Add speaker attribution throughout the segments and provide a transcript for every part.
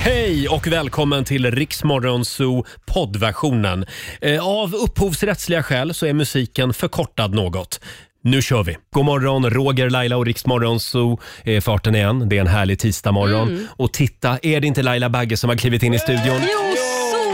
Speaker 1: Hej och välkommen till Riksmorgon Zoo poddversionen. Eh, Av upphovsrättsliga skäl så är musiken förkortad något. Nu kör vi! God morgon, Roger, Laila och Riksmorgon Zoo är i farten igen. Det är en härlig tisdagmorgon. Och titta, är det inte Laila Bagge som har klivit in i studion?
Speaker 2: Mm. Jo,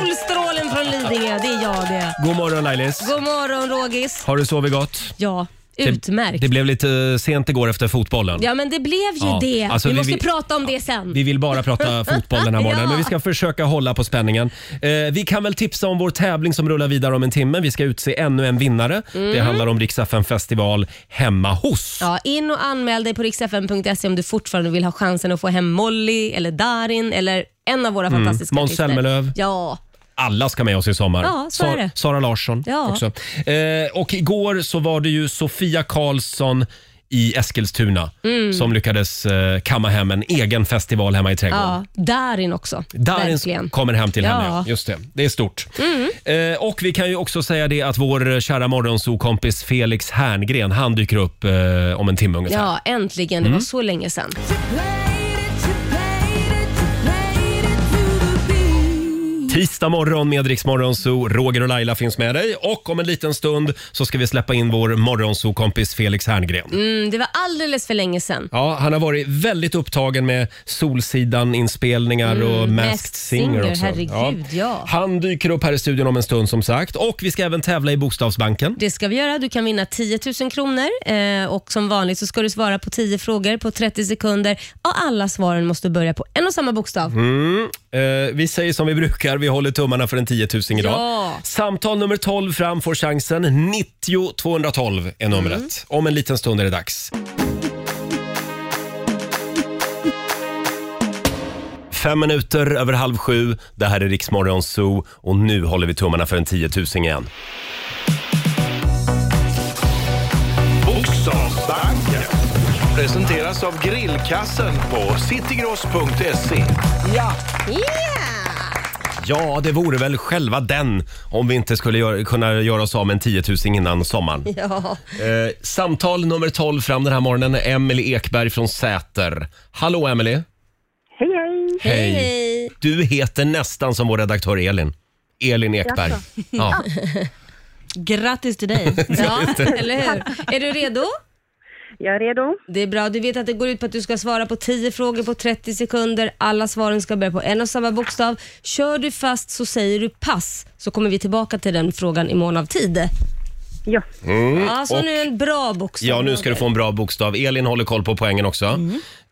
Speaker 2: solstrålen från Lidingö, det är jag det.
Speaker 1: God morgon Lailis!
Speaker 2: God morgon Rogis.
Speaker 1: Har du sovit gott?
Speaker 2: Ja,
Speaker 1: Det-
Speaker 2: utmärkt.
Speaker 1: Det blev lite sent igår efter fotbollen.
Speaker 2: Ja, men det blev ju
Speaker 1: Ja,
Speaker 2: det.
Speaker 1: alltså
Speaker 2: vi,
Speaker 1: vi-
Speaker 2: måste
Speaker 1: vi-
Speaker 2: prata om det sen.
Speaker 1: Vi vill bara prata fotboll den här morgonen,
Speaker 2: Ja.
Speaker 1: men vi ska försöka hålla på spänningen. Eh, vi kan väl tipsa om vår tävling som rullar vidare om en timme. Vi ska utse ännu en vinnare. Det handlar om Rix FM festival hemma hos.
Speaker 2: Mm. Ja, in och anmäl dig på riksfn.se om du fortfarande vill ha chansen att få hem Molly eller Darin eller en av våra fantastiska
Speaker 1: Mm. Måns
Speaker 2: artister.
Speaker 1: Zelmerlöw.
Speaker 2: Ja.
Speaker 1: Alla ska med oss i sommar.
Speaker 2: Ja, så är
Speaker 1: Sa-
Speaker 2: det.
Speaker 1: Sara Larsson
Speaker 2: Ja.
Speaker 1: också. Eh, och igår så var det ju Sofia Karlsson i Eskilstuna
Speaker 2: Mm.
Speaker 1: som lyckades eh, kamma hem en egen festival hemma i trädgården.
Speaker 2: ja, Darin också.
Speaker 1: Darin
Speaker 2: Verkligen.
Speaker 1: kommer hem till henne.
Speaker 2: Ja. Mm.
Speaker 1: Ja. Just det. det är stort. Eh, och Vi kan ju också säga det att vår kära morgonsokompis Felix Herngren han dyker upp eh, om en timme ungefär.
Speaker 2: Ja, äntligen.
Speaker 1: Mm.
Speaker 2: Det var så länge sedan.
Speaker 1: Tisdag morgon med Rix Morgonzoo. Roger och Laila finns med dig. Och Om en liten stund så ska vi släppa in vår morgonsokompis Felix Herngren.
Speaker 2: Mm, det var alldeles för länge sedan.
Speaker 1: Ja, han har varit väldigt upptagen med Solsidan-inspelningar och Masked,
Speaker 2: Mm, Masked
Speaker 1: Singer.
Speaker 2: Singer,
Speaker 1: också.
Speaker 2: herregud, ja.
Speaker 1: Han dyker upp här i studion om en stund som sagt. Och vi ska även tävla i Bokstavsbanken.
Speaker 2: Det ska vi göra. Du kan vinna 10 000 kronor eh, och som vanligt så ska du svara på 10 frågor på 30 sekunder och alla svaren måste börja på en och samma bokstav.
Speaker 1: Mm. Eh, vi säger som vi brukar, vi håller tummarna för en 10 000 idag.
Speaker 2: Ja.
Speaker 1: Samtal nummer 12 fram får chansen. 90 212 är numret. Om en liten stund är det dags. Fem minuter över halv sju. Det här är Riksmorgon Zoo och nu håller vi tummarna för en 10 000 igen.
Speaker 3: Bokstavsbanken presenteras av grillkassen på citygross.se.
Speaker 2: Yeah!
Speaker 1: Ja, det vore väl själva den om vi inte skulle gör, kunna göra oss av med en 10 000 innan sommaren.
Speaker 2: Ja.
Speaker 1: Eh, samtal nummer 12 fram den här morgonen är Emily Ekberg från Säter. Hallå Emily.
Speaker 4: Hej, hej.
Speaker 2: Hej. hej.
Speaker 1: Du heter nästan som vår redaktör Elin. Elin Ekberg. Ja.
Speaker 2: Grattis till dig. ja, eller hur? Är du redo?
Speaker 4: Jag är redo.
Speaker 2: Det är bra. Du vet att det går ut på att du ska svara på 10 frågor på 30 sekunder. Alla svaren ska börja på en och samma bokstav. Kör du fast så säger du pass, så kommer vi tillbaka till den frågan i mån av tid.
Speaker 4: Ja.
Speaker 2: ja, så
Speaker 1: Mm, och-
Speaker 2: nu en bra bokstav.
Speaker 1: ja, nu ska du få en bra bokstav. Elin håller koll på poängen också.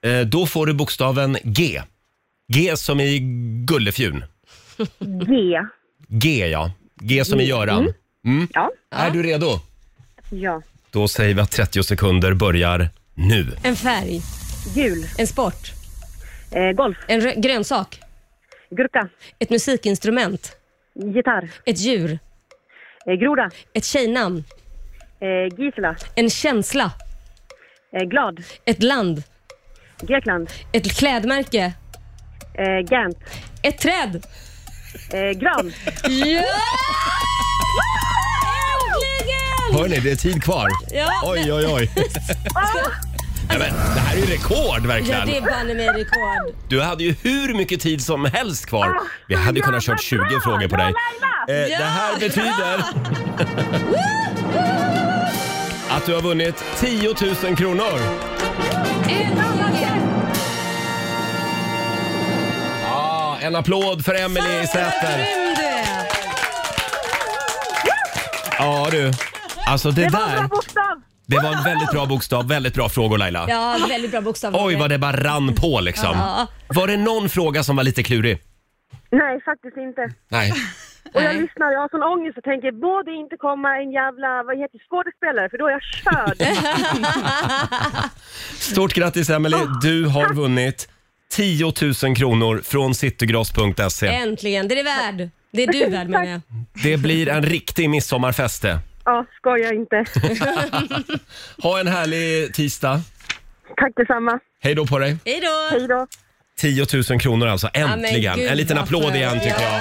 Speaker 1: Eh, då får du bokstaven G. G som i Gullefjun. Mm.
Speaker 4: G.
Speaker 1: G ja. G som i Göran.
Speaker 4: Ja.
Speaker 1: Är du redo?
Speaker 4: Ja.
Speaker 1: Då säger vi att 30 sekunder börjar nu.
Speaker 2: En färg,
Speaker 4: Jul.
Speaker 2: en sport,
Speaker 4: Eh, golf.
Speaker 2: en rö- grönsak,
Speaker 4: Gurka.
Speaker 2: ett musikinstrument,
Speaker 4: Gitarr.
Speaker 2: ett djur,
Speaker 4: Eh, groda.
Speaker 2: ett tjejnamn,
Speaker 4: Eh, Gisela.
Speaker 2: en känsla,
Speaker 4: Eh, glad.
Speaker 2: ett land,
Speaker 4: Grekland.
Speaker 2: ett klädmärke,
Speaker 4: Eh, Gent.
Speaker 2: ett träd.
Speaker 4: Eh, gran.
Speaker 2: Ja! Äntligen!
Speaker 1: Hörni, det är tid kvar.
Speaker 2: Ja,
Speaker 1: Oj, oj, oj. Nej, men, det här är ju rekord
Speaker 2: Ja,
Speaker 1: verkligen.
Speaker 2: det är banne mig rekord.
Speaker 1: Du hade ju hur mycket tid som helst
Speaker 2: Ah,
Speaker 1: kvar. Vi hade ju kunnat kört 20 frågor på dig. Eh,
Speaker 2: Ja,
Speaker 1: det här
Speaker 2: bra!
Speaker 1: betyder att du har vunnit 10 000 kronor.
Speaker 2: Äntligen! Ah.
Speaker 1: Ja, en applåd för Emelie Säter.
Speaker 2: Grym du är!
Speaker 1: Ja du. Alltså det där,
Speaker 4: Bra bokstav.
Speaker 1: det var en väldigt bra bokstav. Väldigt bra frågor Laila.
Speaker 2: Ja, väldigt bra bokstav.
Speaker 1: Oj vad det bara rann på liksom.
Speaker 2: Ja.
Speaker 1: Var det någon fråga som var lite klurig?
Speaker 4: Nej, faktiskt inte.
Speaker 1: Nej.
Speaker 4: Och jag
Speaker 2: Nej.
Speaker 4: lyssnar, jag har sån ångest och tänker, borde inte komma en jävla, vad heter det, skådespelare, för då är jag körd.
Speaker 1: Stort grattis Emelie.
Speaker 2: Ah.
Speaker 1: Du har vunnit 10 000 kronor från
Speaker 2: Eh.
Speaker 1: citygross.se.
Speaker 2: Äntligen, det är det värd. Det är du värd menar jag.
Speaker 1: E. Det blir en riktig midsommarfest det.
Speaker 4: ja, skojar inte.
Speaker 1: Ha en härlig tisdag.
Speaker 4: Tack detsamma.
Speaker 1: Hej då på dig.
Speaker 2: Hej då!
Speaker 4: Hej då.
Speaker 1: 10 000 kronor alltså,
Speaker 2: Ja, men
Speaker 1: äntligen.
Speaker 2: gud,
Speaker 1: en liten
Speaker 2: vad
Speaker 1: applåd
Speaker 2: skönt.
Speaker 1: igen tycker jag.
Speaker 2: Ja.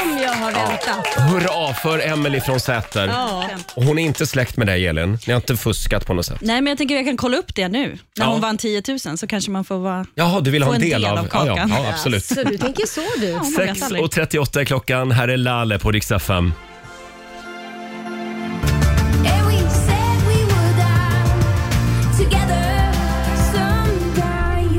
Speaker 2: Som jag jag har väntat.
Speaker 1: Hurra för Emelie från Säter.
Speaker 2: Ja.
Speaker 1: Och Hon är inte släkt med dig Elin. Ni har inte fuskat på något sätt.
Speaker 5: Nej, men jag tänker jag kan kolla upp det nu. När
Speaker 1: Ja.
Speaker 5: hon vann 10 000 så kanske man får vara...
Speaker 1: Jaha, du vill ha
Speaker 5: Få
Speaker 1: en del,
Speaker 5: en del av
Speaker 1: Ja, ja,
Speaker 5: kakan.
Speaker 1: ja, absolut.
Speaker 2: Så du tänker så du?
Speaker 5: Ja, man vet aldrig.
Speaker 1: 6.38 är klockan. Här är Lalle på Rix FM.
Speaker 6: And we said we would die together someday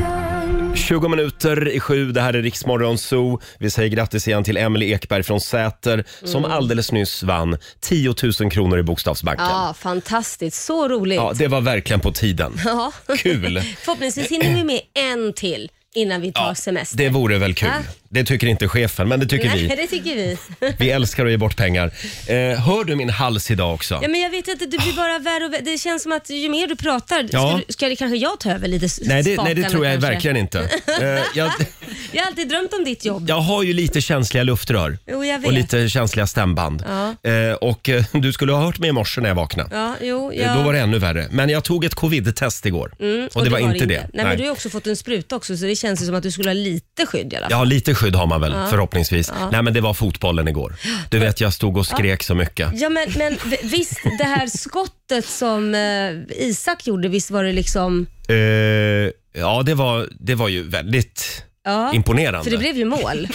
Speaker 6: young.
Speaker 1: 20 minuter i sju. Det här är Riksmorgon Zoo. Vi säger grattis igen till Emelie Ekberg från Säter som
Speaker 2: Mm.
Speaker 1: alldeles nyss vann 10 000 kronor i Bokstavsbanken. Ja.
Speaker 2: Ja, fantastiskt. Så roligt.
Speaker 1: det var verkligen på tiden.
Speaker 2: Ja.
Speaker 1: Kul!
Speaker 2: Förhoppningsvis hinner vi med en till innan vi tar semester.
Speaker 1: Det vore väl kul.
Speaker 2: Ja.
Speaker 1: Det tycker inte chefen, men det tycker
Speaker 2: Nej,
Speaker 1: vi.
Speaker 2: det tycker vi.
Speaker 1: Vi älskar att ge bort pengar. Eh, hör du min hals idag också?
Speaker 2: Ja, men jag vet inte, det blir bara värre och värre. Det känns som att ju mer du pratar,
Speaker 1: Ja.
Speaker 2: ska, du, ska det kanske jag ta över lite s-
Speaker 1: Nej det, nej, det
Speaker 2: spakarna
Speaker 1: tror jag
Speaker 2: kanske.
Speaker 1: verkligen inte. Eh, jag,
Speaker 2: Jag har alltid drömt om ditt jobb.
Speaker 1: jag har ju lite känsliga luftrör
Speaker 2: Jo, jag vet.
Speaker 1: och lite känsliga stämband.
Speaker 2: Ja.
Speaker 1: Eh, och eh, du skulle ha hört mig i morse när jag vaknade.
Speaker 2: Ja, jo,
Speaker 1: Eh,
Speaker 2: ja.
Speaker 1: Då var det ännu värre. Men jag tog ett covid-test igår
Speaker 2: Mm,
Speaker 1: och, det var inte det.
Speaker 2: Nej, men du har ju också fått en spruta också, så det känns ju som att du skulle ha lite skydd i alla fall.
Speaker 1: Ja, lite skydd har man väl förhoppningsvis. Nej, men det var fotbollen igår. Du vet, jag stod och skrek så mycket.
Speaker 2: Ja, men, men v- visst, det här skottet som eh, Isak gjorde, visst var det liksom...
Speaker 1: Eh, ja, det var, det var ju väldigt
Speaker 2: Ja,
Speaker 1: imponerande.
Speaker 2: för det blev ju mål.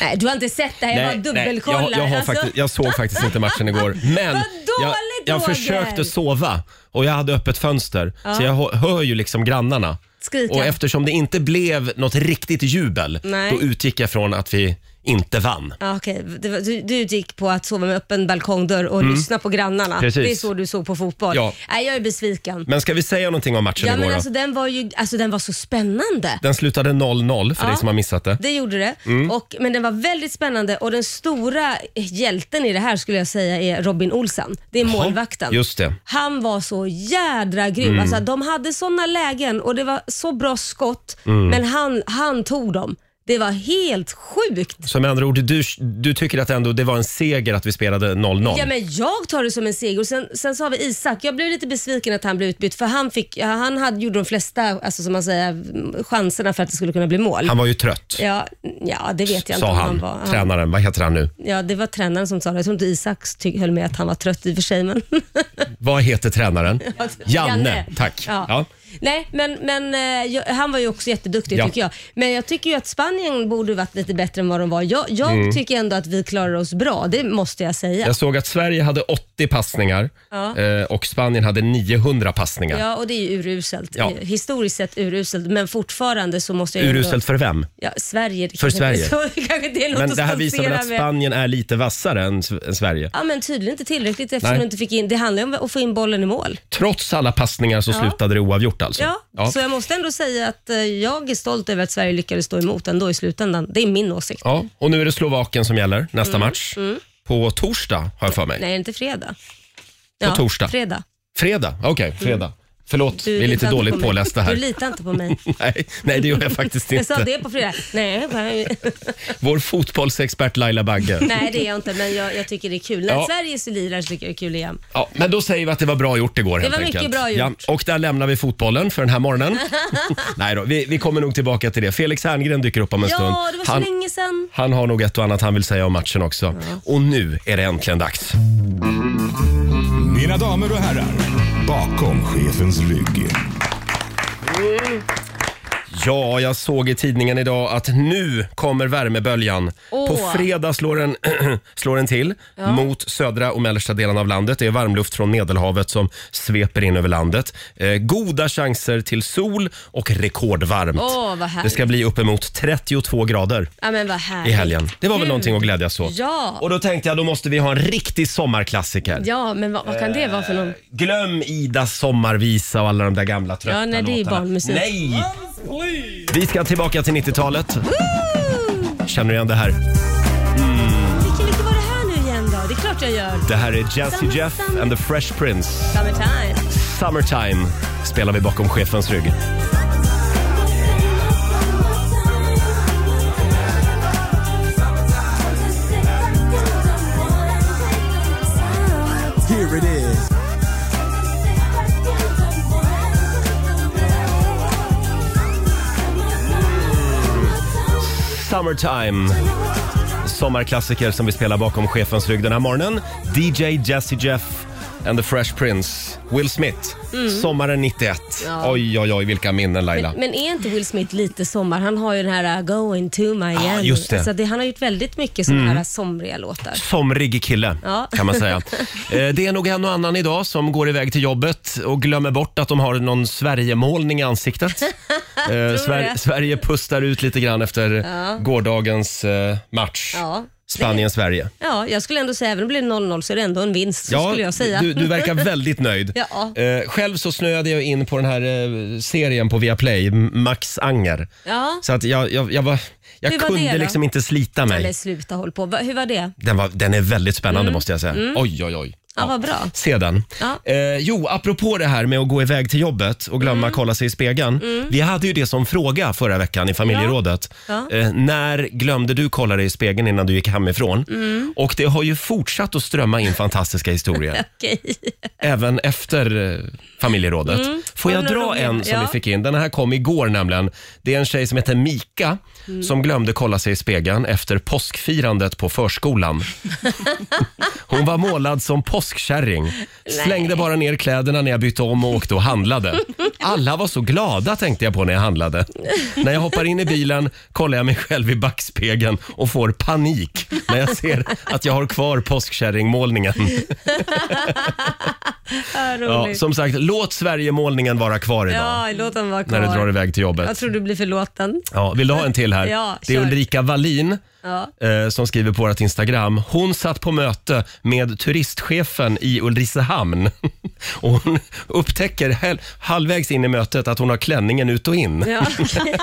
Speaker 2: nej, du har inte sett det här, jag bara
Speaker 1: nej, jag,
Speaker 2: dubbelkollar.
Speaker 1: jag, har
Speaker 2: Alltså,
Speaker 1: faktiskt, jag såg faktiskt inte matchen igår. Men
Speaker 2: Vad
Speaker 1: jag,
Speaker 2: dåligt,
Speaker 1: jag
Speaker 2: Roger!
Speaker 1: försökte sova och jag hade öppet fönster. Så jag hö- hör ju liksom grannarna.
Speaker 2: Skrika.
Speaker 1: Och eftersom det inte blev något riktigt jubel,
Speaker 2: Nej.
Speaker 1: då utgick jag från att vi inte vann.
Speaker 2: Ja, okej. Det var- Du, du gick på att sova med öppen balkongdörr och lyssna på grannarna.
Speaker 1: Mm. Precis.
Speaker 2: Det är så du såg på fotboll.
Speaker 1: Ja.
Speaker 2: Nej, jag är besviken.
Speaker 1: Men ska vi säga någonting om matchen
Speaker 2: Ja,
Speaker 1: igår
Speaker 2: men
Speaker 1: då?
Speaker 2: alltså, den var ju alltså, den var så spännande.
Speaker 1: Den slutade 0-0 för
Speaker 2: Ja.
Speaker 1: dig som har missat det.
Speaker 2: Det gjorde det.
Speaker 1: Mm.
Speaker 2: Och, men den var väldigt spännande och den stora hjälten i det här skulle jag säga är Robin Olsen. Det är målvakten.
Speaker 1: Just det.
Speaker 2: Han var så jädra grym.
Speaker 1: Mm.
Speaker 2: Alltså, de hade såna lägen och det var så bra skott,
Speaker 1: Mm.
Speaker 2: men han, han tog dem. Det var helt sjukt.
Speaker 1: Så med andra ord, du, du tycker att ändå det var en seger att vi spelade 0-0?
Speaker 2: Ja, men jag tar det som en seger. Och Sen, sen så har vi Isak. Jag blev lite besviken att han blev utbytt för han, fick, ja, han hade, gjorde de flesta alltså, som man säger, chanserna för att det skulle kunna bli mål.
Speaker 1: Han var ju trött,
Speaker 2: Ja, ja, det vet jag inte
Speaker 1: sa
Speaker 2: om
Speaker 1: han.
Speaker 2: var. Ja.
Speaker 1: Tränaren, vad heter han nu?
Speaker 2: Ja, det var tränaren som sa det. Jag tror inte Isak ty- höll med att han var trött i och för sig. Men
Speaker 1: Vad heter tränaren? Janne, tack.
Speaker 2: Ja.
Speaker 1: Ja.
Speaker 2: Nej, men, men eh, jag, han var ju också jätteduktig
Speaker 1: Ja.
Speaker 2: tycker jag. Men jag tycker ju att Spanien borde varit lite bättre än vad de var. Jag, jag tycker ändå att vi klarar oss bra, det måste jag säga.
Speaker 1: Mm. Jag såg att Sverige hade 80 passningar
Speaker 2: Ja.
Speaker 1: eh, och Spanien hade 900 passningar.
Speaker 2: Ja, och det är ju uruselt.
Speaker 1: Ja.
Speaker 2: Historiskt sett uruselt, men fortfarande så måste jag ju ändå-
Speaker 1: Uruselt för vem?
Speaker 2: Ja, Sverige. det
Speaker 1: För
Speaker 2: kanske-
Speaker 1: Sverige.
Speaker 2: Så, kanske det är något
Speaker 1: Men
Speaker 2: att
Speaker 1: det här visar väl
Speaker 2: stoltsera
Speaker 1: att
Speaker 2: med.
Speaker 1: Spanien är lite vassare än, S- än Sverige.
Speaker 2: Ja, men tydligen inte tillräckligt eftersom
Speaker 1: Nej.
Speaker 2: du inte fick in... Det handlar ju om att få in bollen i mål.
Speaker 1: Trots alla passningar så slutade det oavgjort alltså.
Speaker 2: Ja,
Speaker 1: Ja.
Speaker 2: så jag måste ändå säga att eh, jag är stolt över att Sverige lyckades stå emot ändå i slutändan. Det är min åsikt.
Speaker 1: Ja, och nu är det Slovakien som gäller nästa match. På torsdag har jag för mig.
Speaker 2: Mm. Nej, inte fredag.
Speaker 1: torsdag.
Speaker 2: Fredag.
Speaker 1: Fredag, okej, fredag. Förlåt, vi är
Speaker 2: litar
Speaker 1: lite
Speaker 2: inte Mm. på
Speaker 1: dåligt
Speaker 2: mig.
Speaker 1: pålästa här.
Speaker 2: Du litar inte på mig.
Speaker 1: Nej, nej, det gör jag faktiskt
Speaker 2: Jag sa
Speaker 1: inte.
Speaker 2: det på fredag. Nej, bara-
Speaker 1: Vår fotbollsexpert Laila Bagge.
Speaker 2: nej det är jag inte, men jag, jag tycker det är kul. När
Speaker 1: Ja.
Speaker 2: Sverige så lirar så tycker jag det är kul igen.
Speaker 1: Ja, men då säger vi att det var bra gjort igår helt
Speaker 2: var
Speaker 1: enkelt.
Speaker 2: mycket bra gjort.
Speaker 1: Ja, och där lämnar vi fotbollen för den här morgonen. nej då, vi, vi kommer nog tillbaka till det. Felix Herngren dyker upp om en stund.
Speaker 2: Ja, det var så
Speaker 1: han,
Speaker 2: länge sedan.
Speaker 1: han har nog ett och annat han vill säga om matchen också. Och nu är det äntligen dags.
Speaker 7: Mina damer och herrar, bakom chefens rygg.
Speaker 1: Ja, jag såg i tidningen idag att nu kommer värmeböljan.
Speaker 2: Åh.
Speaker 1: På fredag slår den, slår den till mot södra och mellersta delen av landet. Det är varmluft från Medelhavet som sveper in över landet. Eh, goda chanser till sol och rekordvarmt.
Speaker 2: Åh, vad härligt.
Speaker 1: det ska bli uppemot 32 grader
Speaker 2: Ja, men vad
Speaker 1: i
Speaker 2: härligt.
Speaker 1: helgen. Det var väl
Speaker 2: Gud.
Speaker 1: någonting att glädjas åt.
Speaker 2: Ja.
Speaker 1: Och då tänkte jag, då måste vi ha en riktig sommarklassiker.
Speaker 2: Ja, men vad, vad kan det vara för
Speaker 1: Eh.
Speaker 2: någon?
Speaker 1: Glöm Idas sommarvisa och alla de där gamla trötta
Speaker 2: Ja, nej, det är ju
Speaker 1: låtarna.
Speaker 2: barnmusik.
Speaker 1: Nej! Vi ska tillbaka till 90-talet. Känner du igen det här?
Speaker 2: Vilken vecka var det här nu igen då? Det är klart jag gör.
Speaker 1: Det här är Jazzy
Speaker 2: Summer,
Speaker 1: Jeff
Speaker 2: summer.
Speaker 1: and the Fresh Prince.
Speaker 2: Summertime.
Speaker 1: Summertime spelar vi bakom chefens rygg.
Speaker 7: Here it is.
Speaker 1: Summertime sommarklassiker som vi spelar bakom chefens rygg den här morgonen. DJ Jazzy Jeff and the Fresh Prince, Will Smith. Sommaren 91.
Speaker 2: Mm. Ja.
Speaker 1: Oj, oj, oj, vilka minnen Laila.
Speaker 2: Men, men är inte Will Smith lite sommar? Han har ju den här uh, “Going to Miami”.
Speaker 1: Ja, just det. Mm.
Speaker 2: Alltså det. Han har gjort väldigt mycket sådana här uh, somriga låtar.
Speaker 1: somrig kille
Speaker 2: Ja.
Speaker 1: kan man säga. Eh, Det är nog en och annan idag som går iväg till jobbet och glömmer bort att de har någon Sverigemålning i ansiktet. Eh, Sver-
Speaker 2: det.
Speaker 1: Sverige pustar ut lite grann efter gårdagens eh, match.
Speaker 2: Ja.
Speaker 1: Spanien-Sverige.
Speaker 2: Ja, jag skulle ändå säga, även om det blir 0-0 så är det ändå en vinst, så skulle jag säga.
Speaker 1: Du, du verkar väldigt nöjd.
Speaker 2: Ja.
Speaker 1: Eh, Själv så snöade jag in på den här eh, serien på Viaplay, M- Max Anger.
Speaker 2: Ja,
Speaker 1: Så att jag, jag, jag, var, jag
Speaker 2: Hur var
Speaker 1: kunde
Speaker 2: det då?
Speaker 1: liksom inte slita mig.
Speaker 2: eller sluta håll på. Va, hur var det?
Speaker 1: Den, var, den är väldigt spännande måste jag säga. Oj, oj, oj.
Speaker 2: Ja, vad bra.
Speaker 1: Se den.
Speaker 2: Mm. Ja.
Speaker 1: Eh, jo, apropå det här med att gå iväg till jobbet och glömma
Speaker 2: Mm.
Speaker 1: kolla sig i spegeln. Vi hade ju det som fråga förra veckan i familjerådet.
Speaker 2: Ja.
Speaker 1: Eh, när glömde du kolla dig i spegeln innan du gick hemifrån?
Speaker 2: Mm.
Speaker 1: Och det har ju fortsatt att strömma in fantastiska historier.
Speaker 2: Okej.
Speaker 1: även efter eh, familjerådet. Får jag
Speaker 2: Har du några
Speaker 1: dra
Speaker 2: roliga?
Speaker 1: en som
Speaker 2: Ja.
Speaker 1: vi fick in? Den här kom igår nämligen. Det är en tjej som heter Mika som glömde kolla sig i spegeln efter påskfirandet på förskolan. Hon var målad som påskkärring. Slängde bara ner kläderna när jag bytte om och åkte och handlade. Alla var så glada tänkte jag på när jag handlade. När jag hoppar in i bilen kollar jag mig själv i backspegeln och får panik när jag ser att jag har kvar påskkärringmålningen.
Speaker 2: Ja,
Speaker 1: Ja,
Speaker 2: roligt.
Speaker 1: som sagt, låt Sverigemålningen vara kvar idag
Speaker 2: Ja, låt dem vara kvar.
Speaker 1: när du drar iväg till
Speaker 2: Jag
Speaker 1: jobbet.
Speaker 2: tror du blir förlåten.
Speaker 1: Ja, vill du ha en till här?
Speaker 2: Ja,
Speaker 1: det är
Speaker 2: kör.
Speaker 1: Ulrika Wallin
Speaker 2: Ja.
Speaker 1: eh, som skriver på vårt Instagram. Hon satt på möte med turistchefen i Ulricehamn och hon upptäcker hel- halvvägs in i mötet att hon har klänningen ut och in.
Speaker 2: Ja, okej.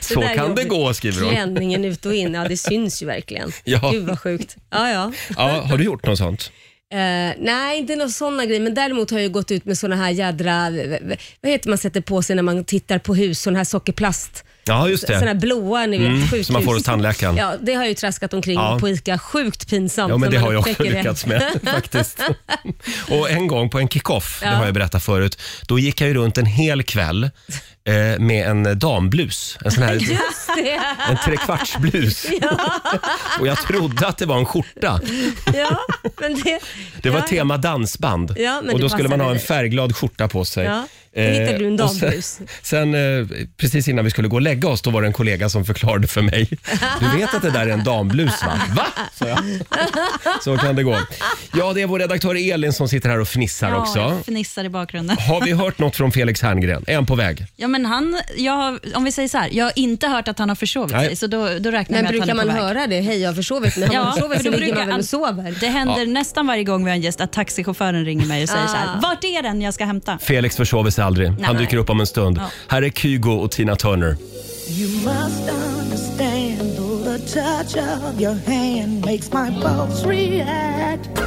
Speaker 1: Så
Speaker 2: där är
Speaker 1: kan det
Speaker 2: jobbigt.
Speaker 1: gå, skriver hon.
Speaker 2: Klänningen ut och in, ja det syns ju verkligen.
Speaker 1: Ja.
Speaker 2: Gud vad sjukt. Ja, ja.
Speaker 1: Ja, har du gjort något sånt?
Speaker 2: Eh, nej, inte några sådana grejer, men däremot har jag ju gått ut med sådana här jädra, v- v- vad heter man sätter på sig när man tittar på hus, sån här sockerplast.
Speaker 1: Ja, just
Speaker 2: Sådana här
Speaker 1: det. Mm,
Speaker 2: blåa, ni vet, sjukhus.
Speaker 1: som man får hos tandläkaren.
Speaker 2: Ja, det har jag ju traskat omkring
Speaker 1: Ja.
Speaker 2: på ICA. Sjukt pinsamt.
Speaker 1: Ja, men
Speaker 2: när
Speaker 1: det
Speaker 2: man
Speaker 1: har jag också
Speaker 2: upptäcker det.
Speaker 1: lyckats med faktiskt. Och en gång på en kickoff, det har jag berättat förut, då gick jag ju runt en hel kväll eh, med en damblus. En sån här
Speaker 2: Just det.
Speaker 1: en trekvartsblus. Och jag trodde att det var en skjorta.
Speaker 2: Ja, men det,
Speaker 1: Det var
Speaker 2: ja,
Speaker 1: tema dansband.
Speaker 2: Ja, men
Speaker 1: och
Speaker 2: det
Speaker 1: då skulle man ha en
Speaker 2: passade dig.
Speaker 1: färgglad skjorta på sig. Eh,
Speaker 2: Ja, då hittade du en
Speaker 1: och sen,
Speaker 2: damblus.
Speaker 1: sen eh, precis innan vi skulle gå och lägga oss, då var det en kollega som förklarade för mig. Du vet att det där är en damblus va? Va? sa jag. Så kan det gå. Ja, det är vår redaktör Elin som sitter här och fnissar
Speaker 5: Ja,
Speaker 1: också.
Speaker 5: jag fnissar i bakgrunden.
Speaker 1: Har vi hört något från Felix Herngren? Är han på väg?
Speaker 5: Ja, men han, jag har, om vi säger så här, jag har inte hört att han har försovit
Speaker 1: Nej.
Speaker 5: sig, så då, då räknar jag
Speaker 2: Men
Speaker 5: med att han är
Speaker 2: brukar
Speaker 5: på
Speaker 2: man
Speaker 5: väg.
Speaker 2: höra det? Hej, jag har försovit mig. Har man
Speaker 5: Ja,
Speaker 2: försovit
Speaker 5: för
Speaker 2: sig
Speaker 5: då
Speaker 2: ligger man
Speaker 5: brukar
Speaker 2: väl
Speaker 5: all-
Speaker 2: och sover.
Speaker 5: Det händer nästan varje gång vi har en gäst att taxichauffören ringer mig och säger så
Speaker 2: Ah.
Speaker 5: här, vart är den jag ska hämta?
Speaker 1: Felix försover sig aldrig. Han
Speaker 5: nej.
Speaker 1: dyker upp om en stund.
Speaker 5: Ja.
Speaker 1: Här är Kygo och Tina Turner.
Speaker 8: You must understand the touch of your hand makes my pulse react.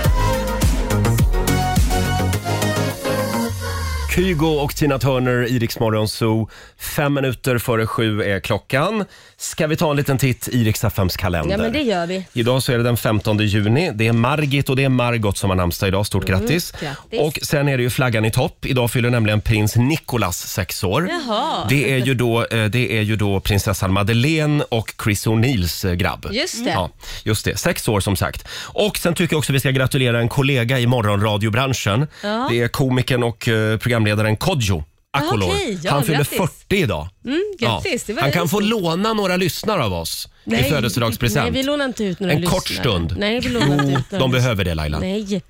Speaker 1: Kygo och Tina Turner i Rix Morgon Zoo. Fem minuter före sju är klockan. Ska vi ta en liten titt i Rix FMs kalender?
Speaker 2: Ja, men det gör vi.
Speaker 1: Idag så är det den 15 juni. Det är Margit och det är Margot som har namnsdag idag. Stort grattis.
Speaker 2: Mm, grattis.
Speaker 1: Och sen är det ju flaggan i topp. Idag fyller nämligen prins Nicolas sex år.
Speaker 2: Jaha.
Speaker 1: Det är ju då, eh, det är ju då prinsessan Madeleine och Chris O'Neills eh, grabb.
Speaker 2: Just det.
Speaker 1: Ja, just det. Sex år som sagt. Och sen tycker jag också vi ska gratulera en kollega i morgonradiobranschen. Det är komikern och eh, programledaren Kodjo. Akolor.
Speaker 2: Ah, okej. Ja,
Speaker 1: han fyller
Speaker 2: grattis. Mm,
Speaker 1: 40 idag.
Speaker 2: grattis. Det var
Speaker 1: Han kan
Speaker 2: ju
Speaker 1: få
Speaker 2: stort.
Speaker 1: låna några lyssnare av oss i födelsedagspresent.
Speaker 2: Nej, vi lånar inte ut några
Speaker 1: En
Speaker 2: lyssnare.
Speaker 1: kort stund.
Speaker 2: Nej, vi lånar inte
Speaker 1: Jo,
Speaker 2: ut några
Speaker 1: de
Speaker 2: lyssnare.
Speaker 1: behöver det Laila.
Speaker 2: Nej,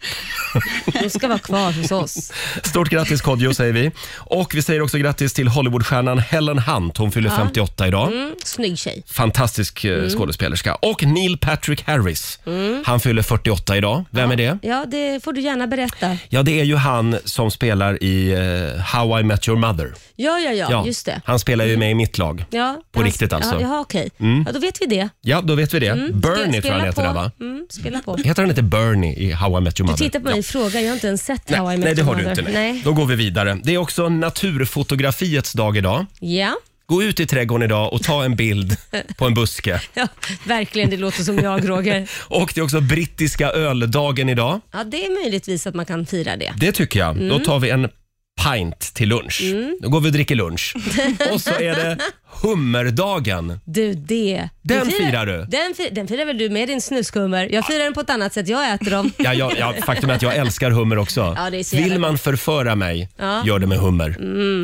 Speaker 2: de ska vara kvar hos oss.
Speaker 1: Stort grattis Kodjo säger vi. Och vi säger också grattis till Hollywoodstjärnan Helen Hunt. Hon fyller 58 idag.
Speaker 2: Mm, snygg tjej.
Speaker 1: Fantastisk eh,
Speaker 2: Mm.
Speaker 1: skådespelerska. Och Neil Patrick Harris. Han fyller 48 idag. Vem är det?
Speaker 2: Ja, det får du gärna berätta.
Speaker 1: Ja, det är ju han som spelar i eh, How I Met Your Mother.
Speaker 2: Ja, ja, ja,
Speaker 1: Ja,
Speaker 2: just det. Mm.
Speaker 1: Han spelar ju med i mitt lag.
Speaker 2: Ja,
Speaker 1: På
Speaker 2: han-
Speaker 1: riktigt alltså.
Speaker 2: Ja, ja okej. Ja, då vet vi det.
Speaker 1: Ja, då vet vi det.
Speaker 2: Mm.
Speaker 1: Bernie
Speaker 2: Spela
Speaker 1: tror jag han
Speaker 2: på.
Speaker 1: heter där va?
Speaker 2: Mm, spela på.
Speaker 1: Heter han inte Bernie i How I Met Your
Speaker 2: Du
Speaker 1: Mother?
Speaker 2: tittar på mig och frågar, jag har inte ens sett How I
Speaker 1: Nej,
Speaker 2: Met
Speaker 1: nej, det
Speaker 2: Your
Speaker 1: har du
Speaker 2: Mother.
Speaker 1: inte. Nej. Då går vi vidare. Det är också naturfotografiets dag idag.
Speaker 2: Ja.
Speaker 1: Gå ut i trädgården idag och ta en bild på en buske.
Speaker 2: ja, verkligen. Det låter som jag, Roger.
Speaker 1: Och det är också brittiska öldagen idag.
Speaker 2: Ja, det är möjligtvis att man kan fira det. Mm.
Speaker 1: Det tycker jag. Då tar vi en pint till lunch. Då går vi och dricker lunch. Och så är det hummerdagen.
Speaker 2: Du, det.
Speaker 1: Den
Speaker 2: du
Speaker 1: firar du.
Speaker 2: Den, fi- den firar väl du med din snuskummer? Jag firar den på ett annat sätt. Jag äter dem.
Speaker 1: Ja, ja, ja, faktum är att jag älskar hummer också.
Speaker 2: Ja, det är så jävla Mm.
Speaker 1: Vill man förföra mig, gör det med hummer.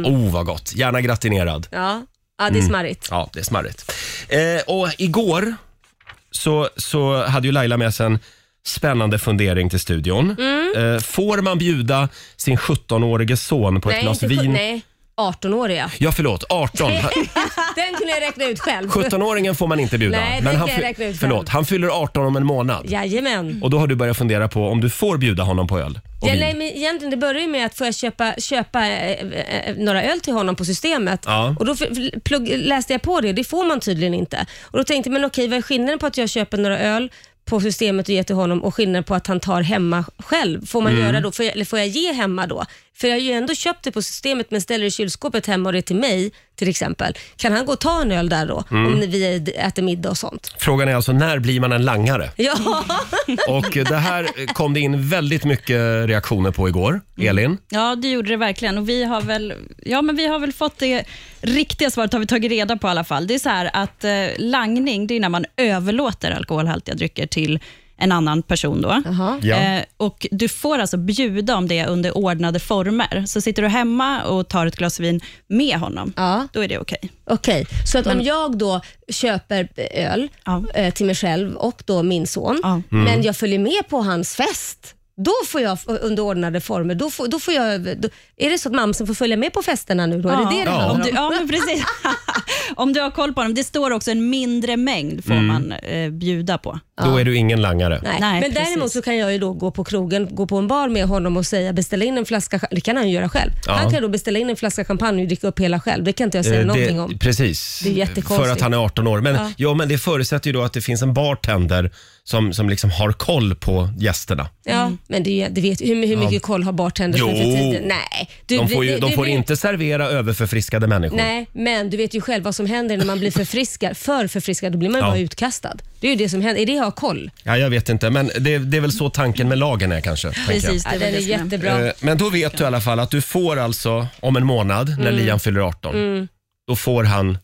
Speaker 1: Oh, vad gott. Gärna gratinerad.
Speaker 2: Ja, ja
Speaker 1: Mm.
Speaker 2: det är smarrigt.
Speaker 1: Ja, det är smarrigt. Eh, och igår så, så hade ju Laila med sig en spännande fundering till studion.
Speaker 2: Mm.
Speaker 1: Eh, får man bjuda sin 17-årige son på ett glas
Speaker 2: inte sju-
Speaker 1: vin?
Speaker 2: Nej, 18-åriga.
Speaker 1: Ja, förlåt. 18. Han-
Speaker 2: Den kunde jag räkna ut själv.
Speaker 1: 17-åringen får man inte bjuda.
Speaker 2: Nej, det
Speaker 1: men
Speaker 2: kan
Speaker 1: han,
Speaker 2: jag
Speaker 1: fy-
Speaker 2: räkna ut själv.
Speaker 1: förlåt, han fyller 18 om en månad.
Speaker 2: Jajamän.
Speaker 1: Och då har du börjat fundera på om du får bjuda honom på öl och
Speaker 2: Ja,
Speaker 1: vin.
Speaker 2: nej, men egentligen det börjar ju med att får jag köpa, köpa eh, eh, några öl till honom på systemet?
Speaker 1: Ja.
Speaker 2: Och då f- f- plugg, läste jag på det, det får man tydligen inte. Och Då tänkte jag, men okej vad är skillnaden på att jag köper några öl på systemet och ger till honom och skillnaden på att han tar hemma själv? Får
Speaker 1: Mm.
Speaker 2: man göra då? Får jag, eller får jag ge hemma då? För jag har ju ändå köpt det på systemet men ställer det i kylskåpet hemma och det är till mig till exempel. Kan han gå och ta en öl där då?
Speaker 1: Mm.
Speaker 2: Om vi äter middag och sånt.
Speaker 1: Frågan är alltså, när blir man en langare?
Speaker 2: Ja,
Speaker 1: Och det här kom det in väldigt mycket reaktioner på igår.
Speaker 2: Mm.
Speaker 1: Elin?
Speaker 5: Ja, det gjorde det verkligen. Och vi har väl, ja, men vi har väl fått det riktiga svaret, har vi tagit reda på i alla fall. Det är så här att eh, langning, det är när man överlåter alkoholhaltiga drycker till en annan person. Då.
Speaker 1: Ja.
Speaker 5: Eh, och Du får alltså bjuda om det under ordnade former. Så sitter du hemma och tar ett glas vin med honom,
Speaker 2: Ja.
Speaker 5: då är det okej.
Speaker 2: Okej, så att om jag då köper öl
Speaker 5: Mm. Ja.
Speaker 2: eh, till mig själv och då min son,
Speaker 5: Ja.
Speaker 1: Mm.
Speaker 2: men jag följer med på hans fest, då får jag f- under ordnade former, då får, då får jag, då, är det så att mamsen får följa med på festerna nu då? Är det det det
Speaker 1: Ja.
Speaker 2: handlar
Speaker 5: om
Speaker 2: om?
Speaker 5: du, ja, men precis. om du har koll på honom. Det står också en mindre mängd
Speaker 1: Mm.
Speaker 5: får man eh, bjuda på.
Speaker 1: Då är du ingen langare.
Speaker 2: Nej.
Speaker 5: Nej,
Speaker 2: men däremot
Speaker 5: precis.
Speaker 2: så kan jag ju då gå på krogen, gå på en bar med honom och säga beställa in en flaska, cha-" det kan han ju göra själv.
Speaker 1: Ja.
Speaker 2: Han kan då beställa in en flaska champagne och dricka upp hela själv. Det kan inte jag säga
Speaker 1: Eh,
Speaker 2: någonting om.
Speaker 1: Precis.
Speaker 2: Det är jättekonstigt.
Speaker 1: För att han är 18 år. Men, ja. men det förutsätter ju då att det finns en bartender som, som liksom har koll på gästerna.
Speaker 2: Ja, men det, är ju- det vet, hur, hur mycket koll har bartenders nu för
Speaker 1: Jo.
Speaker 2: tiden? Nej. Du,
Speaker 1: De får, ju,
Speaker 2: du-
Speaker 1: de
Speaker 2: du
Speaker 1: får
Speaker 2: vet-
Speaker 1: inte servera överförfriskade människor.
Speaker 2: Nej, men du vet ju själv vad som händer när man blir förfriskad. För förfriskad, då blir man ju
Speaker 1: Ja.
Speaker 2: bara utkastad. Det är ju det som händer. Är det att ha koll?
Speaker 1: Ja, jag vet inte, men det, det är väl så tanken med lagen är kanske. tänker jag.
Speaker 5: Precis, det
Speaker 2: Ja,
Speaker 5: är
Speaker 2: den
Speaker 5: väl
Speaker 2: är
Speaker 5: det som är.
Speaker 2: jättebra.
Speaker 1: Eh, Men då vet du i alla fall att du får alltså om en månad när Liam fyller 18. Då får han,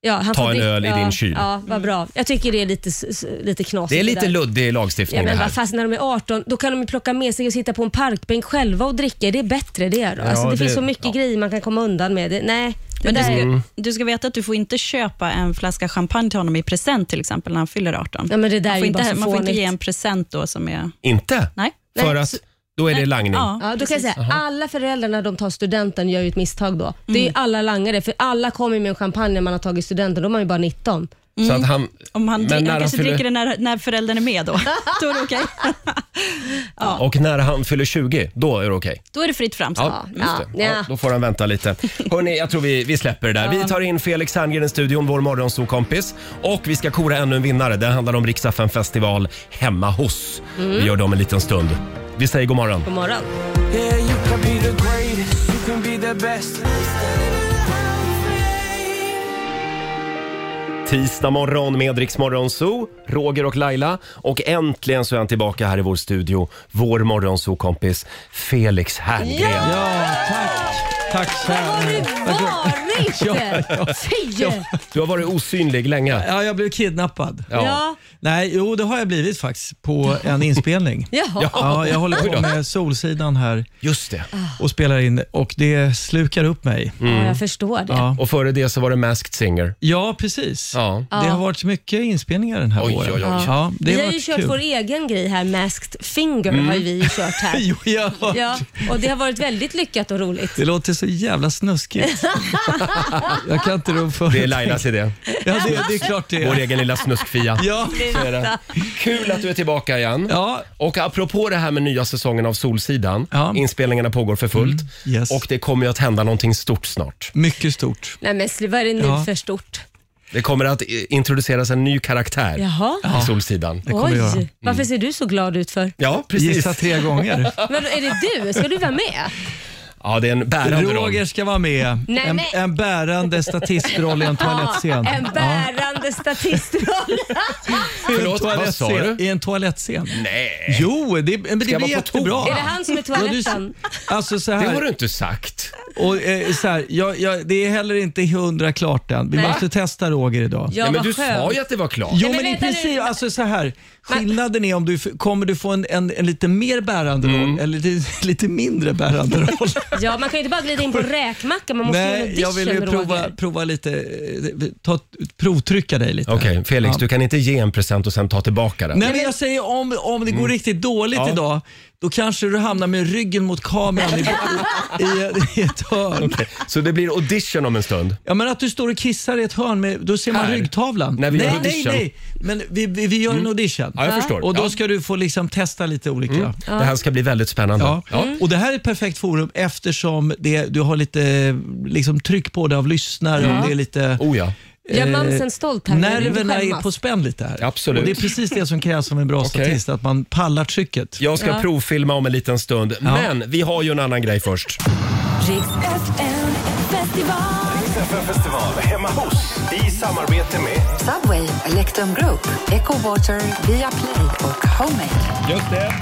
Speaker 2: Ja, han
Speaker 1: Ta
Speaker 2: får
Speaker 1: en
Speaker 2: drick-
Speaker 1: öl i
Speaker 2: ja,
Speaker 1: din kyl.
Speaker 2: Ja, vad bra. Jag tycker det är lite, s- s- Mm. lite knasigt.
Speaker 1: det är lite
Speaker 2: där.
Speaker 1: luddig
Speaker 2: Ja,
Speaker 1: lagstiftning det
Speaker 2: men
Speaker 1: här.
Speaker 2: vad fast när de är 18, då kan de ju plocka med sig och sitta på en parkbänk själva och dricka. Är Det är bättre det då. alltså,
Speaker 1: Ja,
Speaker 2: det,
Speaker 1: det-
Speaker 2: finns så mycket
Speaker 1: ja.
Speaker 2: grejer man kan komma undan med. Det, nej, det
Speaker 5: Men du
Speaker 2: där är-
Speaker 1: mm.
Speaker 5: ska, du ska veta att du får inte köpa en flaska champagne till honom i present till exempel när han fyller 18.
Speaker 2: Ja, men det där
Speaker 5: man,
Speaker 2: är ju
Speaker 5: får inte,
Speaker 2: bara så
Speaker 5: man får inte
Speaker 2: fånigt.
Speaker 5: ge en present då som är...
Speaker 1: Inte?
Speaker 5: Nej.
Speaker 1: För att
Speaker 5: så-
Speaker 1: då är det
Speaker 5: nej.
Speaker 1: langning.
Speaker 5: Ja.
Speaker 2: Ja, då kan jag säga, alla föräldrar när de tar studenten gör ju ett misstag då. Det är ju alla langare, för alla kommer ju med en champagne när man har tagit studenten. Då är man ju bara 19.
Speaker 1: Så att han,
Speaker 5: Om han,
Speaker 1: Men
Speaker 5: dri-
Speaker 1: när
Speaker 5: han
Speaker 1: han
Speaker 5: kanske
Speaker 1: fyller-
Speaker 5: dricker det när, när föräldern är med då. då är det okej.
Speaker 1: Och när han fyller 20, då är det okej.
Speaker 5: Då är det fritt fram.
Speaker 1: Ja, just
Speaker 2: Ja,
Speaker 1: det. Ja,
Speaker 2: ja.
Speaker 1: då får han vänta lite. Hörrni, jag tror vi, vi släpper det där. Vi tar in Felix Herngren i studion, vår morgonsokompis. Och vi ska kora ännu en vinnare. Det handlar om Riksaffen festival hemma hos. Vi gör det om en liten stund. Vi säger god morgon.
Speaker 2: God morgon.
Speaker 1: Tisdag morgon med Rix Morgon Zoo, Roger och Laila. Och äntligen så är han tillbaka här i vår studio, vår morgonsokompis Felix Herngren.
Speaker 9: Ja, tack. Tack så här.
Speaker 2: Varit! Fy!
Speaker 1: Du har varit osynlig länge.
Speaker 9: Ja, jag blev kidnappad.
Speaker 2: Ja.
Speaker 9: Nej, jo det har jag blivit faktiskt på en inspelning.
Speaker 2: Jaha.
Speaker 9: Ja, jag håller på med Solsidan här
Speaker 1: Just det.
Speaker 9: och spelar in och det slukar upp mig.
Speaker 1: Mm.
Speaker 2: Ja, jag förstår det.
Speaker 9: Ja,
Speaker 1: Och före det så var det Masked Singer.
Speaker 9: ja precis.
Speaker 1: Ja.
Speaker 9: Det har varit mycket inspelningar den här
Speaker 1: Oj,
Speaker 9: våren.
Speaker 1: oj, oj.
Speaker 9: Ja, det
Speaker 2: vi har ju
Speaker 9: varit
Speaker 2: kört
Speaker 9: kul.
Speaker 2: vår egen grej här, Masked Finger
Speaker 1: Mm.
Speaker 2: har ju vi ju kört här.
Speaker 9: Jo, jag har hört.
Speaker 2: Ja, och det har varit väldigt lyckat och roligt.
Speaker 9: Det låter så jävla snuskigt. jag kan inte rå för
Speaker 1: Det är Lailas idé.
Speaker 9: Ja, det, det är klart det
Speaker 1: Vår
Speaker 9: är.
Speaker 1: egen lilla snuskfia.
Speaker 9: Ja,
Speaker 1: Så är det. Kul att du är tillbaka igen.
Speaker 9: ja,
Speaker 1: Och apropå det här med nya säsongen av Solsidan.
Speaker 9: Ja. Mm.
Speaker 1: Inspelningarna pågår för fullt.
Speaker 9: yes.
Speaker 1: Och det kommer ju att hända någonting stort snart.
Speaker 9: mycket stort.
Speaker 2: Nej men sl- vad är det nu
Speaker 9: Ja.
Speaker 2: för stort?
Speaker 1: Det kommer att i- introduceras en ny karaktär
Speaker 2: Jaha.
Speaker 1: i Solsidan.
Speaker 9: kommer
Speaker 2: Oj,
Speaker 9: jag göra. Mm.
Speaker 2: varför ser du så glad ut för?
Speaker 1: Ja, precis.
Speaker 9: Gissa tre gånger.
Speaker 2: Men är det du? Ska du vara med?
Speaker 1: Ja, det är en bärande roll.
Speaker 9: Roger ska vara med.
Speaker 2: Nej,
Speaker 9: en,
Speaker 2: men-
Speaker 9: en bärande statistroll i en toalettscen.
Speaker 2: En bärande en statistroll.
Speaker 1: Förlåt, vad
Speaker 9: Toalettscen-
Speaker 1: sa du?
Speaker 9: I en toalettscen.
Speaker 1: Nej,
Speaker 9: Jo, det, men det
Speaker 1: jag
Speaker 9: blir
Speaker 1: vara på
Speaker 9: jättebra.
Speaker 1: toa?
Speaker 2: är det han som är
Speaker 9: Ja, du-
Speaker 2: toaletten?
Speaker 9: Alltså så
Speaker 1: det
Speaker 9: här,
Speaker 1: har du inte sagt.
Speaker 9: och, eh, så här jag, jag, det är heller inte hundra klart än. Vi
Speaker 2: Nej.
Speaker 9: måste testa Roger idag.
Speaker 2: Ja,
Speaker 1: Nej, men
Speaker 2: vad
Speaker 1: du sa
Speaker 2: skönt.
Speaker 1: ju att det var klart.
Speaker 9: Jo,
Speaker 2: Nej,
Speaker 9: men,
Speaker 2: men
Speaker 9: i
Speaker 2: vänta nu.
Speaker 9: princip, alltså så här. Skillnaden är om du f- kommer du få en, en, en lite mer bärande
Speaker 1: Mm.
Speaker 9: roll eller lite, lite mindre bärande roll.
Speaker 2: Ja, man kan ju inte bara glida in på räkmacka, man måste göra en
Speaker 9: Nej,
Speaker 2: audition,
Speaker 9: jag vill ju prova,
Speaker 2: Roger.
Speaker 9: prova lite, eh, ta, provtrycka dig lite.
Speaker 1: Okej, Felix,
Speaker 9: Ja.
Speaker 1: du kan inte ge en present och sen ta tillbaka den.
Speaker 9: Nej, men jag säger om, om det går riktigt dåligt
Speaker 1: Mm. Ja.
Speaker 9: idag, då kanske du hamnar med ryggen mot kameran i, i, i ett hörn.
Speaker 1: Okej, Så det blir audition om en stund.
Speaker 9: Ja, men att du står och kissar i ett hörn, med, då ser man
Speaker 1: Här.
Speaker 9: ryggtavlan.
Speaker 1: När vi
Speaker 9: nej,
Speaker 1: gör
Speaker 9: nej,
Speaker 1: audition. Mm.
Speaker 9: nej. Men vi, vi, vi gör en audition.
Speaker 1: Ja, jag förstår.
Speaker 9: Och då
Speaker 1: Ja.
Speaker 9: ska du få liksom testa lite olika.
Speaker 1: Det här ska bli väldigt spännande.
Speaker 9: Ja.
Speaker 1: Ja.
Speaker 9: Och Det här är ett perfekt forum eftersom det, du har lite liksom, tryck på det av lyssnare. Och det är lite,
Speaker 1: Oh ja.
Speaker 2: Gör mamsen stolt här.
Speaker 9: Eh, nerverna är
Speaker 2: Skämmas.
Speaker 9: på spänn lite här.
Speaker 1: Absolut.
Speaker 9: Och det är precis det som krävs som en bra statist, att man pallar trycket.
Speaker 1: Jag ska provfilma om en liten stund, men vi har ju en annan grej först.
Speaker 6: Riks FN festival.
Speaker 3: festival hemma hos i samarbete med
Speaker 10: Subway, Electrum Group, Echo Water, Viaplay och Homemade.
Speaker 1: Just det.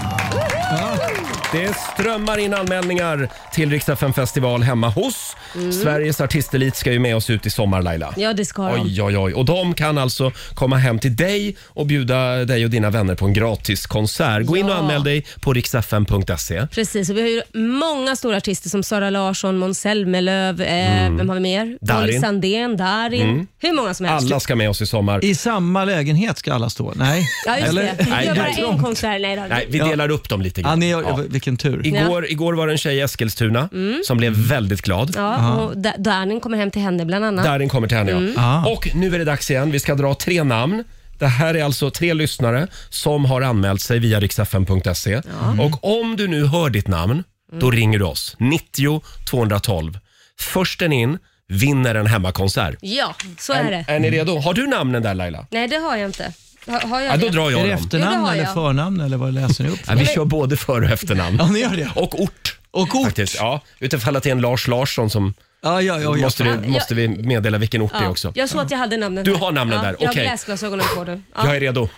Speaker 1: Det strömmar in anmälningar till Riksdagen festival hemma hos. Sveriges artistelit ska ju med oss ut i sommar, Laila.
Speaker 2: Ja, det ska de.
Speaker 1: Oj, oj, oj. Och de kan alltså komma hem till dig och bjuda dig och dina vänner på en gratis konsert. Gå in och
Speaker 2: Ja.
Speaker 1: anmäl dig på riksfm.se.
Speaker 2: Precis, och vi har ju många stora artister som Sara Larsson, Måns Zelmerlöw, eh, vem har vi mer?
Speaker 1: Mm. Darin. Mm.
Speaker 2: Molly Sandén, Darin. Hur många som helst.
Speaker 1: Alla ska med oss i sommar.
Speaker 9: I samma lägenhet ska alla stå? Nej.
Speaker 2: Ja, just det. Vi
Speaker 1: Nej,
Speaker 2: gör
Speaker 1: det är
Speaker 2: bara en
Speaker 1: trångt.
Speaker 2: konsert. Nej, då.
Speaker 1: Nej, vi
Speaker 9: Ja.
Speaker 1: delar upp dem lite
Speaker 9: Ja,
Speaker 1: grann.
Speaker 9: ni,
Speaker 1: Ja.
Speaker 9: Vilken tur.
Speaker 1: Igår, igår var det en tjej i Eskilstuna som blev väldigt glad.
Speaker 2: Ja, och Da- Darin kommer hem till henne bland annat.
Speaker 1: Darin kommer till henne.
Speaker 2: Mm.
Speaker 1: Ja.
Speaker 9: Ah.
Speaker 1: Och nu är det dags igen. Vi ska dra tre namn. Det här är alltså tre lyssnare som har anmält sig via riksfn.se. Och om du nu hör ditt namn,
Speaker 2: Mm.
Speaker 1: då ringer du oss. 90 212. Först en in vinner en hemmakonsert.
Speaker 2: Ja, så är det.
Speaker 1: Är ni redo? Har du namnen där Laila?
Speaker 2: Nej, det har jag inte. Har, har jag
Speaker 1: Ja, då
Speaker 2: det?
Speaker 1: drar jag
Speaker 9: Är det
Speaker 1: dem.
Speaker 2: Jo, det
Speaker 9: efternamn
Speaker 2: har
Speaker 9: eller
Speaker 2: jag.
Speaker 9: förnamn eller vad läser ni upp?
Speaker 1: Ja, vi kör både för och efternamn.
Speaker 9: Ja, ni gör det?
Speaker 1: Och ort.
Speaker 9: Och ort?
Speaker 1: Faktiskt, ja. Utifall att det är en Lars Larsson som
Speaker 9: Ja, ja, ja, ja.
Speaker 1: måste,
Speaker 2: Ja,
Speaker 1: du,
Speaker 2: jag-
Speaker 1: måste vi meddela vilken ort det är
Speaker 2: Ja,
Speaker 1: också.
Speaker 2: Jag såg att jag hade namnen
Speaker 1: Du
Speaker 2: här.
Speaker 1: har namnen
Speaker 2: ja,
Speaker 1: där,
Speaker 2: Jag har
Speaker 1: okej.
Speaker 2: läsglasögonen på nu. Ja.
Speaker 1: Jag är redo.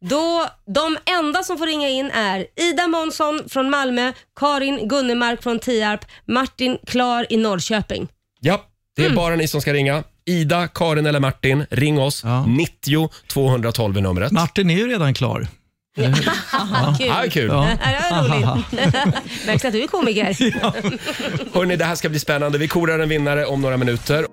Speaker 2: Då, de enda som får ringa in är Ida Månsson från Malmö, Karin Gunnemark från Tierp, Martin Klar i Norrköping.
Speaker 1: Ja, det
Speaker 2: Mm.
Speaker 1: är bara ni som ska ringa. Ida, Karin eller Martin, ring oss.
Speaker 9: Ja.
Speaker 1: 90 212 är numret.
Speaker 9: Martin är ju redan klar.
Speaker 2: Kul.
Speaker 1: Ah, kul.
Speaker 9: Ja.
Speaker 2: Ja, det var roligt. Märks att du är komiker.
Speaker 1: Hörrni, det här ska bli spännande. Vi korar en vinnare om några minuter.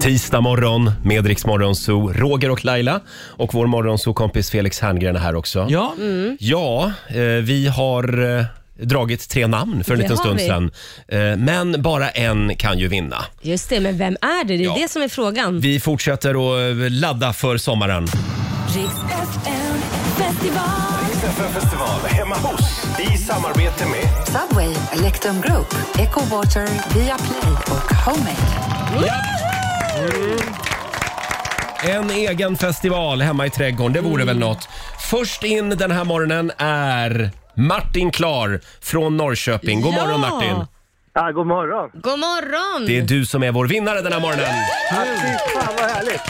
Speaker 1: Tisdag morgon med Rix Morgonzoo, Roger och Laila och vår morgonzoo-kompis Felix Herngren är här också.
Speaker 9: Ja,
Speaker 2: Mm.
Speaker 1: Ja, eh, vi har eh, dragit tre namn för en
Speaker 2: Det
Speaker 1: liten
Speaker 2: har
Speaker 1: stund
Speaker 2: vi.
Speaker 1: sedan. Eh, men bara en kan ju vinna.
Speaker 2: Just det, men vem är det? Det är
Speaker 1: Ja.
Speaker 2: det som är frågan.
Speaker 1: Vi fortsätter att eh, ladda för sommaren.
Speaker 6: Riks FN festival.
Speaker 3: festival hemma hos i samarbete med
Speaker 10: Subway, Electrum Group, Echo Water, Viaplay och Homemade.
Speaker 1: En egen festival hemma i trädgården, det vore väl något. Först in den här morgonen är Martin Klar från Norrköping. God
Speaker 2: Ja.
Speaker 1: morgon Martin!
Speaker 4: Ja, god morgon.
Speaker 2: God morgon!
Speaker 1: Det är du som är vår vinnare den här morgonen.
Speaker 4: Fan vad härligt.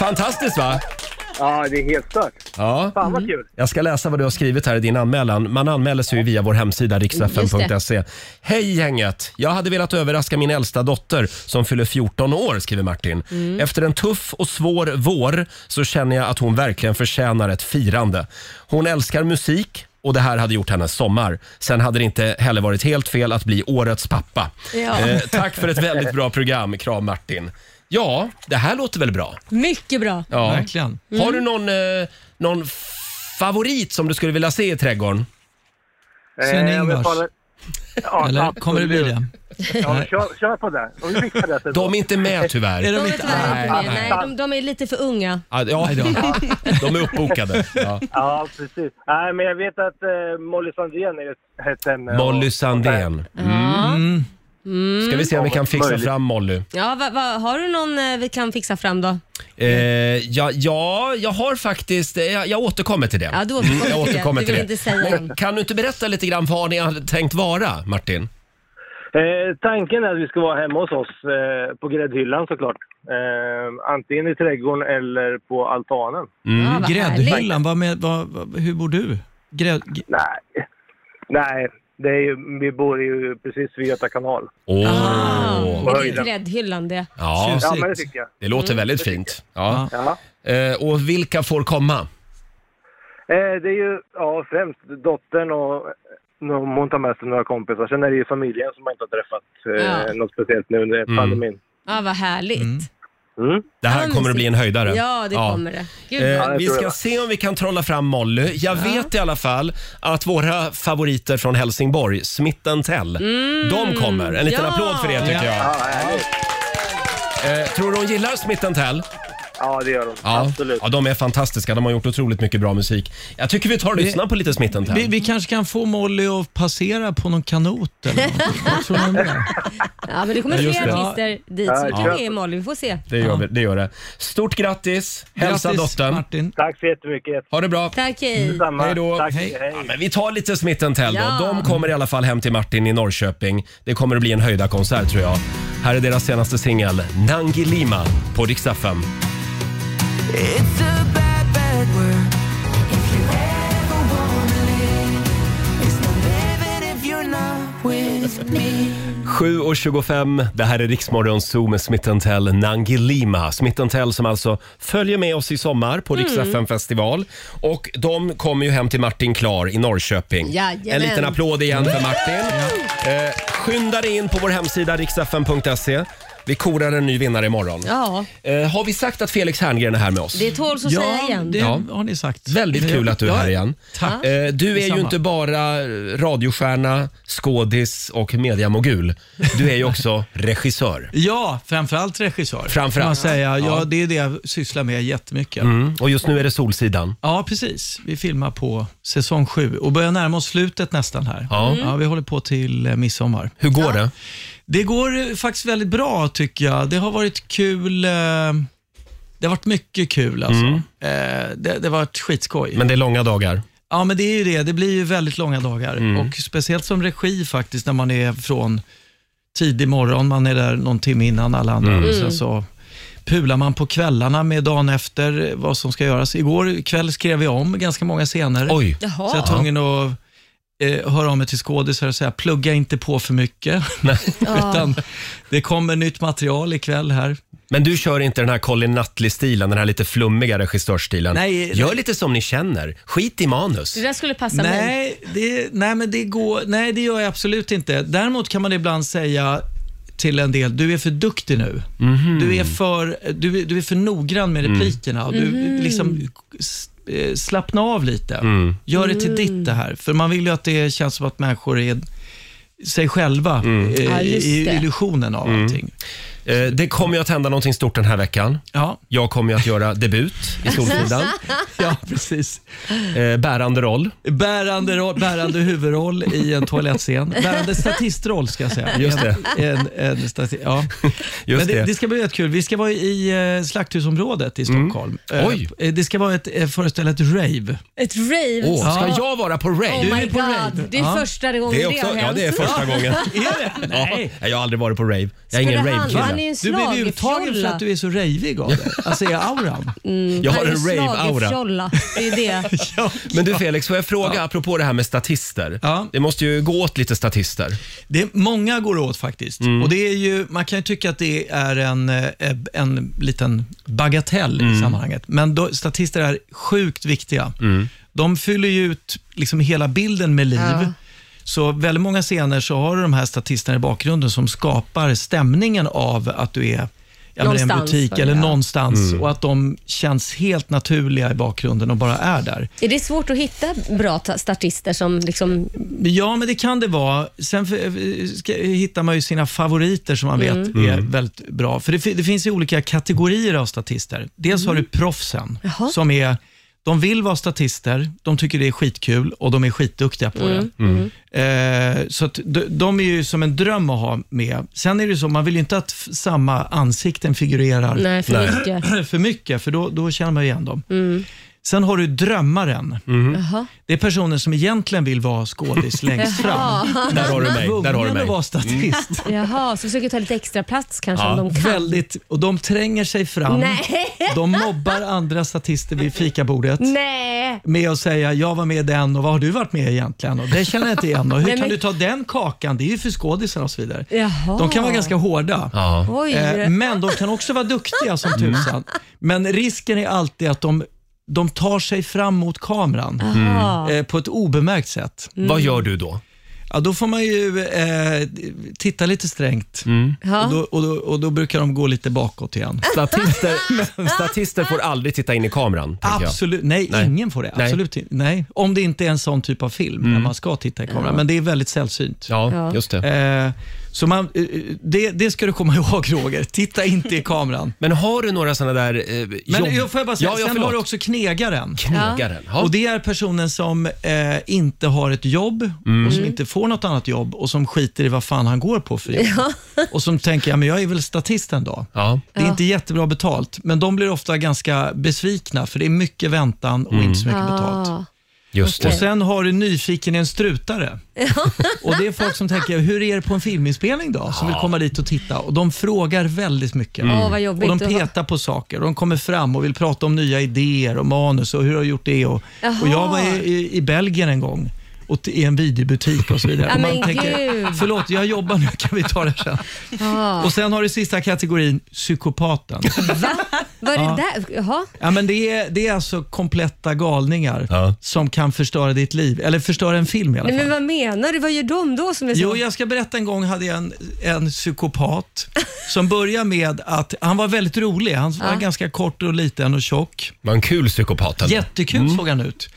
Speaker 1: Fantastiskt va?
Speaker 4: Ja, det är helt stört.
Speaker 1: Ja.
Speaker 4: Fan
Speaker 9: Mm.
Speaker 4: vad kul.
Speaker 1: Jag ska läsa vad du har skrivit här i din anmälan. Man anmäler sig ju via vår hemsida riksfn.se. Hej gänget! Jag hade velat överraska min äldsta dotter som fyller 14 år, skriver Martin.
Speaker 2: Mm.
Speaker 1: Efter en tuff och svår vår så känner jag att hon verkligen förtjänar ett firande. Hon älskar musik och det här hade gjort hennes sommar. Sen hade det inte heller varit helt fel att bli årets pappa.
Speaker 2: Ja.
Speaker 1: Eh, tack för ett väldigt bra program. Kram Martin. Ja, det här låter väl bra?
Speaker 2: Mycket bra.
Speaker 1: Ja.
Speaker 9: verkligen.
Speaker 2: Mm.
Speaker 1: Har du någon, eh, någon f- favorit som du skulle vilja se i trädgården?
Speaker 11: Eh,
Speaker 9: Sven
Speaker 4: jag vill
Speaker 9: Ingvars.
Speaker 4: tala- Ja,
Speaker 9: Eller
Speaker 4: absolut.
Speaker 9: kommer det bli det?
Speaker 4: Ja, kör, kör på det. Om vi fixar det. sen.
Speaker 1: De är inte med
Speaker 9: Är
Speaker 1: tyvärr.
Speaker 9: de-
Speaker 2: De är
Speaker 9: inte-
Speaker 2: tyvärr inte
Speaker 1: Nej,
Speaker 2: med. Nej,
Speaker 4: nej.
Speaker 2: de, de är lite för unga.
Speaker 1: Ja, ja,
Speaker 9: Nej då.
Speaker 1: de är uppbokade. Ja.
Speaker 4: Ja, precis. Nej, men jag vet att eh, Molly Sandén är ett hett
Speaker 11: eh,
Speaker 4: ämne.
Speaker 1: Molly
Speaker 4: Och-
Speaker 1: Sandén.
Speaker 2: Ja.
Speaker 1: Mm. Ska vi se om vi kan fixa
Speaker 4: Möjligt.
Speaker 1: fram Molly.
Speaker 2: Ja, va, va, har du någon eh, vi kan fixa fram då?
Speaker 1: Eh, ja, ja, jag har faktiskt... eh, Jag, jag återkommer till det.
Speaker 2: Ja, du återkommer
Speaker 1: Mm, jag
Speaker 2: till det.
Speaker 1: återkommer
Speaker 2: Du
Speaker 1: till
Speaker 2: vill
Speaker 1: det.
Speaker 2: inte säga än.
Speaker 1: Men Kan du inte berätta lite grann vad ni hade tänkt vara, Martin?
Speaker 12: Eh, tanken är att vi ska vara hemma hos oss eh, på gräddhyllan såklart. Eh, antingen i trädgården eller på altanen.
Speaker 9: Mm.
Speaker 12: vad
Speaker 9: Gräddhyllan,
Speaker 12: härligt.
Speaker 9: vad med, vad, vad, hur bor du? Grädd...
Speaker 12: Nej, nej det är ju, vi bor ju precis vid Göta kanal.
Speaker 1: Åh.
Speaker 2: Är det inte gräddhyllan Ah, det?
Speaker 1: Ja,
Speaker 12: Ja, men det tycker jag.
Speaker 1: Det låter
Speaker 12: Mm.
Speaker 1: väldigt
Speaker 12: Det tycker
Speaker 1: fint. Ja. Eh, och vilka får komma?
Speaker 12: Eh, det är ju ja, främst dottern och om hon tar med sig några kompisar. Sen är det ju familjen som man inte har träffat eh,
Speaker 2: Ja.
Speaker 12: något speciellt nu under
Speaker 1: Mm.
Speaker 12: pandemin. Mm.
Speaker 2: Ja, vad härligt.
Speaker 1: Det här
Speaker 2: Ja,
Speaker 1: kommer att bli en höjdare.
Speaker 2: Ja, det kommer det. Gud,
Speaker 1: Eh,
Speaker 2: vad-
Speaker 1: vi ska se om vi kan trolla fram Molly. Jag vet i alla fall att våra favoriter från Helsingborg, Smith Tell,
Speaker 2: Mm.
Speaker 1: de kommer. En liten
Speaker 2: Ja.
Speaker 1: applåd för det tycker jag.
Speaker 12: Ja, härligt.
Speaker 1: Eh, tror du hon gillar Smith Tell?
Speaker 12: ja, det gör de.
Speaker 1: Ja.
Speaker 12: Absolut.
Speaker 1: ja, de är fantastiska. De har gjort otroligt mycket bra musik. Jag tycker vi tar och lyssnar på lite Smith
Speaker 9: Vi,
Speaker 1: Tell.
Speaker 9: vi kanske kan få Molly att passera på någon kanot eller något. Vad tror ni om det?
Speaker 2: Ja, men det kommer
Speaker 1: Ja,
Speaker 2: fler
Speaker 1: just det.
Speaker 2: artister dit. Så
Speaker 1: Ja.
Speaker 2: det kanske är Molly, vi får se.
Speaker 1: Det gör, vi, det gör det. Stort grattis! Hälsa
Speaker 9: Grattis,
Speaker 1: dottern.
Speaker 12: Tack så jättemycket.
Speaker 1: Ha det bra.
Speaker 2: Tack, hej.
Speaker 11: Mm.
Speaker 1: Hej då.
Speaker 12: Tack,
Speaker 1: Hej.
Speaker 12: hej.
Speaker 1: Ja, men vi tar lite smitten Tell
Speaker 2: Ja.
Speaker 1: då. De kommer i alla fall hem till Martin i Norrköping. Det kommer att bli en höjda konsert tror jag. Här är deras senaste singel, Nangi Lima på Rix FM.
Speaker 6: It's a bad, bad word. If you ever wanna live, it's no living if you're not with me.
Speaker 1: 7.25, det här är Riksmorgon Zoo med Smitten Tell, Nangi Lima. Smitten Tell som alltså följer med oss i sommar på Rix
Speaker 2: Mm.
Speaker 1: FM festival. Och de kommer ju hem till Martin Klar i Norrköping.
Speaker 2: Jajamän.
Speaker 1: En liten applåd igen för
Speaker 2: Woo!
Speaker 1: Martin. Eh, skynda dig in på vår hemsida riksfm.se. Vi korar en ny vinnare imorgon.
Speaker 2: Ja,
Speaker 1: Eh, har vi sagt att Felix Herngren är här med oss?
Speaker 2: det tåls att säga igen.
Speaker 1: har ni sagt. Väldigt kul att du är här igen.
Speaker 2: Tack.
Speaker 1: Eh, Du är ju
Speaker 2: Detsamma.
Speaker 1: inte bara radiostjärna, skådis och mediamogul. Du är ju också regissör.
Speaker 9: Ja, framförallt regissör.
Speaker 1: Framförallt.
Speaker 9: Kan man säga. Ja,
Speaker 1: Ja.
Speaker 9: det är det jag sysslar med jättemycket.
Speaker 1: Mm. Och just nu är det Solsidan.
Speaker 9: Ja, precis. Vi filmar på säsong sju och börjar närma oss slutet nästan här.
Speaker 1: Ja.
Speaker 9: Ja, vi håller på till eh, midsommar.
Speaker 1: Hur går det?
Speaker 9: Det går eh, faktiskt väldigt bra tycker jag. Det har varit kul. eh, Det har varit mycket kul alltså.
Speaker 1: Mm.
Speaker 9: Eh, Det, det har varit skitskoj.
Speaker 1: Men det är långa dagar.
Speaker 9: Ja, men det är ju det. Det blir ju väldigt långa dagar.
Speaker 1: Mm.
Speaker 9: Och Speciellt som regi faktiskt, när man är från tidig morgon, man är där någon timme innan alla andra.
Speaker 1: Mm.
Speaker 9: Och sen så pular man på kvällarna med dagen efter eh, vad som ska göras. Igår kväll skrev jag om ganska många scener.
Speaker 1: Oj.
Speaker 2: Jaha.
Speaker 9: Så jag var tvungen att eh, höra av mig till skådisar och säga, plugga inte på för mycket. Utan det kommer nytt material ikväll här.
Speaker 1: Men du kör inte den här Colin Nutley-stilen, den här lite flummiga regissörsstilen.
Speaker 9: Nej,
Speaker 1: Gör
Speaker 9: nej.
Speaker 1: lite som ni känner. Skit i manus.
Speaker 2: Det där skulle passa mig.
Speaker 9: nej, det, nej, men det går, nej, det gör jag absolut inte. Däremot kan man ibland säga till en del, du är för duktig nu. Du, är för, du, är- du är för noggrann med
Speaker 1: Mhm. Mm.
Speaker 9: replikerna. och Du,
Speaker 1: Mhm.
Speaker 9: liksom, s- eh, slappna av lite.
Speaker 1: Mm.
Speaker 9: Gör det till
Speaker 1: Mm.
Speaker 9: ditt det här. För man vill ju att det känns som att människor är sig själva eh,
Speaker 1: Ja, just
Speaker 9: i
Speaker 1: det.
Speaker 9: illusionen av
Speaker 1: Mm.
Speaker 9: allting.
Speaker 1: Eh, Det kommer ju att hända någonting stort den här veckan.
Speaker 9: Ja.
Speaker 1: Jag kommer ju att göra debut i Solsidan.
Speaker 9: ja, precis.
Speaker 1: Eh, Bärande roll.
Speaker 9: Bärande, roll- bärande huvudroll i en toalettscen. Bärande statistroll ska jag säga.
Speaker 1: Just det.
Speaker 9: En, en, en stati- ja.
Speaker 1: Just
Speaker 9: Men det,
Speaker 1: det.
Speaker 9: det. ska bli rätt kul. Vi ska vara i eh, Slakthusområdet i Stockholm. Eh,
Speaker 1: Oj.
Speaker 9: eh, Det ska vara ett, eh, föreställa ett rave.
Speaker 2: Ett rave.
Speaker 1: Åh, ska jag vara på rave?
Speaker 2: Oh
Speaker 1: Du är
Speaker 2: my
Speaker 1: på
Speaker 2: god,
Speaker 1: rave.
Speaker 2: det är
Speaker 1: Ja.
Speaker 2: första gången det,
Speaker 1: Det är också-
Speaker 2: har
Speaker 1: ja,
Speaker 2: hänt.
Speaker 1: det är första gången.
Speaker 9: Är det? Nej.
Speaker 1: Ja, jag har aldrig varit på rave. Jag är ingen
Speaker 2: Skulle han- han
Speaker 1: rave-kille.
Speaker 2: är ju en
Speaker 9: Du blev ju
Speaker 2: Slagerfjolla.
Speaker 9: uttagen för att du är så rejvig av dig. Alltså i auran.
Speaker 2: Mm,
Speaker 1: Jag har
Speaker 2: han är
Speaker 1: en
Speaker 2: ju
Speaker 1: rave-aura.
Speaker 2: slagerfjolla. Det är ju det.
Speaker 1: Men du Felix, får jag fråga apropå det här med statister? Det måste ju gå åt lite statister.
Speaker 9: Det är, många går åt faktiskt. Och det är ju, man kan ju tycka att det är en, eh, en liten bagatell i sammanhanget. Men då, statister är sjukt viktiga. De fyller ju ut liksom hela bilden med liv.
Speaker 2: Ja.
Speaker 9: Så väldigt många scener så har du de här statisterna i bakgrunden som skapar stämningen av att du är jag menar, i en
Speaker 2: Någonstans,
Speaker 9: butik
Speaker 2: ja.
Speaker 9: eller någonstans
Speaker 1: Mm.
Speaker 9: och att de känns helt naturliga i bakgrunden och bara är där.
Speaker 2: Är det svårt att hitta bra ta- statister som liksom...
Speaker 9: Ja, men det kan det vara. Sen för- ska, hittar man ju sina favoriter som man vet
Speaker 2: Mm.
Speaker 9: är
Speaker 2: Mm.
Speaker 9: väldigt bra. För det, fi- det finns ju olika kategorier av statister. Dels
Speaker 2: Mm.
Speaker 9: har du proffsen, som är, de vill vara statister, de tycker det är skitkul och de är skitduktiga på
Speaker 2: Mm.
Speaker 9: det. Eh, så att de, de är ju som en dröm att ha med. Sen är det ju så, man vill ju inte att f- samma ansikten figurerar
Speaker 2: Nej, för mycket.
Speaker 9: för mycket, för då, då känner man ju igen dem.
Speaker 2: Mm.
Speaker 9: Sen har du drömmaren.
Speaker 2: Jaha.
Speaker 9: Det är personer som egentligen vill vara skådis längst fram.
Speaker 2: Jaha. Där har du mig, där har du mig. Mm.
Speaker 9: Tvungen att vara statist.
Speaker 2: Jaha, så försöker ta lite extra plats kanske om de kan.
Speaker 9: Väldigt, och de tränger sig fram.
Speaker 2: Nej.
Speaker 9: De mobbar andra statister vid fikabordet.
Speaker 2: Nej.
Speaker 9: Med att säga, jag var med i den och vad har du varit med i egentligen? Och det känner jag inte igen. Och hur
Speaker 2: Nej,
Speaker 9: kan
Speaker 2: men-
Speaker 9: du ta den kakan? Det är ju för skådisarna och så vidare.
Speaker 2: Jaha.
Speaker 9: De kan vara ganska hårda.
Speaker 2: Oj.
Speaker 9: Eh, Men de kan också vara duktiga som
Speaker 2: Mm.
Speaker 9: tusan. Men risken är alltid att de, de tar sig fram mot kameran
Speaker 1: Aha.
Speaker 9: eh, på ett obemärkt sätt.
Speaker 1: Mm. Vad gör du då?
Speaker 9: Ja, då får man ju eh, titta lite strängt
Speaker 1: Ja.
Speaker 9: och, då, och, då, och då brukar de gå lite bakåt igen.
Speaker 1: Statister, statister får aldrig titta in i kameran. tänker jag.
Speaker 9: Absolut, nej,
Speaker 1: Nej.
Speaker 9: ingen får det.
Speaker 1: Nej.
Speaker 9: Absolut inte. Nej. Om det inte är en sån typ av film där man ska titta i kameran,
Speaker 1: Ja.
Speaker 9: men det är väldigt sällsynt.
Speaker 1: Ja, just
Speaker 9: det. så man, eh, det, det ska du komma ihåg Roger, titta inte i kameran.
Speaker 1: Men har du några sådana där eh, jobb...
Speaker 9: Men jag får jag bara säga,
Speaker 1: Ja, ja,
Speaker 9: sen
Speaker 1: förlåt.
Speaker 9: har du också knegaren.
Speaker 1: Knegaren, ja.
Speaker 9: Och det är personen som eh, inte har ett jobb
Speaker 1: Mm.
Speaker 9: och som inte får något annat jobb och som skiter i vad fan han går på för jobb. Och som tänker, ja, men jag är väl statist en dag. Det är
Speaker 2: Ja.
Speaker 9: inte jättebra betalt, men de blir ofta ganska besvikna för det är mycket väntan och inte så mycket betalt.
Speaker 2: Ah.
Speaker 1: Just det.
Speaker 9: Och sen har du nyfiken i en strutare. och det är folk som tänker, hur är det på en filminspelning då? Som vill komma dit och titta. Och de frågar väldigt mycket.
Speaker 2: Mm. Åh, vad jobbigt
Speaker 9: och de
Speaker 2: att vara-
Speaker 9: petar på saker. Och de kommer fram och vill prata om nya idéer och manus och hur har jag gjort det? Och, och jag var i, i, i Belgien en gång och t- i en videobutik och så vidare.
Speaker 2: Ja,
Speaker 9: och
Speaker 2: men gud.
Speaker 9: förlåt jag jobbar nu, kan vi ta det sen?
Speaker 2: Ah.
Speaker 9: Och sen har du sista kategorin, psykopaten.
Speaker 2: Var det
Speaker 9: Ja.
Speaker 2: där? Jaha.
Speaker 9: Ja, men det, är, det är alltså kompletta galningar som kan förstöra ditt liv, eller förstöra en film i alla
Speaker 2: Nej,
Speaker 9: fall.
Speaker 2: men vad menar du? Vad gör de då som är så?
Speaker 9: Jo, jag ska berätta en gång hade jag en, en psykopat som började med att, han var väldigt rolig, han var
Speaker 1: Ja.
Speaker 9: ganska kort och liten och tjock.
Speaker 1: Var en kul psykopat. ändå.
Speaker 9: Jättekul såg han ut.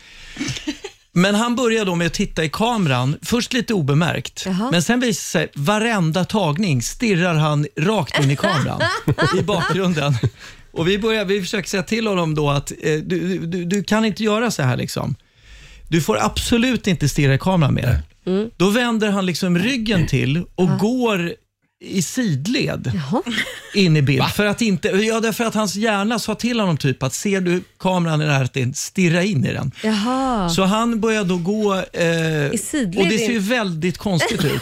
Speaker 9: Men han började då med att titta i kameran, först lite obemärkt,
Speaker 2: Jaha.
Speaker 9: men sen visade sig varenda tagning stirrar han rakt in i kameran i bakgrunden. Och vi, började, vi försöker säga till honom då att eh, du, du, du- du kan inte göra så här liksom. Du får absolut inte stirra i kameran mer. Då vänder han liksom ryggen till och går i sidled in i bild. För att inte, ja, därför att hans hjärna sa till honom typ att ser du kameran i närheten, stirra in i den.
Speaker 2: Jaha.
Speaker 9: Så han började då gå... Eh,
Speaker 2: I sidled
Speaker 9: och det
Speaker 2: in.
Speaker 9: ser ju väldigt konstigt ut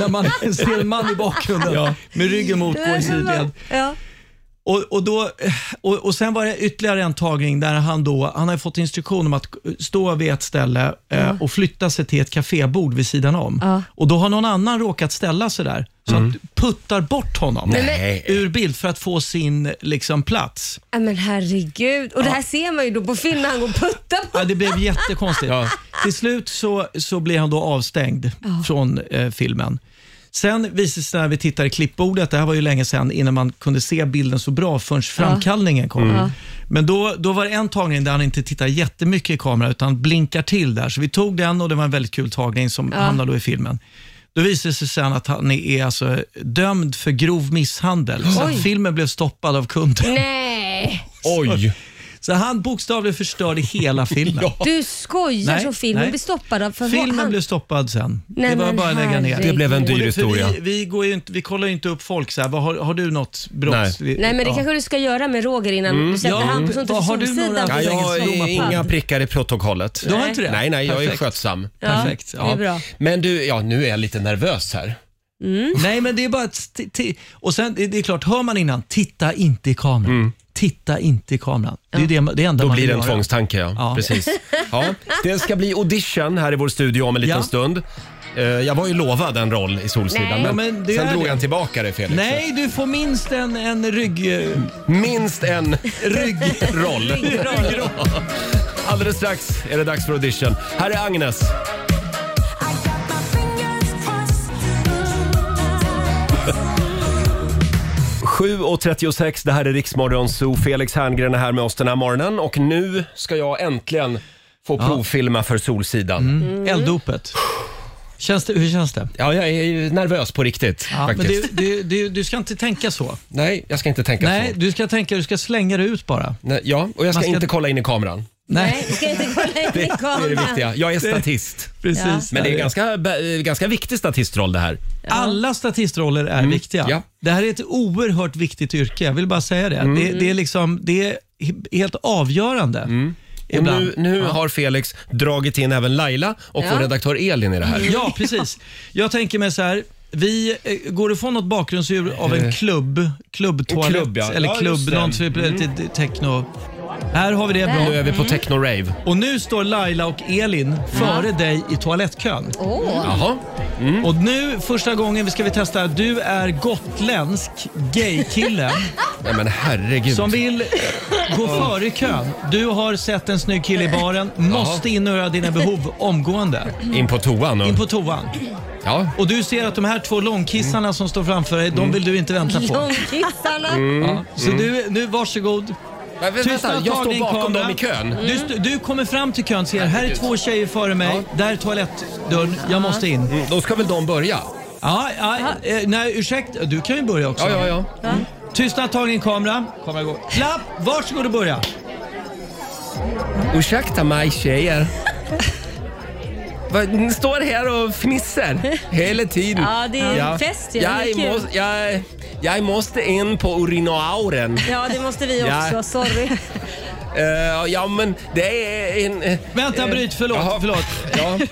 Speaker 9: när man ser en man i bakgrunden
Speaker 1: Ja.
Speaker 9: med ryggen mot går i sidled.
Speaker 2: Ja.
Speaker 9: Och, och, då, och, och sen var det ytterligare en tagning där han då, han har fått instruktion om att stå vid ett ställe eh, och flytta sig till ett kafébord vid sidan om.
Speaker 2: Ja.
Speaker 9: Och då har någon annan råkat ställa sig där, så han puttar bort honom
Speaker 2: Nej, men-
Speaker 9: ur bild för att få sin liksom, plats.
Speaker 2: Ja, men herregud. Och det här ser man ju då på film när han går och puttar på.
Speaker 9: Ja, det blev jättekonstigt. Till slut så, så blir han då avstängd
Speaker 2: Ja.
Speaker 9: från eh, filmen. Sen visade det sig när vi tittar i klippbordet, det här var ju länge sedan innan man kunde se bilden så bra förrän framkallningen kom.
Speaker 2: Mm. Ja.
Speaker 9: Men då, då var det en tagning där han inte tittar jättemycket i kameran utan blinkar till där. Så vi tog den och det var en väldigt kul tagning som
Speaker 2: Ja.
Speaker 9: hamnade då i filmen. Då visade det sig sen att han är alltså dömd för grov misshandel. Så
Speaker 2: Oj. Eh.
Speaker 9: att filmen blev stoppad av kunden.
Speaker 2: Nej.
Speaker 1: Oj!
Speaker 9: Så han bokstavligen förstörde hela filmen.
Speaker 2: Du skojar
Speaker 9: Nej,
Speaker 2: så filmen
Speaker 9: nej.
Speaker 2: blir stoppad av för
Speaker 9: Filmen
Speaker 2: han-
Speaker 9: blev stoppad sen.
Speaker 2: Nej,
Speaker 9: det var
Speaker 2: men
Speaker 9: bara att lägga ner.
Speaker 2: herregud. Det blev en dyr
Speaker 9: Och för
Speaker 1: historia.
Speaker 9: Vi, vi, går ju inte, vi kollar ju inte upp folk så här, vad har, har du något brott?
Speaker 1: Nej.
Speaker 2: Nej men det kanske du ska göra med Roger innan
Speaker 9: Mm.
Speaker 2: du sätter han på sånt på Solsidan.
Speaker 1: Ja, jag har inga prickar i protokollet.
Speaker 9: Du har inte det?
Speaker 1: Nej, nej, jag är
Speaker 9: Perfekt.
Speaker 1: skötsam.
Speaker 2: Ja, Perfekt, ja. det är bra.
Speaker 1: Men du, ja, nu är jag lite nervös här.
Speaker 2: Mm.
Speaker 9: Nej, men det är bara ett... sti- ti- Och sen, det det är klart, hör man innan, titta inte i kameran. Titta inte i kameran. Det är ju det, det enda
Speaker 1: Mm. Då
Speaker 9: man
Speaker 1: blir
Speaker 9: vill
Speaker 1: det en
Speaker 9: göra.
Speaker 1: tvångstanke, ja.
Speaker 9: Ja.
Speaker 1: Precis. Ja. Det ska bli audition här i vår studio om en liten
Speaker 9: Ja.
Speaker 1: stund. Eh, Jag var ju lovad en roll i Solsidan,
Speaker 9: Nej.
Speaker 1: men,
Speaker 9: Ja, men det
Speaker 1: sen
Speaker 9: är
Speaker 1: drog
Speaker 9: det.
Speaker 1: jag tillbaka det Felix.
Speaker 9: Nej, du får minst en, en rygg... eh,
Speaker 1: Minst en
Speaker 9: ryggroll.
Speaker 1: Alldeles strax är det dags för audition. Här är Agnes. Sju och 36, det här är Riksmorgon Zoo. Felix Herngren är här med oss den här morgonen och nu ska jag äntligen få provfilma för Solsidan.
Speaker 9: Mm.
Speaker 2: Mm.
Speaker 9: Elddopet. Känns det, hur känns det?
Speaker 1: Ja, jag är ju nervös på riktigt
Speaker 9: Ja, men
Speaker 1: faktiskt.
Speaker 9: du, du, du, du ska inte tänka så.
Speaker 1: Nej, jag ska inte tänka
Speaker 9: Nej,
Speaker 1: så.
Speaker 9: du ska tänka, du ska slänga det ut bara.
Speaker 1: Nej, ja, och jag ska,
Speaker 9: Man ska-
Speaker 1: inte kolla in i kameran.
Speaker 2: Nej, du ska inte kolla in
Speaker 1: Det,
Speaker 2: i
Speaker 1: det är det viktiga.
Speaker 2: kameran.
Speaker 1: Jag är statist.
Speaker 9: Precis. Ja.
Speaker 1: Men det är en ganska, eh, ganska viktig statistroll det här.
Speaker 9: Alla statistroller är viktiga.
Speaker 1: Mm. ja. Mm.
Speaker 9: Det här är ett oerhört viktigt yrke, jag vill bara säga det. Det, det, är, liksom, det är he- helt avgörande
Speaker 1: Mm. Och
Speaker 9: Ibland.
Speaker 1: nu, nu har Felix dragit in även Laila och
Speaker 9: Ja.
Speaker 1: vår redaktör Elin i det här.
Speaker 9: Ja, precis. Jag tänker mig så här. Vi eh, går ifrån något bakgrundsdjur av en
Speaker 1: Eh,
Speaker 9: klubb, klubbtoalett
Speaker 1: en klubb, ja.
Speaker 9: eller
Speaker 1: Ja,
Speaker 9: klubb,
Speaker 1: just det.
Speaker 9: någon typ
Speaker 1: Mm.
Speaker 9: mm. techno. Här har vi det bra.
Speaker 1: Nu är vi på Mm. techno-rave.
Speaker 9: Och nu står Laila och Elin
Speaker 1: Mm.
Speaker 9: före dig i toalettkön.
Speaker 6: Åh.
Speaker 1: Jaha. Mm.
Speaker 9: Och nu första gången ska vi testa. Du är gotländsk gaykille.
Speaker 1: Nej men herregud.
Speaker 9: Som vill gå
Speaker 1: Ja.
Speaker 9: före i kön. Du har sett en snygg kille i baren, måste in och göra dina behov omgående.
Speaker 1: In på toan? Och...
Speaker 9: In på toan.
Speaker 1: Ja.
Speaker 9: Och du ser att de här två långkissarna som står framför dig, de
Speaker 1: Mm.
Speaker 9: vill du inte vänta på.
Speaker 2: Långkissarna.
Speaker 9: Ja. Så du, nu varsågod.
Speaker 1: Men vänta,
Speaker 9: Tysta,
Speaker 1: jag
Speaker 9: tag
Speaker 1: står
Speaker 9: din
Speaker 1: bakom
Speaker 9: kamera.
Speaker 1: dem i kön. Mm.
Speaker 9: Du, st- du kommer fram till kön, ser här är två tjejer före mig, där är toalettdörren,
Speaker 1: Ja.
Speaker 9: jag måste in.
Speaker 1: Mm, då ska väl de börja?
Speaker 9: Ja, ja eh, nej ursäkta, du kan ju börja också.
Speaker 1: Ja, ja, ja.
Speaker 9: Mm. Tystnad, tag din kamera. Kamera går. Klapp, varsågod och börja.
Speaker 1: Ursäkta mig tjejer. Va, Ni står här och fnissar hela tiden.
Speaker 2: Ja, det är fest ju. Det är
Speaker 1: Jag,
Speaker 2: kul.
Speaker 1: måste, jag, jag måste in på urinauren.
Speaker 2: Ja, det måste vi
Speaker 1: Ja.
Speaker 2: också. Sorry.
Speaker 1: Eh, ja, men det är en... eh,
Speaker 9: Vänta,
Speaker 1: eh,
Speaker 9: bryt, förlåt.
Speaker 1: jaha.
Speaker 9: förlåt.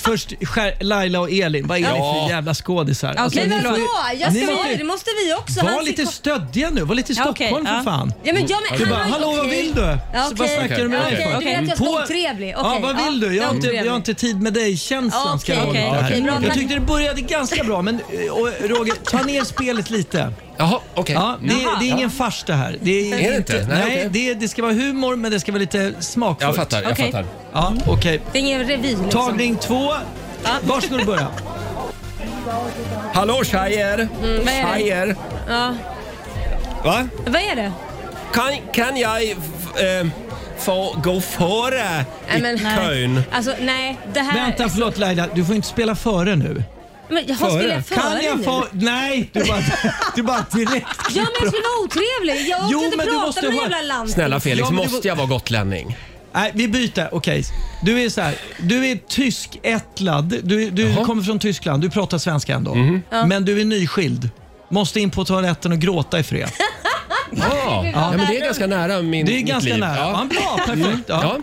Speaker 9: Först skär, Laila och Elin, vad är ni
Speaker 1: Ja.
Speaker 9: för jävla skådisar? Alltså,
Speaker 2: Okej,
Speaker 9: ni
Speaker 2: men
Speaker 9: får ju-
Speaker 2: vadå? Jag
Speaker 9: ni
Speaker 2: ska
Speaker 9: måste-
Speaker 2: vara det måste vi också.
Speaker 9: Var
Speaker 2: Han
Speaker 9: lite
Speaker 2: sitter-
Speaker 9: stöddiga nu, var lite
Speaker 2: Ja, okej,
Speaker 9: Stockholm
Speaker 2: ja.
Speaker 9: för fan.
Speaker 2: Ja, men jag- men
Speaker 9: du
Speaker 2: han
Speaker 9: bara,
Speaker 2: var ju-
Speaker 9: hallå vad
Speaker 2: okej.
Speaker 9: vill du?
Speaker 2: Ja,
Speaker 9: Så vad
Speaker 2: okej.
Speaker 9: snackar du med
Speaker 2: Okej,
Speaker 9: mig
Speaker 2: du
Speaker 9: för?
Speaker 2: vet att jag ska vara otrevlig.
Speaker 9: Ja,
Speaker 2: Okej,
Speaker 9: vad vill
Speaker 2: ja,
Speaker 9: du? Jag har, inte,
Speaker 2: otrevlig.
Speaker 9: jag har inte tid med dig-känslan ska jag
Speaker 2: Okej,
Speaker 9: hålla.
Speaker 2: okej, okej, bra,
Speaker 9: Jag
Speaker 2: tack.
Speaker 9: tyckte det började ganska bra, men eh, och, Roger, ta ner spelet lite.
Speaker 1: Jaha, okej.
Speaker 9: Ja, det,
Speaker 1: Mm.
Speaker 9: det är ingen fars det här. Det
Speaker 1: Är det inte? Nej,
Speaker 9: Nej,
Speaker 1: okej.
Speaker 9: det, det ska vara humor, men det ska vara lite smakfullt.
Speaker 1: Jag fattar, jag
Speaker 2: Okej. fattar.
Speaker 9: Ja, okej.
Speaker 2: Det är ingen revy liksom.
Speaker 9: Tagning två. Varsågod och börja.
Speaker 1: Hallå tjejer!
Speaker 2: Mm, vad är det?
Speaker 1: tjejer!
Speaker 2: Ja.
Speaker 1: Va?
Speaker 2: Vad är det?
Speaker 1: Kan, kan jag f- eh, få gå före i
Speaker 2: men-
Speaker 1: kön?
Speaker 2: Alltså nej, det här...
Speaker 9: Vänta, förlåt Laila. Du får inte spela före nu.
Speaker 2: Men jag har spelat före
Speaker 9: Kan jag
Speaker 2: nu.
Speaker 9: få... Nej, du bara, du bara direkt...
Speaker 2: Ja, men jag skulle vara otrevlig. Jag orkar
Speaker 9: Jo,
Speaker 2: inte
Speaker 9: men du
Speaker 2: prata
Speaker 9: måste
Speaker 2: med den
Speaker 9: ha-
Speaker 2: jävla lanten.
Speaker 1: Snälla Felix,
Speaker 9: Ja, men det var-
Speaker 1: måste jag vara gotlänning?
Speaker 9: Nej, vi byter. Okej. Du är så här, du är tyskättlad. Du, du kommer från Tyskland, du pratar svenska ändå.
Speaker 1: Mhm.
Speaker 2: Ja.
Speaker 9: Men du är nyskild. Måste in på toaletten och gråta i fred.
Speaker 1: Ja, ja men det är ganska nära min,
Speaker 9: Det är
Speaker 1: mitt
Speaker 9: ganska
Speaker 1: liv.
Speaker 9: nära.
Speaker 1: Ja.
Speaker 9: Ja. Bra,
Speaker 1: Mm.
Speaker 9: perfekt. Ja.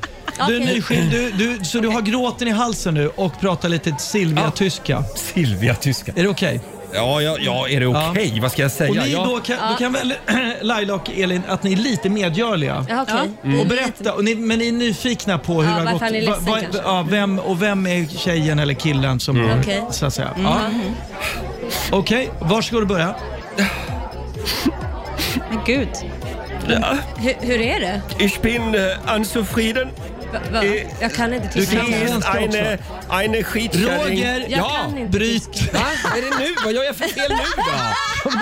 Speaker 9: Du är
Speaker 2: Okej.
Speaker 9: nyskild, du, du, så du har gråten i halsen nu och pratar lite Silvia-tyska.
Speaker 1: Silvia-tyska.
Speaker 9: Är det okej?
Speaker 1: Ja, ja, ja, är det okej? Vad ska jag säga?
Speaker 9: Och ni
Speaker 1: ja.
Speaker 9: då kan, då kan väl Laila och Elin att ni är lite medgörliga.
Speaker 2: Ja, okej.
Speaker 1: Mm.
Speaker 9: Och berätta, och ni, men ni är nyfikna på hur
Speaker 2: Ja,
Speaker 9: det har
Speaker 2: varför
Speaker 9: gått.
Speaker 2: han är ledsen kanske.
Speaker 9: ja, vem, och vem är tjejen eller killen som
Speaker 2: Mm.
Speaker 9: har,
Speaker 2: Okej.
Speaker 9: så att säga.
Speaker 2: Mm.
Speaker 9: Ja. Okej, varsågod och börja.
Speaker 2: Men gud.
Speaker 1: Ja.
Speaker 2: Hur, hur är det?
Speaker 1: Ich bin äh, Anzufrieden.
Speaker 2: Va, va? Jag kan inte
Speaker 1: Du
Speaker 2: tyska.
Speaker 1: kan
Speaker 2: Jag-
Speaker 1: eine, eine Skitkärring.
Speaker 9: Roger,
Speaker 2: Jag kan inte tyska.
Speaker 1: Va? Är det nu? Vad gör jag för fel nu då?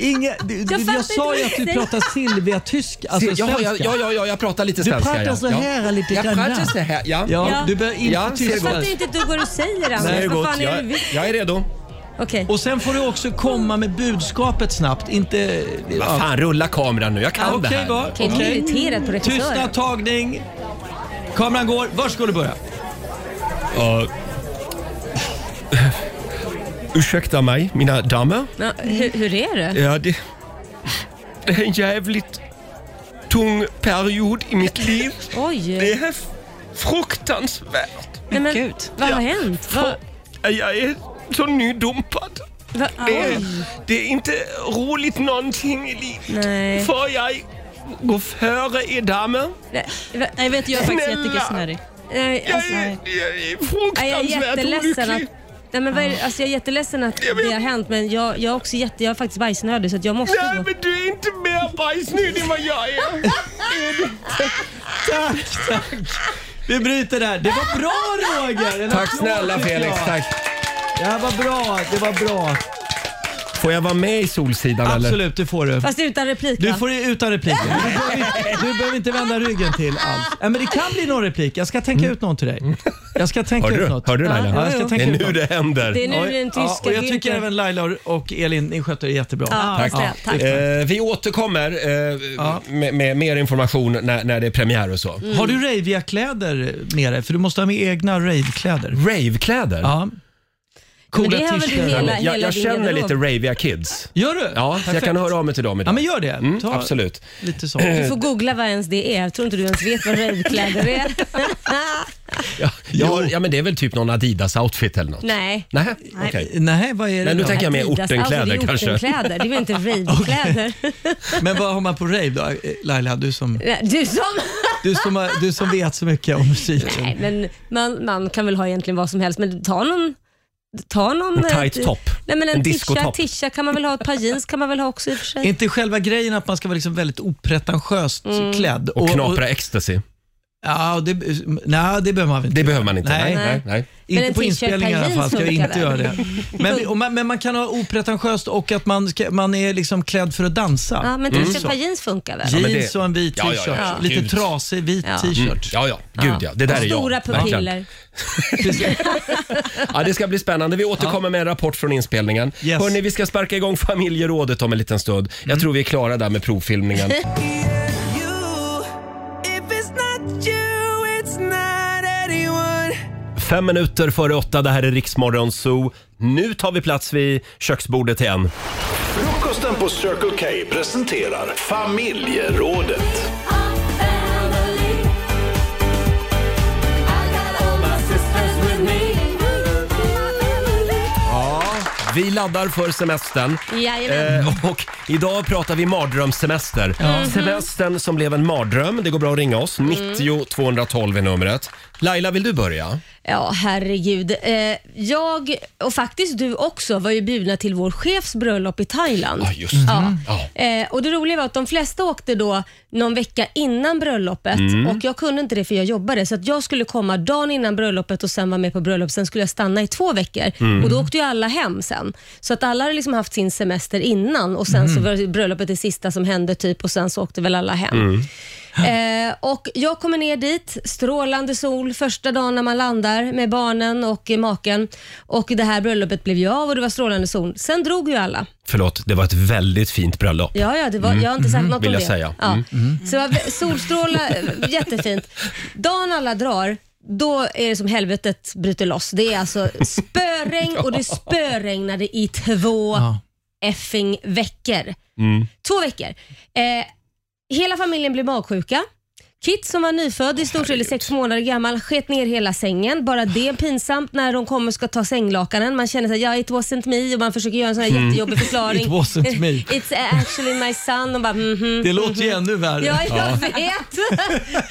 Speaker 9: Inga, du,
Speaker 2: Jag
Speaker 9: jag,
Speaker 2: fattar
Speaker 9: jag sa ju
Speaker 2: inte
Speaker 9: att du
Speaker 2: riktigt.
Speaker 9: pratar Silvia-tyska, alltså
Speaker 1: ja,
Speaker 9: svenska.
Speaker 1: ja, ja, ja, ja, jag pratar lite
Speaker 9: Du
Speaker 1: svenska.
Speaker 9: pratar
Speaker 1: ja.
Speaker 9: så
Speaker 1: ja.
Speaker 9: här lite
Speaker 1: Jag
Speaker 9: grann.
Speaker 1: pratar så här, ja.
Speaker 9: Ja,
Speaker 2: Ja.
Speaker 9: du bör inte
Speaker 1: Ja, ser
Speaker 2: Jag
Speaker 9: tyska.
Speaker 2: fattar inte ett dugg vad du säger
Speaker 1: Nej, det
Speaker 2: Anders.
Speaker 1: är
Speaker 2: Vad
Speaker 1: gott.
Speaker 2: fan är det
Speaker 1: Jag,
Speaker 2: vi...
Speaker 1: jag är redo.
Speaker 2: Okej.
Speaker 9: Och sen får du också komma med budskapet snabbt, inte...
Speaker 1: Vad fan, rulla kameran nu. Jag kan
Speaker 9: Ja,
Speaker 1: det
Speaker 9: Okej,
Speaker 1: här.
Speaker 9: va?
Speaker 2: Okej, du är
Speaker 9: Okej.
Speaker 2: irriterad på regissören.
Speaker 9: Tystnad, tagning. Kameran går. Varsågod och börja.
Speaker 1: Uh, ursäkta mig, mina damer.
Speaker 2: Ja, hur, hur är det?
Speaker 1: Ja, det, det är en jävligt tung period i mitt liv.
Speaker 2: Oj.
Speaker 1: Det är fruktansvärt.
Speaker 2: Nej, men,
Speaker 5: Gud.
Speaker 2: Vad har hänt? Vad...
Speaker 1: Jag är så nydumpad.
Speaker 2: vad-
Speaker 1: Det är,
Speaker 2: Oj.
Speaker 1: det är inte roligt någonting i livet.
Speaker 2: Nej.
Speaker 1: Får jag gå före er damer?
Speaker 2: Nej, va-
Speaker 5: Nej, vet du, jag är faktiskt
Speaker 1: Snälla.
Speaker 5: jättekissnödig.
Speaker 2: nej,
Speaker 1: Jag
Speaker 2: alltså,
Speaker 1: är, jag är
Speaker 2: nej, jag är
Speaker 1: fruktansvärt
Speaker 2: jätteledsen att...
Speaker 1: olycklig. Ah.
Speaker 2: Nej, men vad är, det- alltså, jag är jätteledsen att
Speaker 1: Jag vet.
Speaker 2: det har hänt men jag, jag, är också jätte, jag är faktiskt bajsnödig så att jag måste
Speaker 1: Nej,
Speaker 2: gå.
Speaker 1: men du är inte mer bajsnödig än vad jag är.
Speaker 9: Tack, tack. Vi bryter där. Det var bra Roger! En
Speaker 1: Tack
Speaker 9: applåd,
Speaker 1: snälla
Speaker 9: tycker
Speaker 1: Felix,
Speaker 9: jag.
Speaker 1: tack.
Speaker 9: Det här var bra. Det var bra.
Speaker 1: Får jag vara med i Solsidan eller?
Speaker 9: Absolut, det får du.
Speaker 2: Fast utan replik
Speaker 9: Du
Speaker 2: va?
Speaker 9: får det utan repliker. Du behöver, du behöver inte vända ryggen till alls. Nej, men det kan bli någon replik. Jag ska tänka ut någon till dig. Jag ska tänka
Speaker 1: Hörde
Speaker 9: ut
Speaker 1: du?
Speaker 9: något.
Speaker 1: Hörde du, Laila?
Speaker 9: Ja, jag ska tänka ut något.
Speaker 1: det händer.
Speaker 2: Det är nu den tyska
Speaker 9: Ja, och jag tycker
Speaker 2: Günther.
Speaker 9: även Laila och- och Elin, ni skötte det jättebra.
Speaker 2: Ja, Tack.
Speaker 9: Ja.
Speaker 2: Tack.
Speaker 1: Eh, vi återkommer eh, med, med mer information när, när det är premiär och så.
Speaker 2: Mm.
Speaker 9: Har du ravia-kläder med dig? För du måste ha med egna ravekläder.
Speaker 1: Ravekläder?
Speaker 9: Ja. Coola t-shirtar.
Speaker 1: jag, jag känner lite raviga kids.
Speaker 9: Gör du?
Speaker 1: Ja, så jag
Speaker 9: Perfekt.
Speaker 1: kan höra av mig till dem idag.
Speaker 9: Ja, men gör det.
Speaker 1: Mm,
Speaker 9: Ta-
Speaker 1: absolut.
Speaker 9: Lite så.
Speaker 2: Du får googla vad ens det är. Jag tror inte du ens vet vad ravekläder är.
Speaker 1: Jag har, ja, men det är väl typ någon Adidas-outfit eller något?
Speaker 2: Nej.
Speaker 1: Nej,
Speaker 2: Nej.
Speaker 1: okej.
Speaker 9: Nej, vad är det
Speaker 1: Men nu
Speaker 9: då?
Speaker 1: tänker jag mer
Speaker 2: Adidas,
Speaker 1: ortenkläder
Speaker 2: alltså, det är
Speaker 1: kanske.
Speaker 2: Ortenkläder. Det är väl inte ravekläder?
Speaker 9: Men vad har man på rave då? Eh, Laila, du som,
Speaker 2: Nej, Du som...
Speaker 9: du som, har- du som vet så mycket om musiken.
Speaker 2: Nej, men man, man kan väl ha egentligen vad som helst, men ta någon... Ta någon...
Speaker 9: En tight
Speaker 2: eh,
Speaker 9: topp.
Speaker 2: Nej, men en,
Speaker 9: En
Speaker 2: tisha,
Speaker 9: discotopp.
Speaker 2: tisha kan man väl ha, ett par jeans kan man väl ha också i och för sig.
Speaker 9: Är inte själva grejen att man ska vara liksom väldigt opretentiöst
Speaker 2: Mm.
Speaker 9: klädd?
Speaker 1: Och knapra ecstasy?
Speaker 9: Ja, det, nej, det behöver man väl inte Det
Speaker 1: behöver man inte. Nej, nej, nej.
Speaker 2: Men en
Speaker 9: Inte på
Speaker 2: t-shirt
Speaker 9: inspelning i alla
Speaker 2: per
Speaker 9: fall, ska jag
Speaker 2: jeans
Speaker 9: inte göra
Speaker 2: funkar
Speaker 9: det. Men, vi- och man, men man kan ha opretentiöst och att man, ska, man är liksom klädd för att dansa.
Speaker 2: Ja, men
Speaker 9: Mm.
Speaker 2: t-shirt
Speaker 9: Så.
Speaker 2: par jeans funkar väl?
Speaker 9: Jeans och en vit
Speaker 1: Ja, ja,
Speaker 9: t-shirt.
Speaker 1: ja, ja.
Speaker 9: Lite
Speaker 1: Gud.
Speaker 9: trasig vit
Speaker 2: Ja.
Speaker 9: t-shirt.
Speaker 1: Mm, ja, ja. Gud ja. Det där är jag.
Speaker 2: Stora
Speaker 1: verkligen.
Speaker 2: pupiller.
Speaker 1: Ja, det ska bli spännande. Vi återkommer med en rapport från inspelningen. Hörni, vi ska sparka igång familjerådet om en liten stund. Jag tror vi är klara där med provfilmningen.
Speaker 6: If it's not you, it's not anyone.
Speaker 1: Fem minuter före åtta, det här är Riksmorgon Zoo. Nu tar vi plats vid köksbordet igen.
Speaker 3: Frukosten på Circle K presenterar Familjerådet.
Speaker 1: Ja, vi laddar för semestern.
Speaker 2: Jajamän.
Speaker 1: Eh, och idag pratar vi mardrömssemester. Semestern som blev en mardröm. Det går bra att ringa oss. 90 212 är numret. Laila, vill du börja?
Speaker 2: Ja, herregud. Eh, jag, och faktiskt du också, var ju bjudna till vår chefs bröllop i Thailand. Ja,
Speaker 1: just det.
Speaker 2: Ja.
Speaker 1: Ja.
Speaker 2: Eh, och det roliga var att de flesta åkte då någon vecka innan bröllopet
Speaker 6: Mm.
Speaker 2: och jag kunde inte det för jag jobbade så att jag skulle komma dagen innan bröllopet och sen vara med på bröllop. Sen skulle jag stanna i två veckor
Speaker 6: Mm.
Speaker 2: och då åkte ju alla hem sen. Så att alla hade liksom haft sin semester innan och sen så
Speaker 6: Mm.
Speaker 2: var bröllopet det sista som hände typ och sen så åkte väl alla hem.
Speaker 6: Mm.
Speaker 2: Eh, och jag kommer ner dit, strålande sol första dagen när man landar med barnen och eh, maken. Och det här bröllopet blev ju av och det var strålande sol. Sen drog ju alla.
Speaker 1: Förlåt, det var ett väldigt fint bröllop.
Speaker 2: Ja, ja, det var, jag har inte sagt något
Speaker 1: Mm. Vill
Speaker 2: om
Speaker 1: jag
Speaker 2: det.
Speaker 1: säga.
Speaker 2: Ja.
Speaker 1: Mm. Mm.
Speaker 2: Så det var solstråla, eh, jättefint. Dagen alla drar, då är det som helvetet bryter loss. Det är alltså spöregn och det spöregnade i två
Speaker 6: Ja.
Speaker 2: effing veckor. Två veckor. Eh, hela familjen blev magsjuka. Kit som var nyfödd, i stort sett eller sex månader gammal, sket ner hela sängen. Bara det är pinsamt när de kommer och ska ta sänglakanen. Man känner såhär, ja it wasn't me och man försöker göra en sån här
Speaker 9: Mm.
Speaker 2: jättejobbig förklaring.
Speaker 9: It wasn't me.
Speaker 2: It's actually my son. Och bara, mhm,
Speaker 9: Det låter ju
Speaker 2: mhm.
Speaker 9: ännu värre.
Speaker 2: Ja, jag
Speaker 9: Ja.
Speaker 2: vet.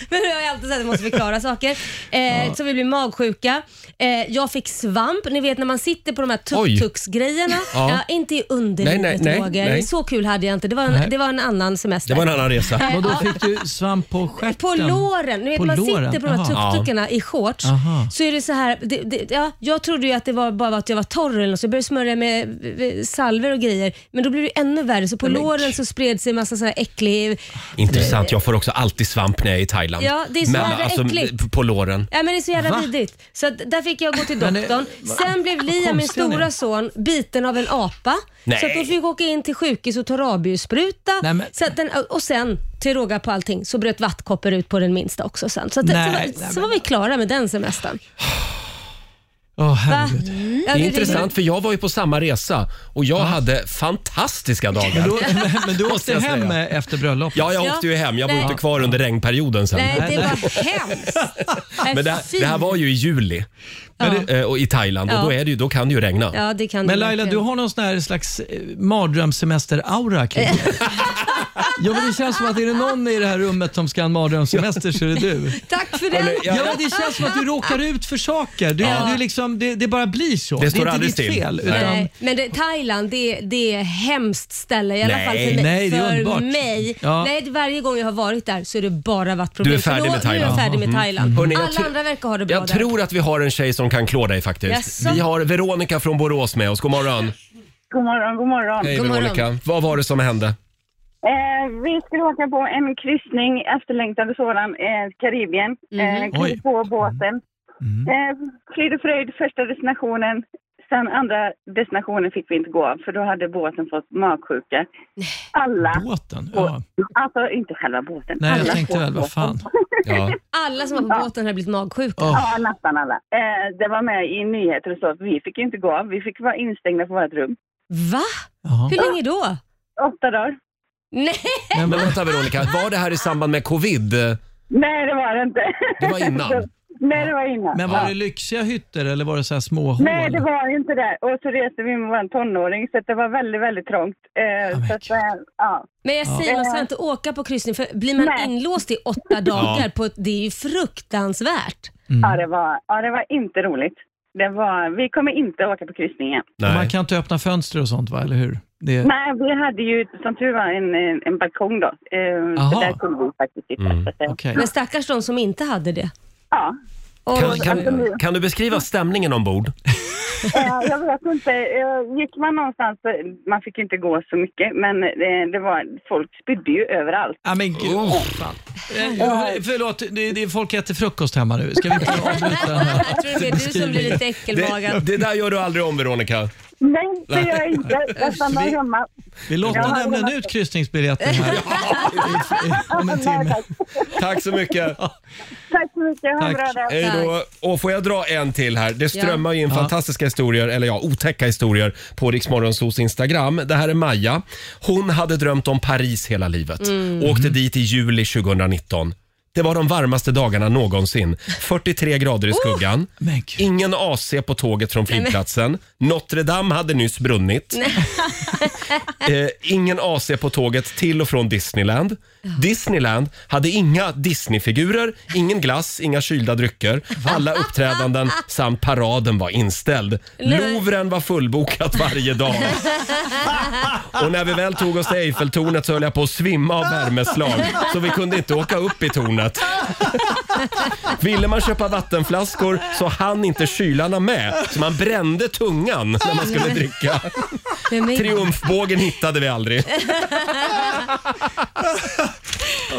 Speaker 2: Men jag har alltid sagt att jag måste förklara saker. Eh,
Speaker 9: Ja.
Speaker 2: Så vi blev magsjuka. Eh, jag fick svamp. Ni vet när man sitter på de här
Speaker 6: Oj.
Speaker 2: tuk-tuks-grejerna.
Speaker 1: Ja.
Speaker 2: Ja. inte i
Speaker 1: Nej,
Speaker 2: underlivet
Speaker 1: nej, nej, nej.
Speaker 2: Roger. Så kul hade jag inte. Det var
Speaker 1: Nej.
Speaker 2: en, det var en annan semester.
Speaker 1: Det var en annan resa.
Speaker 2: Eh,
Speaker 9: Vadå,
Speaker 2: ja.
Speaker 9: fick du svamp på stjärten?
Speaker 2: På låren. Ni vet,
Speaker 9: På
Speaker 2: man
Speaker 9: låren?
Speaker 2: sitter på de här
Speaker 9: Jaha.
Speaker 2: tuk-tukarna i shorts.
Speaker 9: Aha.
Speaker 2: Så är det så här, det, det, ja, jag trodde ju att det var bara att jag var torr eller något, så jag började smörja med eh, salver och grejer. Men då blev det ännu värre, så på låren så spred sig massa så här äcklig...
Speaker 1: Intressant. Jag får också alltid svamp när jag är i Thailand. alltså,
Speaker 2: Ja, det är så jävla äckligt.
Speaker 1: p- På låren.
Speaker 2: Ja, men det är så
Speaker 1: Va?
Speaker 2: jävla vidrigt. Så att där fick jag gå till
Speaker 1: Men det-
Speaker 2: doktorn.
Speaker 1: va?
Speaker 2: Sen blev Liam, min
Speaker 1: konstiga ni är.
Speaker 2: stora son, biten av en apa.
Speaker 1: Nej.
Speaker 2: Så att de fick åka in till sjukhus och ta rabiesspruta. Så att den, och sen, till råga på allting, så bröt vattkoppor ut på den minsta också sen. Så, att,
Speaker 1: Nej,
Speaker 2: så,
Speaker 1: nej,
Speaker 2: var, så var vi klara med den semestern.
Speaker 9: Åh,
Speaker 2: Va?
Speaker 9: herregud.
Speaker 1: Mm. Det är intressant för jag var ju på samma resa och jag hade fantastiska dagar.
Speaker 9: Men då- men- men du åkte
Speaker 1: Måste jag
Speaker 9: hem,
Speaker 1: säga.
Speaker 9: eh, efter bröllopet?
Speaker 1: Ja, jag
Speaker 9: Ja.
Speaker 1: åkte ju hem. Jag
Speaker 9: Nej.
Speaker 1: var inte kvar under regnperioden sen.
Speaker 2: Nej, det var hemskt.
Speaker 1: Men det, här- det här var ju i juli Eh, och i Thailand och
Speaker 2: Ja.
Speaker 1: då, är det ju, då kan det ju regna.
Speaker 2: Ja, det kan
Speaker 9: Men
Speaker 2: det
Speaker 9: Laila, du
Speaker 2: verkligen.
Speaker 9: har någon sån här slags eh, mardrömssemester-aura kring dig. Ja, men det känns som att är det någon i det här rummet som ska ha en mardrömssemester så är det du.
Speaker 2: Tack för
Speaker 9: Ja,
Speaker 2: den.
Speaker 9: men det känns som att du råkar ut för saker. Du,
Speaker 2: Ja.
Speaker 9: du liksom, det, det bara blir så.
Speaker 1: Det står
Speaker 9: är inte
Speaker 1: aldrig
Speaker 9: ditt
Speaker 1: still.
Speaker 9: fel.
Speaker 1: Nej.
Speaker 9: Utan,
Speaker 2: Nej, men det, Thailand, det, det är hemskt ställe. I alla
Speaker 1: Nej.
Speaker 2: fall för mig.
Speaker 1: Nej, det är underbart.
Speaker 2: för mig.
Speaker 1: Ja.
Speaker 2: Nej, det- varje gång jag har varit där så är det bara varit problem.
Speaker 1: Du är
Speaker 2: Så
Speaker 1: färdig
Speaker 2: då-
Speaker 1: med Thailand.
Speaker 2: Nu är jag färdig med
Speaker 1: Mm.
Speaker 2: Thailand.
Speaker 1: Hörrni, jag
Speaker 2: Alla
Speaker 1: tror-
Speaker 2: andra verkar ha det bra
Speaker 1: Jag
Speaker 2: där.
Speaker 1: tror att vi har en tjej som kan klå dig faktiskt.
Speaker 2: Jaså?
Speaker 1: Vi har Veronica från Borås med oss. God morgon.
Speaker 13: God morgon, god morgon.
Speaker 1: Hej Veronica. Vad var det som hände?
Speaker 13: Eh, vi skulle åka på en kryssning, efterlängtade sådan, eh, Karibien.
Speaker 9: Mhm.
Speaker 13: Eh,
Speaker 1: Oj.
Speaker 13: klev på båten. Eh, Frid och fröjd, första destinationen. Sen andra destinationen fick vi inte gå för då hade båten fått magsjuka. Alla.
Speaker 9: Båten?
Speaker 13: Ja. Alltså inte själva båten.
Speaker 9: Nej,
Speaker 13: alla
Speaker 9: jag tänkte
Speaker 13: på
Speaker 9: väl, vad
Speaker 13: båten.
Speaker 9: fan.
Speaker 2: Alla som var på båten hade blivit magsjuka.
Speaker 13: Ja, nästan alla. Eh, det var med i nyheter och så. att Vi fick ju inte gå. Vi fick vara instängda på vårt rum.
Speaker 2: Va? Hur länge då?
Speaker 13: Åtta dagar.
Speaker 2: Nej!
Speaker 1: Men vänta Veronica, var det här i samband med covid?
Speaker 13: Nej, det var det inte.
Speaker 1: Det var innan.
Speaker 13: Nej, det var innan.
Speaker 9: Men var
Speaker 13: Ja.
Speaker 9: det lyxiga hytter eller var det så här små hål?
Speaker 13: Nej, det var inte det. Och så reste vi med vår tonåring, så att det var väldigt, väldigt trångt. Eh, så att, eh, ja.
Speaker 2: Men jag säger, man ska inte åka på kryssning för blir man inlåst i åtta dagar,
Speaker 13: Ja.
Speaker 2: på ett, det är ju fruktansvärt.
Speaker 1: Mm.
Speaker 13: Ja, det var, ja, det var inte roligt. Det var, vi kommer inte åka på kryssning igen.
Speaker 9: Och Man kan inte öppna fönster och sånt va, eller hur? Det...
Speaker 13: Nej, vi hade ju som tur var en, en, en balkong då. Eh,
Speaker 9: Aha.
Speaker 13: så där kunde vi faktiskt sitta.
Speaker 1: Mm,
Speaker 13: Så att, eh,
Speaker 2: Men stackars de som inte hade det.
Speaker 13: Ja.
Speaker 1: Kan,
Speaker 2: alltså
Speaker 1: kan, kan du beskriva stämningen ombord?
Speaker 13: Eh, jag vet inte. Eh, gick man någonstans, eh, man fick inte gå så mycket, men eh, det var, folk spydde ju överallt.
Speaker 9: Ja, men gud. Eh, hör- Förlåt, det, det är folk äter frukost hemma nu. Ska vi inte avbryta den här
Speaker 2: Jag tror det är du som blir lite
Speaker 1: Det,
Speaker 2: äckelmagad.
Speaker 1: det där gör du aldrig om Veronica.
Speaker 13: Nej, det gör jag inte. Jag stannar
Speaker 9: Vi-
Speaker 13: hemma.
Speaker 9: Vi låter
Speaker 13: Ja.
Speaker 9: nämligen ut kryssningsbiljetten här i- i- om en timme.
Speaker 1: Tack så mycket.
Speaker 13: Tack så mycket. Ha en
Speaker 1: Tack. Eh.
Speaker 13: bra dag.
Speaker 1: Hej då. Och får jag dra en till här? Det strömmar ju in
Speaker 14: Ja.
Speaker 1: fantastiska historier, eller ja, otäcka historier på Riksmorgonsos Instagram. Det här är Maja. Hon hade drömt om Paris hela livet.
Speaker 14: Mm.
Speaker 1: Åkte dit i juli 2019. Det var de varmaste dagarna någonsin. 43 grader i skuggan. Ingen AC på tåget från
Speaker 14: Oh! Nej, men-
Speaker 1: flygplatsen. Notre Dame hade nyss brunnit. Eh, ingen AC på tåget till och från Disneyland. Disneyland hade inga Disneyfigurer, ingen glass, inga kylda drycker. Alla uppträdanden samt paraden var inställd.
Speaker 14: Nej.
Speaker 1: Louvren var fullbokat varje dag. Och när vi väl tog oss till Eiffeltornet så höll jag på att svimma av värmeslag så vi kunde inte åka upp i tornet. Ville man köpa vattenflaskor så hann inte kylarna med så man brände tungan när man skulle dricka.
Speaker 2: Men, men,
Speaker 1: Triumfbågen hittade vi aldrig. Ja,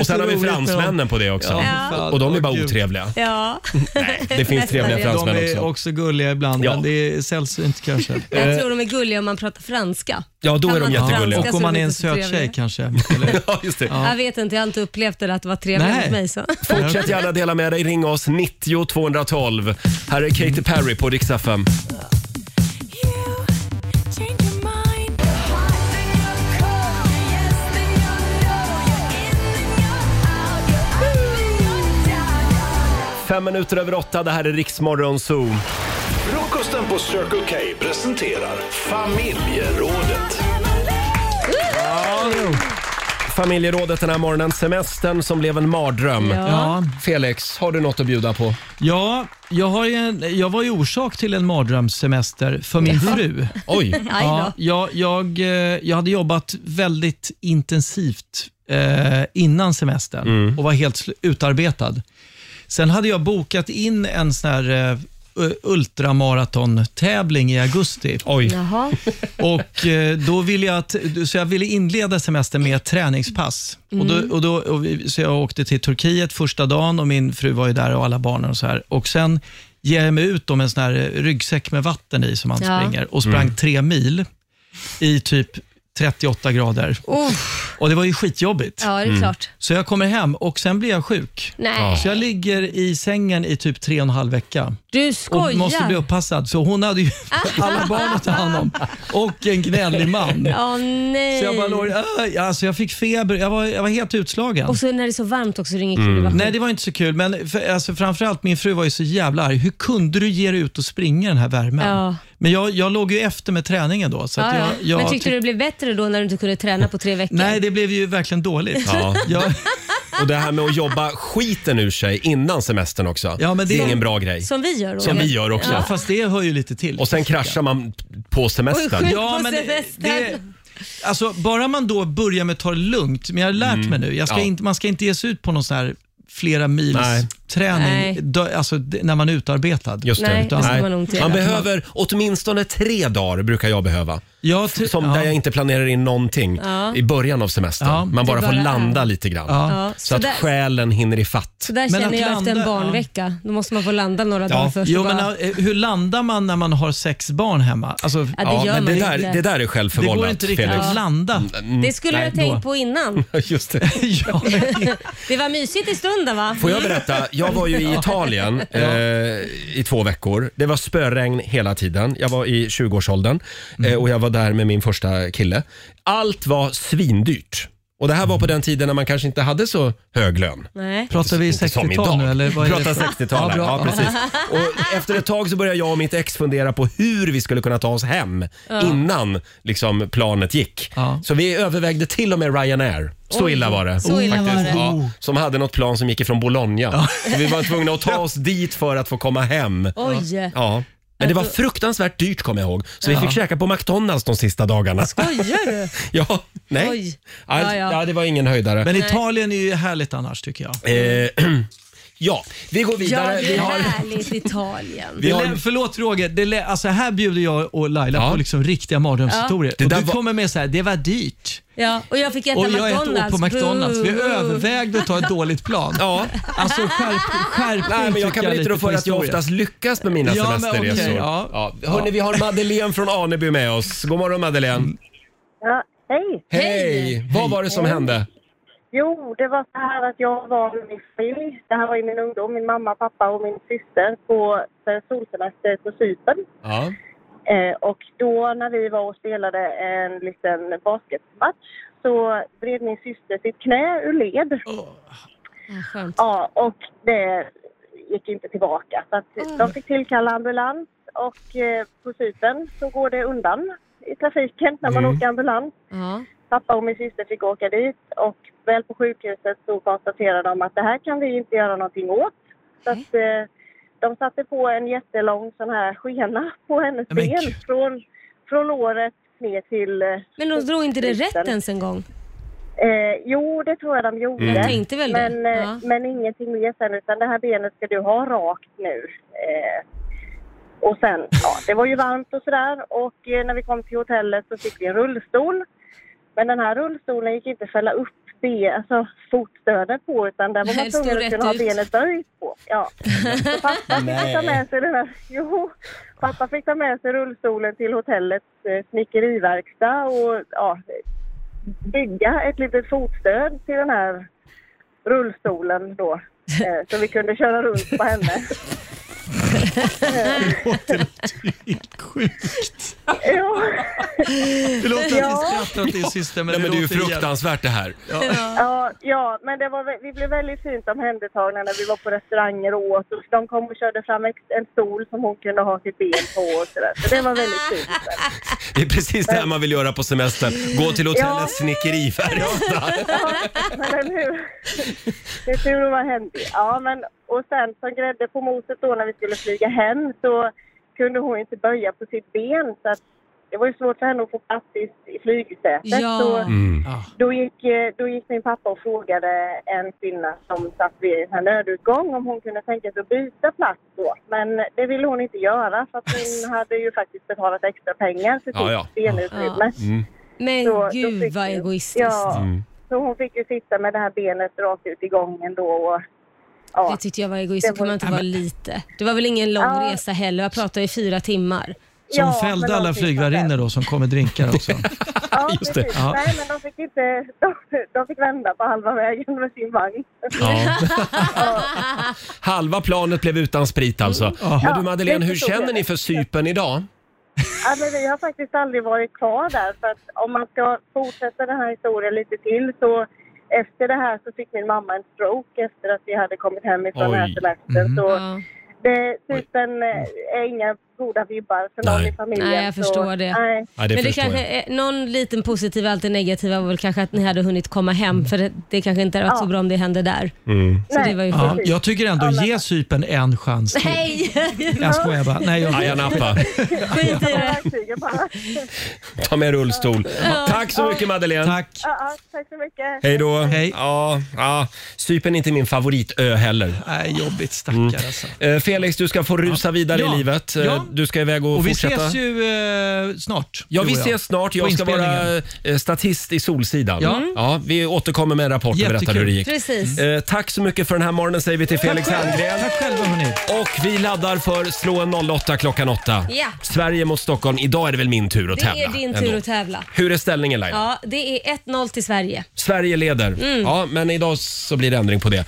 Speaker 1: och sen har vi fransmännen på det också.
Speaker 9: Ja,
Speaker 2: Ja.
Speaker 1: Och de är bara otrevliga.
Speaker 2: Ja. Nej,
Speaker 1: det finns trevliga fransmän
Speaker 9: De är
Speaker 1: också.
Speaker 9: också gulliga ibland, men det är sällsynt kanske.
Speaker 2: Jag tror de är gulliga om man pratar franska.
Speaker 1: Ja, då
Speaker 2: Kan
Speaker 1: är de
Speaker 2: man prata
Speaker 1: jättegulliga.
Speaker 2: franska
Speaker 9: Och om
Speaker 2: så
Speaker 9: man
Speaker 2: det
Speaker 9: är en
Speaker 2: inte så
Speaker 9: söt
Speaker 2: trevligt.
Speaker 9: tjej kanske.
Speaker 1: Ja, just det.
Speaker 2: Jag vet inte, jag har inte upplevt det att vara trevlig
Speaker 1: Nej.
Speaker 2: mot mig. Så.
Speaker 1: Fortsätt gärna dela med dig. Ring oss 90 212. Här är Katy Perry på Rix FM. Fem minuter över åtta. Det här är Riksmorgon Zoo.
Speaker 3: Frukosten på Circle K presenterar Familjerådet.
Speaker 1: Familjerådet den här morgonen. Semestern som blev en mardröm.
Speaker 9: Ja. Ja.
Speaker 1: Felix, har du något att bjuda på?
Speaker 9: Ja, jag, har ju en, jag var ju orsak till en mardrömssemester för min
Speaker 1: Ja.
Speaker 9: fru.
Speaker 1: Oj. Aj då.
Speaker 9: Ja, jag, jag, eh, jag hade jobbat väldigt intensivt eh, innan semestern och var helt sl- utarbetad. Sen hade jag bokat in en sån här eh, u- ultramaratontävling i augusti.
Speaker 1: Oj.
Speaker 2: Jaha.
Speaker 9: Och eh, då ville jag att, så jag ville inleda semestern med ett träningspass. Och
Speaker 14: Mm.
Speaker 9: då, och då, och vi, så jag åkte till Turkiet första dagen och min fru var ju där och alla barnen och så här. Och sen ger jag mig ut om en sån här eh, ryggsäck med vatten i som man
Speaker 14: Ja.
Speaker 9: springer och sprang
Speaker 14: Mm.
Speaker 9: tre mil i typ 38 grader.
Speaker 2: Oh.
Speaker 9: Och det var ju skitjobbigt.
Speaker 2: Ja, det är Mm. klart.
Speaker 9: Så jag kommer hem och sen blir jag sjuk.
Speaker 2: Nej.
Speaker 9: Så jag ligger i sängen i typ tre och en halv vecka.
Speaker 2: Du
Speaker 9: Och
Speaker 2: skojar.
Speaker 9: måste bli upppassad. Så hon hade ju alla barn att ta hand om och en gnällig man.
Speaker 2: Åh nej.
Speaker 9: Så jag bara låg, "Aj", alltså jag fick feber, jag var, jag var helt utslagen.
Speaker 2: Och så när det är så varmt också, det är inget kul att vara
Speaker 9: Mm. Nej, det var inte så kul, men för, alltså, framförallt min fru var ju så jävla arg. Hur kunde du ge dig ut och springa i den här värmen?
Speaker 2: Ja.
Speaker 9: Men jag, jag låg ju efter med träningen då. Så att
Speaker 2: Ja, ja.
Speaker 9: jag, jag
Speaker 2: Men tyckte du det blev bättre då när du inte kunde träna på tre veckor?
Speaker 9: Nej, det blev ju verkligen dåligt.
Speaker 1: Ja.
Speaker 9: Jag,
Speaker 1: Och det här med att jobba skiten ur sig innan semestern också.
Speaker 9: Ja, men
Speaker 1: det,
Speaker 9: det-
Speaker 1: är ingen bra grej.
Speaker 2: Som vi gör, Roger.
Speaker 1: Som vi gör också.
Speaker 2: Ja.
Speaker 9: Fast det hör ju lite till.
Speaker 1: Och sen kraschar man på semestern.
Speaker 9: Ja, men det, det, alltså, bara man då börjar med att ta det lugnt, men jag har lärt mig nu, jag ska
Speaker 1: Mm. Ja.
Speaker 9: inte, man ska inte ge sig ut på någon sån här flera mils
Speaker 1: Nej.
Speaker 9: kroppsträning
Speaker 2: Nej.
Speaker 9: dö, alltså, d- när man är utarbetad.
Speaker 1: Just det.
Speaker 9: Utan-
Speaker 1: man behöver åtminstone tre dagar brukar jag behöva. som där jag inte planerar in någonting
Speaker 2: Ja.
Speaker 1: i början av semestern.
Speaker 2: Ja.
Speaker 1: Man bara,
Speaker 2: Det bara
Speaker 1: får landa
Speaker 2: är.
Speaker 1: lite grann.
Speaker 2: Ja. Ja.
Speaker 1: Så,
Speaker 2: Så
Speaker 1: att
Speaker 2: där-
Speaker 1: själen hinner i fatt.
Speaker 2: Så där
Speaker 9: Men
Speaker 2: känner
Speaker 9: att
Speaker 2: jag efter en
Speaker 9: landa-
Speaker 2: barnvecka. Då måste man få landa några dagar
Speaker 9: Ja.
Speaker 2: först.
Speaker 9: Jo,
Speaker 2: och
Speaker 9: men
Speaker 2: bara-
Speaker 9: eh, hur landar man när man har sex barn hemma? Alltså,
Speaker 2: det Alltså, Ja, gör men man det inte. där- det där är
Speaker 9: Det går
Speaker 1: självförvållat,
Speaker 9: inte riktigt
Speaker 1: Felix. Mm.
Speaker 9: att landa.
Speaker 2: Det skulle
Speaker 9: Mm.
Speaker 2: jag ha tänkt på innan.
Speaker 1: Just det.
Speaker 2: det var mysigt i stunden va?
Speaker 1: Får jag berätta? Jag var ju i
Speaker 2: Ja.
Speaker 1: Italien eh, i två veckor. Det var spöregn hela tiden. Jag var i 20-årsåldern eh,
Speaker 9: Mm.
Speaker 1: och jag var där med min första kille. Allt var svindyrt. Och det här var på den tiden när man kanske inte hade så hög lön.
Speaker 2: Nej.
Speaker 9: Pratar vi
Speaker 1: Inte som
Speaker 9: 60-tal
Speaker 1: idag.
Speaker 9: nu eller? vad är det
Speaker 1: Pratar
Speaker 9: för-
Speaker 1: 60-tal.
Speaker 9: Ja,
Speaker 1: Ja,
Speaker 9: bra.
Speaker 1: ja,
Speaker 9: Ja.
Speaker 1: precis. Och efter ett tag så började jag och mitt ex fundera på hur vi skulle kunna ta oss hem
Speaker 2: Ja.
Speaker 1: innan liksom, planet gick. Så vi övervägde till och med Ryanair. Så
Speaker 2: Oj,
Speaker 1: illa var det.
Speaker 2: så illa var
Speaker 1: faktiskt.
Speaker 2: det.
Speaker 9: Oh.
Speaker 1: Ja, som hade något plan som gick ifrån Bologna. Så vi var tvungna att ta oss dit för att få komma hem.
Speaker 2: Oj.
Speaker 1: Ja. Men det var fruktansvärt dyrt kommer jag ihåg. Så vi
Speaker 2: Ja.
Speaker 1: fick käka på McDonalds de sista dagarna.
Speaker 2: Skojar du?
Speaker 1: Ja, nej.
Speaker 2: Oj.
Speaker 1: Ja,
Speaker 2: Ja, ja.
Speaker 1: ja, det var ingen höjdare.
Speaker 9: Men Italien är ju härligt annars tycker jag.
Speaker 1: Eh, ja, vi går
Speaker 2: Ja,
Speaker 1: vidare.
Speaker 2: det
Speaker 1: vi
Speaker 2: är
Speaker 1: har...
Speaker 2: härligt Italien.
Speaker 9: Det lä- förlåt Roger, det lä- alltså här bjuder jag och Laila på liksom riktiga mardrömshistorier.
Speaker 1: Ja. Det
Speaker 9: Och
Speaker 1: där
Speaker 9: du
Speaker 1: var-
Speaker 9: kommer med så här, det var dyrt.
Speaker 2: Ja, och jag fick äta
Speaker 9: och jag
Speaker 2: McDonalds.
Speaker 9: åt på McDonalds. Vi
Speaker 2: Boo.
Speaker 9: övervägde att ta ett dåligt plan.
Speaker 1: Ja.
Speaker 9: Alltså skärp, skärp
Speaker 1: Nej, men jag kan väl inte rå för att jag oftast lyckas med mina
Speaker 9: Ja, men
Speaker 1: semesterresor.
Speaker 9: okej,
Speaker 1: ja.
Speaker 9: ja.
Speaker 1: Ja. Hörrni, vi har Madeleine från Aneby med oss. God morgon Madeleine.
Speaker 14: Ja, hej!
Speaker 1: Vad var det som
Speaker 14: Hej.
Speaker 1: hände?
Speaker 14: Jo, det var så här att jag var med min familj. Det här var i min ungdom, min mamma, pappa och min syster på eh, solsemester på Cypern.
Speaker 1: Ja.
Speaker 14: Eh, och då när vi var och spelade en liten basketmatch så vred min syster sitt knä ur led. Ja, och det gick inte tillbaka. Så att de fick tillkalla ambulans och eh, på Cypern så går det undan i trafiken när man
Speaker 11: Mm.
Speaker 14: åker ambulans. Pappa och min syster fick åka dit och väl på sjukhuset så konstaterade de att det här kan vi inte göra någonting åt. Så att, eh, de satte på en jättelång sån här skena på hennes
Speaker 2: Men
Speaker 14: ben från, från låret ner till... eh,
Speaker 2: Men de drog inte det rätt
Speaker 14: foten.
Speaker 2: ens en gång?
Speaker 14: Eh, jo, det tror jag de gjorde.
Speaker 2: Mm. Jag tänkte väl det.
Speaker 14: men, eh,
Speaker 2: Ja.
Speaker 14: men ingenting mer sen, utan det här benet ska du ha rakt nu. Eh, och sen, ja, det var ju varmt och sådär och eh, när vi kom till hotellet så fick vi en rullstol. Men den här rullstolen gick inte att fälla upp be, alltså fotstöden på utan där var
Speaker 2: Nej,
Speaker 14: man
Speaker 2: stå
Speaker 14: tvungen
Speaker 2: rätt
Speaker 14: att kunna ha
Speaker 2: ut.
Speaker 14: benet böjt på. Ja. Så pappa fick ta med sig den här, jo, pappa fick ta med sig rullstolen till hotellets eh, snickeriverkstad och ja, bygga ett litet fotstöd till den här rullstolen då. eh, Så vi kunde köra runt på henne. Ja.
Speaker 9: Det låter att vi
Speaker 14: Ja.
Speaker 9: skrattar åt din syster men
Speaker 1: Nej, men det är ju
Speaker 9: låter jävligt-
Speaker 1: fruktansvärt det här.
Speaker 14: Ja, ja, men det var, vä- vi blev väldigt fint omhändertagna när vi var på restauranger och åt. Och De kom och körde fram ex- en stol som hon kunde ha sitt ben på och sådär. Så det var väldigt fint.
Speaker 1: Det är precis det här man vill göra på semestern. Gå till hotellets snickeriverkstad.
Speaker 14: Ja, men eller hur? Det är tur att vara händig. Ja, men och sen som grädde på moset då när vi skulle flyga hem så kunde hon inte böja på sitt ben så att det var ju svårt för henne att få plats i, i flygsätet.
Speaker 2: Ja.
Speaker 14: Så
Speaker 2: Mm.
Speaker 14: då, gick, eh, då gick min pappa och frågade en kvinna som satt vid en här nödutgång om hon kunde tänka sig att byta plats då. Men det ville hon inte göra för att hon hade ju faktiskt betalat extra pengar för sitt
Speaker 2: Ja, ja.
Speaker 14: benutrymme.
Speaker 2: Ja. Men
Speaker 14: Så, då
Speaker 2: gud
Speaker 14: fick
Speaker 2: vad
Speaker 14: vi-
Speaker 2: egoistiskt.
Speaker 14: Ja, så hon fick ju sitta med det här benet rakt ut i gången då. Och, ja.
Speaker 2: Det tyckte jag var egoistiskt. Det kan man inte vara lite. Det var väl ingen lång resa heller. Jag pratade i fyra timmar.
Speaker 9: Som fällde alla flygvärdinnor då som kom med drinkar också.
Speaker 14: Ja,
Speaker 9: Just det.
Speaker 14: precis.
Speaker 9: Ja.
Speaker 14: Nej, men de fick, inte, de, de fick vända på halva vägen med sin vagn.
Speaker 1: Ja. Halva planet blev utan sprit alltså. Men du Madeleine,
Speaker 14: Ja,
Speaker 1: hur
Speaker 14: det förstår
Speaker 1: känner
Speaker 14: jag.
Speaker 1: ni för Cypern idag?
Speaker 14: Ja, men vi har faktiskt aldrig varit kvar där. För att om man ska fortsätta den här historien lite till så efter det här så fick min mamma en stroke
Speaker 1: Mhm.
Speaker 14: efter att vi hade kommit hem ifrån den här
Speaker 11: Oj.
Speaker 14: semestern.
Speaker 11: Mm.
Speaker 14: Så
Speaker 11: Ja.
Speaker 14: det, typen eh, är inga goda vibbar för någon
Speaker 1: Nej.
Speaker 14: i familjen.
Speaker 2: Nej, jag
Speaker 14: så-
Speaker 2: förstår det.
Speaker 14: Nej.
Speaker 1: Ja, det
Speaker 2: Men det
Speaker 1: förstår
Speaker 2: kanske är någon liten positiv, alltid negativa var väl kanske att ni hade hunnit komma hem för det, det kanske inte hade varit så bra om det hände där.
Speaker 9: Mm.
Speaker 2: Så det var ju
Speaker 9: Ja,
Speaker 2: skönt.
Speaker 9: jag tycker ändå, ge Cypern en chans till.
Speaker 2: Nej!
Speaker 9: Jag skojar Mm. bara. Nej, jag...
Speaker 1: Ayia Napa.
Speaker 2: Skit i det.
Speaker 1: Ta med rullstol.
Speaker 14: Ja.
Speaker 1: Tack så
Speaker 14: Ja.
Speaker 1: mycket Madeleine. Tack.
Speaker 14: Ja, ja, tack så mycket.
Speaker 1: Hej då. Hej. Ja, ja. Cypern är inte min favoritö heller. Nej, jobbigt stackare alltså. Felix, du ska få rusa vidare
Speaker 9: Ja.
Speaker 1: i livet. Eh,
Speaker 9: Ja.
Speaker 1: Du ska iväg och,
Speaker 9: Och vi
Speaker 1: fortsätta.
Speaker 9: ses ju eh, snart.
Speaker 1: Ja,
Speaker 9: du
Speaker 1: vi
Speaker 9: och jag.
Speaker 1: ses snart.
Speaker 9: På
Speaker 1: Jag ska vara
Speaker 9: inspelningen.
Speaker 1: eh, statist i Solsidan.
Speaker 9: Ja.
Speaker 1: Ja.
Speaker 9: Mm.
Speaker 1: vi återkommer med en rapport och berättar
Speaker 9: Jättekul.
Speaker 1: hur det gick.
Speaker 9: Precis.
Speaker 1: Eh, tack så mycket för den här morgonen säger vi till Felix
Speaker 9: Tack själv.
Speaker 1: Herngren.
Speaker 9: Tack själva hörni.
Speaker 1: Och vi laddar för Slå en 08 klockan 8.
Speaker 2: Ja.
Speaker 1: Sverige mot Stockholm. Idag är det väl min tur att
Speaker 2: Det
Speaker 1: tävla?
Speaker 2: är din tur
Speaker 1: ändå.
Speaker 2: att tävla.
Speaker 1: Hur är ställningen Laila?
Speaker 2: Ja, det är 1-0 till Sverige.
Speaker 1: Sverige leder.
Speaker 2: Mm.
Speaker 1: Ja, men idag så blir det ändring på det. Eh,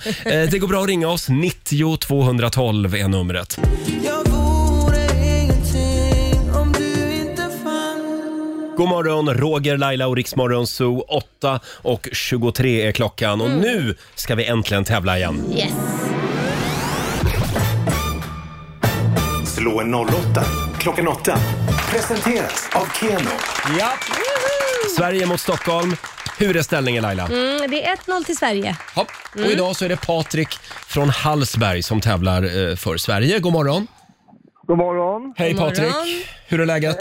Speaker 1: det går bra att ringa oss. 90 212 är numret.
Speaker 6: Jag vore ingenting om du inte fanns
Speaker 1: God morgon, Roger, Laila och Riksmorgon Zoo. 8 och 23 är klockan och nu ska vi äntligen tävla igen.
Speaker 6: Yes.
Speaker 3: Slå en 08 klockan 8. Presenteras av Keno.
Speaker 1: Ja. Sverige mot Stockholm. Hur är ställningen Laila?
Speaker 2: Mm, det är 1-0 till Sverige.
Speaker 1: Hopp. Och
Speaker 2: Mm.
Speaker 1: idag så är det Patrik från Hallsberg som tävlar eh, för Sverige. God morgon.
Speaker 12: God morgon.
Speaker 1: Hej
Speaker 12: God morgon.
Speaker 1: Patrik. Hur är läget?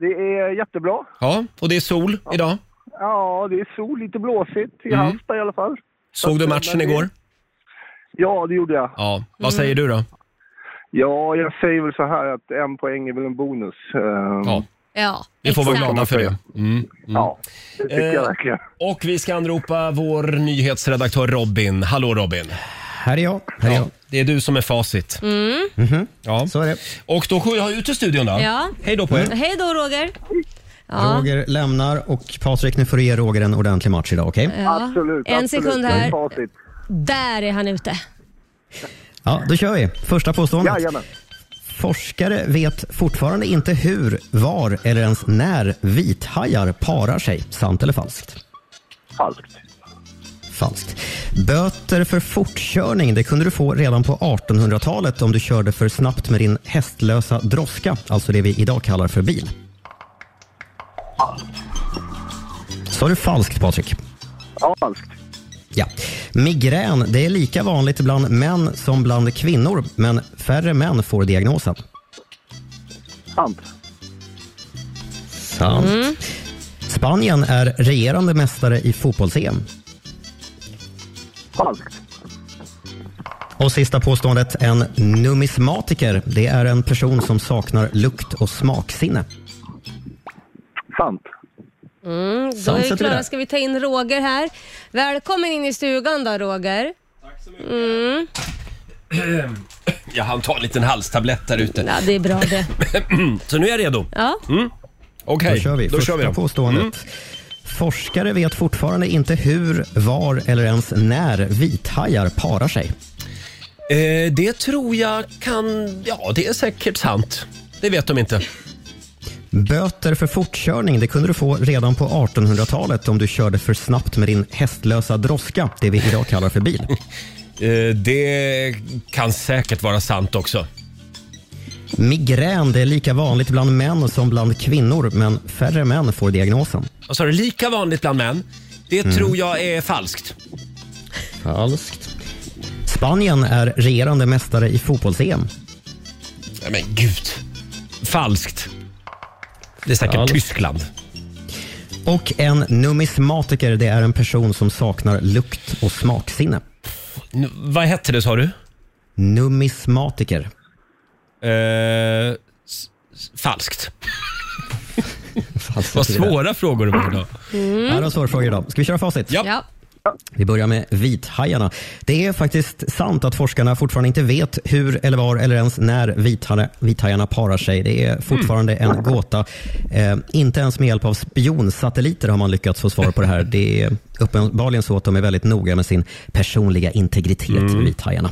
Speaker 12: Det är jättebra.
Speaker 1: Ja, och det är sol idag.
Speaker 12: Ja, det är sol, lite blåsigt i
Speaker 1: Mm.
Speaker 12: Halmstad i alla fall.
Speaker 1: Såg du
Speaker 12: Men
Speaker 1: matchen
Speaker 12: det-
Speaker 1: igår?
Speaker 12: Ja, det gjorde jag.
Speaker 1: Ja, vad säger du då?
Speaker 12: Ja, jag säger väl så här att en poäng är väl en bonus. Eh,
Speaker 1: Ja,
Speaker 2: Ja,
Speaker 1: Vi får vara glada för det.
Speaker 12: Ja, det tycker jag
Speaker 1: Eh,
Speaker 12: verkligen.
Speaker 1: Och vi ska anropa vår nyhetsredaktör Robin. Hallå Robin!
Speaker 11: Här är jag. Mhm. Här är
Speaker 1: Ja, det är du som är facit.
Speaker 2: Mm.
Speaker 1: Ja. Så är det. Och då går jag ut ur studion då.
Speaker 2: Ja.
Speaker 1: Hej då på er.
Speaker 2: Hej då Roger. Ja.
Speaker 11: Roger lämnar och Patrik, nu får du ge Roger en ordentlig match idag, okej?
Speaker 2: Ja. En sekund här. Där är han ute.
Speaker 11: Ja, då kör vi. Första påståendet.
Speaker 12: Jajamän.
Speaker 11: Forskare vet fortfarande inte hur, var eller ens när vithajar parar sig. Sant eller falskt?
Speaker 12: Falskt.
Speaker 11: Falskt. Böter för fortkörning det kunde du få redan på 1800-talet om du körde för snabbt med din hästlösa droska, alltså det vi idag kallar för bil. Sa du falskt, Patrik?
Speaker 12: Ja, falskt.
Speaker 11: Ja. Migrän det är lika vanligt bland män som bland kvinnor, men färre män får diagnosen.
Speaker 12: Sant.
Speaker 11: Sant.
Speaker 2: Mm.
Speaker 11: Spanien är regerande mästare i fotbolls-EM.
Speaker 12: Falskt.
Speaker 11: Och sista påståendet, en numismatiker. Det är en person som saknar lukt och smaksinne.
Speaker 12: Sant.
Speaker 2: Mm, då
Speaker 11: Sant sätter
Speaker 2: är vi
Speaker 11: vi
Speaker 2: klara.
Speaker 11: där.
Speaker 2: Ska vi ta in Roger här? Välkommen in i stugan då Roger. Tack så mycket. Mm.
Speaker 1: Jag hann ta en liten halstablett där ute.
Speaker 2: Ja, det är bra det.
Speaker 1: Så nu är jag redo.
Speaker 2: Ja.
Speaker 1: Mm. Okej,
Speaker 11: Då kör vi.
Speaker 1: Då
Speaker 11: Första
Speaker 1: kör vi då.
Speaker 11: påståendet.
Speaker 1: Mm.
Speaker 11: Forskare vet fortfarande inte hur, var eller ens när vithajar parar sig.
Speaker 1: Eh, det tror jag kan... Ja, det är säkert sant. Det vet de inte.
Speaker 11: Böter för fortkörning det kunde du få redan på 1800-talet om du körde för snabbt med din hästlösa droska, det vi idag kallar för bil.
Speaker 1: Eh, det kan säkert vara sant också.
Speaker 11: Migrän det är lika vanligt bland män som bland kvinnor, men färre män får diagnosen.
Speaker 1: Vad sa du? Lika vanligt bland män. Det
Speaker 11: Mm.
Speaker 1: tror jag är falskt.
Speaker 11: Falskt. Spanien är regerande mästare i fotbolls-EM.
Speaker 1: Nej, men gud. Falskt. Det är säkert
Speaker 11: Falskt.
Speaker 1: Tyskland.
Speaker 11: Och en numismatiker det är en person som saknar lukt och smaksinne.
Speaker 1: Nu, vad hette det sa du?
Speaker 11: Numismatiker.
Speaker 1: Eh, s- s- falskt. Vad svåra frågor det var idag.
Speaker 11: Mm. Ja, det var svåra frågor idag. Ska vi köra facit?
Speaker 2: Ja.
Speaker 11: Vi börjar med vithajarna. Det är faktiskt sant att forskarna fortfarande inte vet hur eller var eller ens när vithajarna, vithajarna parar sig. Det är fortfarande en gåta. Eh, inte ens med hjälp av spionsatelliter har man lyckats få svar på det här. Det är uppenbarligen så att de är väldigt noga med sin personliga integritet, vithajarna.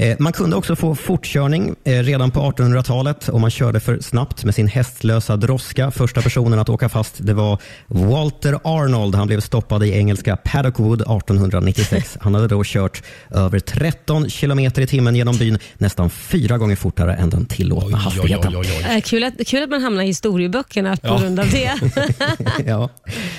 Speaker 11: Eh, Man kunde också få fortkörning eh, redan på 1800-talet om man körde för snabbt med sin hästlösa droska. Första personen att åka fast det var Walter Arnold. Han blev stoppad i engelska Paddockwood 1896. Han hade då kört över 13 kilometer i timmen genom byn, nästan fyra gånger fortare än den tillåtna hastigheten.
Speaker 2: Eh, Kul, att, kul att man hamnar i historieböckerna på
Speaker 11: Ja.
Speaker 2: grund av det.
Speaker 11: ja.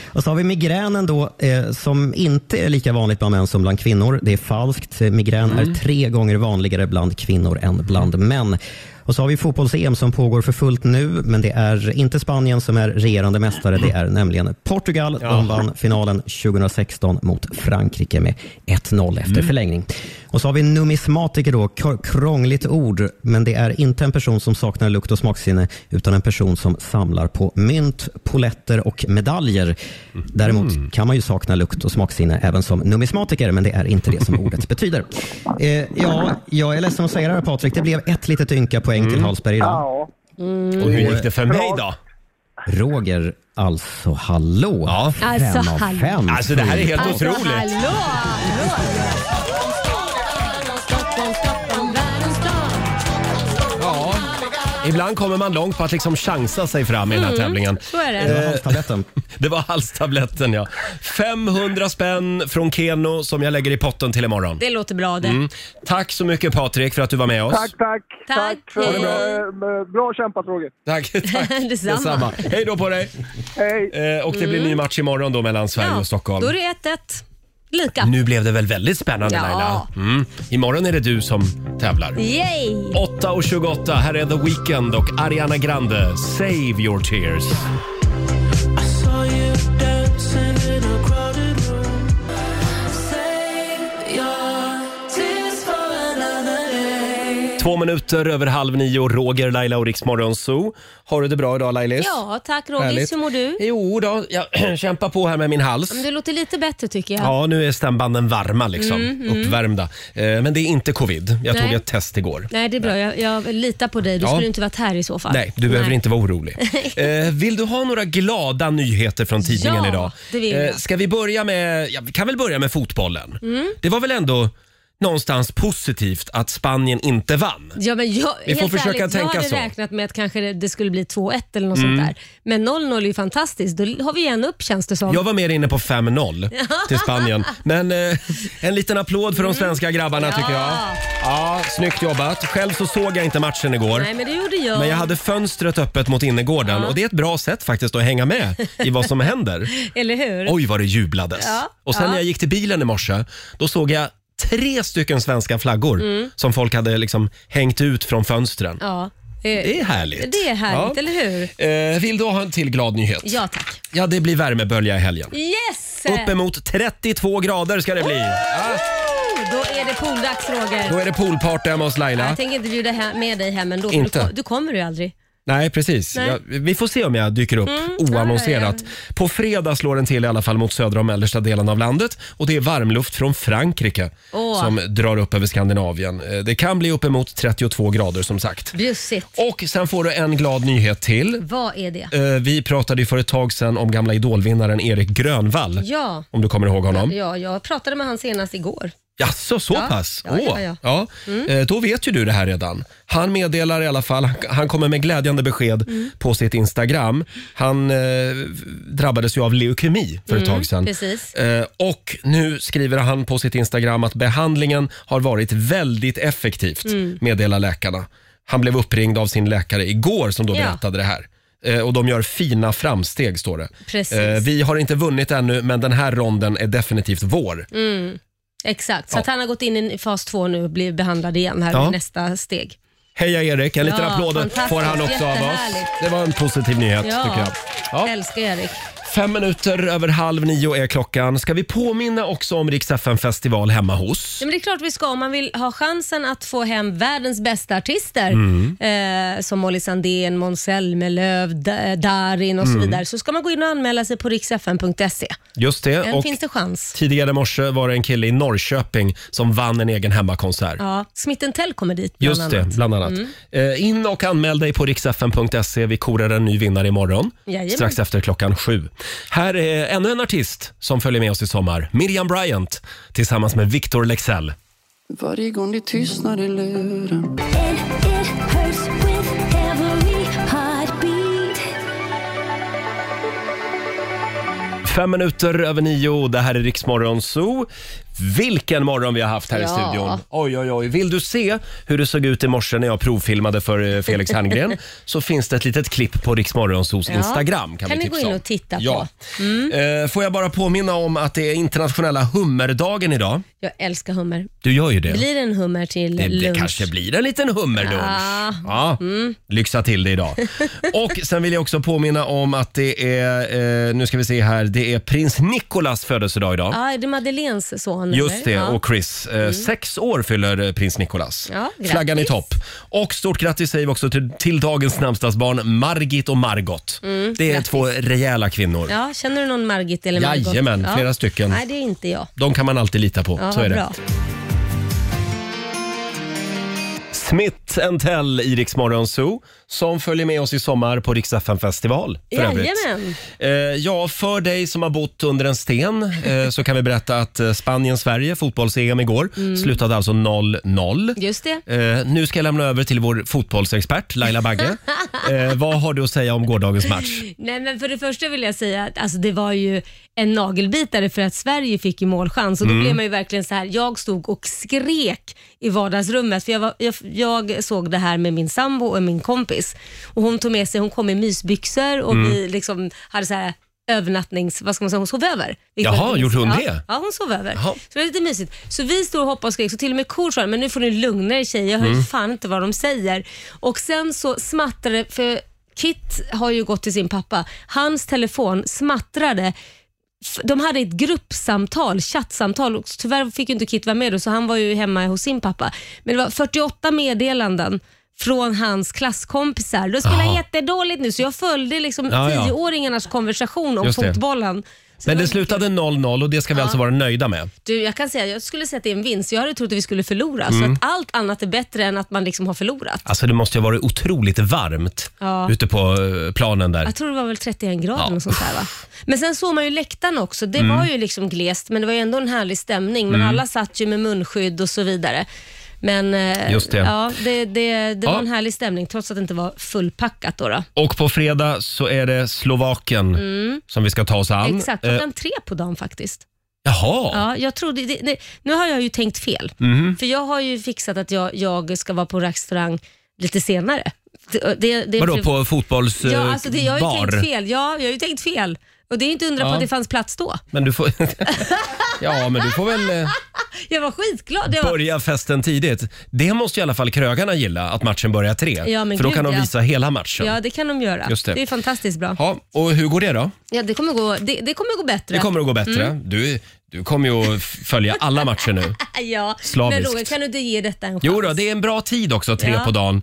Speaker 11: Och så har vi migränen då, eh, som inte är lika vanligt bland män som bland kvinnor. Det är falskt. Eh, Migrän
Speaker 15: Mm.
Speaker 11: är tre gånger vanligare bland kvinnor än bland män. Och så har vi fotbolls-EM som pågår för fullt nu, men det är inte Spanien som är regerande mästare. Det är nämligen Portugal.
Speaker 15: Ja.
Speaker 11: De vann finalen 2016 mot Frankrike med 1-0 efter
Speaker 15: Mm.
Speaker 11: förlängning. Och så har vi numismatiker då, kr- krångligt ord, men det är inte en person som saknar lukt och smaksinne, utan en person som samlar på mynt, poletter och medaljer. Däremot kan man ju sakna lukt och smaksinne även som numismatiker, men det är inte det som ordet betyder. Eh, ja, jag är ledsen att säga det här Patrik, det blev ett litet ynka poäng till Hallsberg idag.
Speaker 1: Och hur gick det för mig då?
Speaker 11: Roger, alltså hallå! Ja.
Speaker 2: Alltså,
Speaker 11: fem av
Speaker 2: hallå.
Speaker 11: fem.
Speaker 1: Alltså, det här är helt
Speaker 2: Alltså,
Speaker 1: otroligt.
Speaker 2: hallå!
Speaker 1: Ja. Ibland kommer man långt på att liksom chansa sig fram i den här
Speaker 2: Mm,
Speaker 1: tävlingen.
Speaker 2: så är det.
Speaker 1: Eh,
Speaker 2: Det var halstabletten.
Speaker 1: det var halstabletten, ja. 500 spänn från Keno som jag lägger i potten till imorgon.
Speaker 2: Det låter bra det.
Speaker 1: Mm. Tack så mycket Patrik för att du var med oss.
Speaker 2: Tack,
Speaker 12: tack.
Speaker 2: Tack.
Speaker 12: Ha det bra. Bra kämpat Roger.
Speaker 1: Tack, tack.
Speaker 2: Detsamma. Mm.
Speaker 1: Hej då på dig.
Speaker 12: Hej.
Speaker 1: Eh, och det blir ny match imorgon då mellan Sverige och Stockholm.
Speaker 2: Då är det 1-1. Lika.
Speaker 1: Nu blev det väl väldigt spännande
Speaker 2: Ja.
Speaker 1: Laila? Mm. Imorgon är det du som tävlar.
Speaker 2: Yay!
Speaker 1: 8.28, här är The Weeknd och Ariana Grande. Save your tears.
Speaker 6: I saw you dancing in a crowded room. Save your tears for another day.
Speaker 1: Två minuter över halv nio, Roger, Laila och Riksmorgon Zoo. Har du det bra idag Lailis?
Speaker 2: Ja, tack Rogis.
Speaker 1: Härligt.
Speaker 2: Hur mår du?
Speaker 1: Jo då, jag kämpar på här med min hals.
Speaker 2: Men du låter lite bättre tycker jag.
Speaker 1: Ja, nu är stämbanden varma liksom.
Speaker 2: Mm, mm.
Speaker 1: Uppvärmda. Eh, Men det är inte covid. Jag
Speaker 2: Nej.
Speaker 1: tog ett test igår.
Speaker 2: Nej, det är bra. Jag, jag litar på dig. Du
Speaker 1: Ja.
Speaker 2: skulle inte varit här i så fall.
Speaker 1: Nej, du behöver inte vara orolig. Eh, vill du ha några glada nyheter från tidningen
Speaker 2: Ja,
Speaker 1: idag? Eh,
Speaker 2: det vill jag.
Speaker 1: ska vi börja med, ja, vi kan väl börja med fotbollen.
Speaker 2: Mm.
Speaker 1: Det var väl ändå någonstans positivt att Spanien inte vann?
Speaker 2: Ja, men jag,
Speaker 1: Vi får
Speaker 2: helt
Speaker 1: försöka
Speaker 2: ärligt,
Speaker 1: tänka
Speaker 2: jag hade
Speaker 1: så.
Speaker 2: räknat med att kanske det, det skulle bli 2-1 eller något
Speaker 1: Mm.
Speaker 2: sånt där. Men 0-0 är ju fantastiskt. Då har vi en upp känns det som.
Speaker 1: Jag var mer inne på 5-0 till Spanien. Men eh, en liten applåd för de
Speaker 2: Mm.
Speaker 1: svenska grabbarna tycker jag. Ja, snyggt jobbat. Själv så såg jag inte matchen igår.
Speaker 2: Nej, men det gjorde jag.
Speaker 1: Men jag hade fönstret öppet mot innergården
Speaker 2: Ja.
Speaker 1: och det är ett bra sätt faktiskt att hänga med i vad som händer.
Speaker 2: Eller hur?
Speaker 1: Oj vad det jublades.
Speaker 2: Ja,
Speaker 1: Och sen
Speaker 2: ja.
Speaker 1: när jag gick till bilen i morse, då såg jag tre stycken svenska flaggor
Speaker 2: Mm.
Speaker 1: som folk hade liksom hängt ut från fönstren.
Speaker 2: Ja. Eh,
Speaker 1: Det är härligt.
Speaker 2: Det är härligt,
Speaker 1: Ja.
Speaker 2: eller hur?
Speaker 1: Eh, vill du ha en till glad nyhet?
Speaker 2: Ja, tack.
Speaker 1: Ja, det blir värmebölja i helgen.
Speaker 2: Yes!
Speaker 1: Uppemot 32 grader ska det bli. Ja,
Speaker 2: Oh, Då är det pooldags, Roger.
Speaker 1: då är det poolparty hemma hos Laila.
Speaker 2: Jag tänker inte bjuda he- med dig hem ändå, för
Speaker 1: Inte.
Speaker 2: Du, kom- du kommer ju aldrig.
Speaker 1: Nej, precis.
Speaker 2: Nej.
Speaker 1: Ja, vi får se om jag dyker upp
Speaker 2: Mm,
Speaker 1: oannonserat. På fredag slår den till i alla fall mot södra och mellersta delen av landet. Och det är varmluft från Frankrike
Speaker 2: Åh.
Speaker 1: som drar upp över Skandinavien. Eh, Det kan bli uppemot 32 grader som sagt.
Speaker 2: Bjussigt.
Speaker 1: Och sen får du en glad nyhet till.
Speaker 2: Vad är det?
Speaker 1: Eh, Vi pratade ju för ett tag sedan om gamla idolvinnaren Erik Grönvall.
Speaker 2: Ja.
Speaker 1: Om du kommer ihåg honom.
Speaker 2: Ja, jag pratade med han senast igår.
Speaker 1: Jaså, så
Speaker 2: Ja.
Speaker 1: pass?
Speaker 2: Ja, ja,
Speaker 1: Åh,
Speaker 2: ja. Mm.
Speaker 1: Eh, Då vet ju du det här redan. Han meddelar i alla fall, han kommer med glädjande besked
Speaker 2: Mm.
Speaker 1: på sitt Instagram. Han eh, drabbades ju av leukemi för ett
Speaker 2: Mm,
Speaker 1: tag sedan.
Speaker 2: precis.
Speaker 1: Eh, och nu skriver han på sitt Instagram att behandlingen har varit väldigt effektivt,
Speaker 2: Mm.
Speaker 1: meddelar läkarna. Han blev uppringd av sin läkare igår som då
Speaker 2: Ja.
Speaker 1: berättade det här. Eh, Och de gör fina framsteg, står det.
Speaker 2: Precis.
Speaker 1: Eh, Vi har inte vunnit ännu, men den här ronden är definitivt vår.
Speaker 2: Mm. Exakt, så
Speaker 1: Ja.
Speaker 2: att han har gått in i fas 2 nu och blir behandlad igen här
Speaker 1: Ja.
Speaker 2: i nästa steg.
Speaker 1: Heja Erik! En liten
Speaker 2: Ja,
Speaker 1: applåd
Speaker 2: fantastiskt.
Speaker 1: får han också av oss.
Speaker 2: Jättehärligt.
Speaker 1: Det var en positiv nyhet
Speaker 2: Ja.
Speaker 1: tycker jag. Ja.
Speaker 2: Älskar Erik.
Speaker 1: Fem minuter över halv nio är klockan. Ska vi påminna också om Rix FM festival hemma hos?
Speaker 2: Ja, men det är klart vi ska om man vill ha chansen att få hem världens bästa artister
Speaker 1: Mm.
Speaker 2: eh, som Molly Sandén, Måns Zelmerlöw, D- eh, Darin och så
Speaker 1: Mm.
Speaker 2: vidare så ska man gå in och anmäla sig på riksfn.se.
Speaker 1: Just det.
Speaker 2: Än
Speaker 1: Och
Speaker 2: finns det chans.
Speaker 1: tidigare i morse var det en kille i Norrköping som vann en egen hemmakonsert.
Speaker 2: Ja, Smitten Tell kommer dit bland
Speaker 1: Just det,
Speaker 2: annat.
Speaker 1: bland annat.
Speaker 2: Mm.
Speaker 1: Eh, in och anmäl dig på riksfn.se. Vi korar en ny vinnare imorgon.
Speaker 2: Jajamän.
Speaker 1: Strax efter klockan sju. Här är ännu en artist som följer med oss i sommar. Miriam Bryant tillsammans med Victor Lexell.
Speaker 15: Varje gång det tystnar i luren
Speaker 1: Fem minuter över nio, det här är Riksmorgon Zoo. Vilken morgon vi har haft här i
Speaker 16: Ja.
Speaker 1: studion. Oj, oj, oj. Vill du se hur det såg ut i morse när jag provfilmade för eh, Felix Herngren så finns det ett litet klipp på Riksmorgon Zoos
Speaker 2: Ja.
Speaker 1: Instagram. Kan,
Speaker 2: kan
Speaker 1: vi
Speaker 2: ni gå
Speaker 1: tipsa
Speaker 2: in
Speaker 1: om.
Speaker 2: och titta
Speaker 1: Ja.
Speaker 2: på. Mm.
Speaker 1: Eh, Får jag bara påminna om att det är internationella hummerdagen idag.
Speaker 2: Jag älskar hummer.
Speaker 1: Du gör ju det.
Speaker 2: Blir det en hummer till
Speaker 1: det, det
Speaker 2: lunch?
Speaker 1: kanske blir en liten hummerdunch.
Speaker 2: Ja.
Speaker 1: Ja,
Speaker 2: Mm.
Speaker 1: lyxa till det idag. Och sen vill jag också påminna om att det är, eh, nu ska vi se här, det är prins Nicolas födelsedag idag.
Speaker 2: Ja, det är Madeleines son.
Speaker 1: Just
Speaker 2: eller?
Speaker 1: det,
Speaker 2: Ja. Mm.
Speaker 1: och Chris. Eh, Sex år fyller eh, prins Nicolas.
Speaker 2: Ja, grattis.
Speaker 1: Flaggan i topp. Och stort grattis säger vi också till, till dagens namnsdagsbarn Margit och Margot.
Speaker 2: Mm,
Speaker 1: det är
Speaker 2: grattis.
Speaker 1: två rejäla kvinnor.
Speaker 2: Ja, känner du någon Margit eller Margot?
Speaker 1: Jajamän, flera stycken.
Speaker 2: Nej, det är inte jag.
Speaker 1: De kan man alltid lita på.
Speaker 2: Ja,
Speaker 1: Så är
Speaker 2: vad
Speaker 1: det.
Speaker 2: bra.
Speaker 1: Smith Tell i Rix Morgon Zoo som följer med oss i sommar på Rix FM festival för övrigt.
Speaker 2: Jajamän.
Speaker 1: Eh, ja, för dig som har bott under en sten eh, så kan vi berätta att eh, Spanien-Sverige, fotbolls-EM igår,
Speaker 2: Mm.
Speaker 1: slutade alltså 0-0.
Speaker 2: Just det.
Speaker 1: Eh, nu ska jag lämna över till vår fotbollsexpert Laila Bagge. eh, vad har du att säga om gårdagens match?
Speaker 2: Nej, men för det första vill jag säga att alltså, det var ju en nagelbitare för att Sverige fick ju målchans och då
Speaker 1: Mm.
Speaker 2: blev man ju verkligen så här. Jag stod och skrek i vardagsrummet för jag, var, jag, jag såg det här med min sambo och min kompis och hon tog med sig, hon kom i mysbyxor och
Speaker 1: Mm.
Speaker 2: vi liksom hade så här övernattnings, vad ska man säga, hon sov över. Vilket
Speaker 1: Jaha,
Speaker 2: var lite
Speaker 1: gjorde hon
Speaker 2: mysigt.
Speaker 1: det?
Speaker 2: Ja, ja hon sov över.
Speaker 1: Jaha.
Speaker 2: Så det var lite mysigt. Så vi står och hoppar och skrek, så till och med kor sa men nu får ni lugna er tjejer, jag hör ju
Speaker 17: Mm.
Speaker 2: fan inte vad de säger. Och sen så smattrade, för Kit har ju gått till sin pappa, hans telefon smattrade F- de hade ett gruppsamtal, chattsamtal. Och tyvärr fick ju inte Kit vara med då, så han var ju hemma hos sin pappa. Men det var 48 meddelanden från hans klasskompisar. De spelar
Speaker 1: Jaha.
Speaker 2: jättedåligt nu, så jag följde liksom
Speaker 1: Ja, ja.
Speaker 2: tioåringarnas konversation om
Speaker 1: Just det.
Speaker 2: fotbollen.
Speaker 1: Men det slutade 0-0 och det ska vi
Speaker 2: Ja.
Speaker 1: alltså vara nöjda med.
Speaker 2: Du, jag kan säga jag skulle säga att det är en vinst. Jag hade trott att vi skulle förlora. Så
Speaker 1: Mm.
Speaker 2: att allt annat är bättre än att man liksom har förlorat.
Speaker 1: Alltså det måste ju ha varit otroligt varmt
Speaker 2: Ja. Alltså,
Speaker 1: ute på eh, planen där.
Speaker 2: Jag tror det var väl 31 grader
Speaker 1: Ja.
Speaker 2: eller något sånt där, va? Men sen såg man ju läktaren också. Det
Speaker 1: Mm.
Speaker 2: var ju liksom glest, men det var ju ändå en härlig stämning. Men
Speaker 1: Mm.
Speaker 2: alla satt ju med munskydd och så vidare. Men eh,
Speaker 1: Just det.
Speaker 2: Ja, det, det, det
Speaker 1: Ja.
Speaker 2: var en härlig stämning trots att det inte var fullpackat. Då då.
Speaker 1: Och på fredag så är det Slovakien
Speaker 2: Mm.
Speaker 1: som vi ska ta oss an.
Speaker 2: Exakt,
Speaker 1: Eh,
Speaker 2: klockan tre på dagen faktiskt.
Speaker 1: Jaha.
Speaker 2: Ja, jag trodde, det, det, nu har jag ju tänkt fel.
Speaker 1: Mhm.
Speaker 2: För jag har ju fixat att jag, jag ska vara på restaurang lite senare. Det, det, det, typ-
Speaker 1: Vadå, på eh, fotbollsbar?
Speaker 2: Ja, alltså det, jag har ju tänkt fel. Ja, jag har ju tänkt fel. Och det är inte undra på
Speaker 1: Ja.
Speaker 2: att det fanns plats då.
Speaker 1: Men du får... ja, men du får väl eh,
Speaker 2: Jag var skitglad. Det var,
Speaker 1: börja festen tidigt. Det måste i alla fall krögarna gilla, att matchen börjar tre.
Speaker 2: Ja, men
Speaker 1: För då
Speaker 2: gud,
Speaker 1: kan de
Speaker 2: ja.
Speaker 1: visa hela matchen.
Speaker 2: ja, det kan de göra.
Speaker 1: Just det.
Speaker 2: är fantastiskt bra.
Speaker 1: Ja, och hur går det då?
Speaker 2: Ja, det, kommer gå, det, det kommer gå bättre.
Speaker 1: Det kommer att gå bättre.
Speaker 2: Mm.
Speaker 1: Du, du kommer ju att följa alla matcher nu.
Speaker 2: Ja, men
Speaker 1: Slaviskt.
Speaker 2: Roger, kan du inte ge detta en chans?
Speaker 1: Jo då, det är en bra tid också, tre
Speaker 2: Ja.
Speaker 1: på dagen.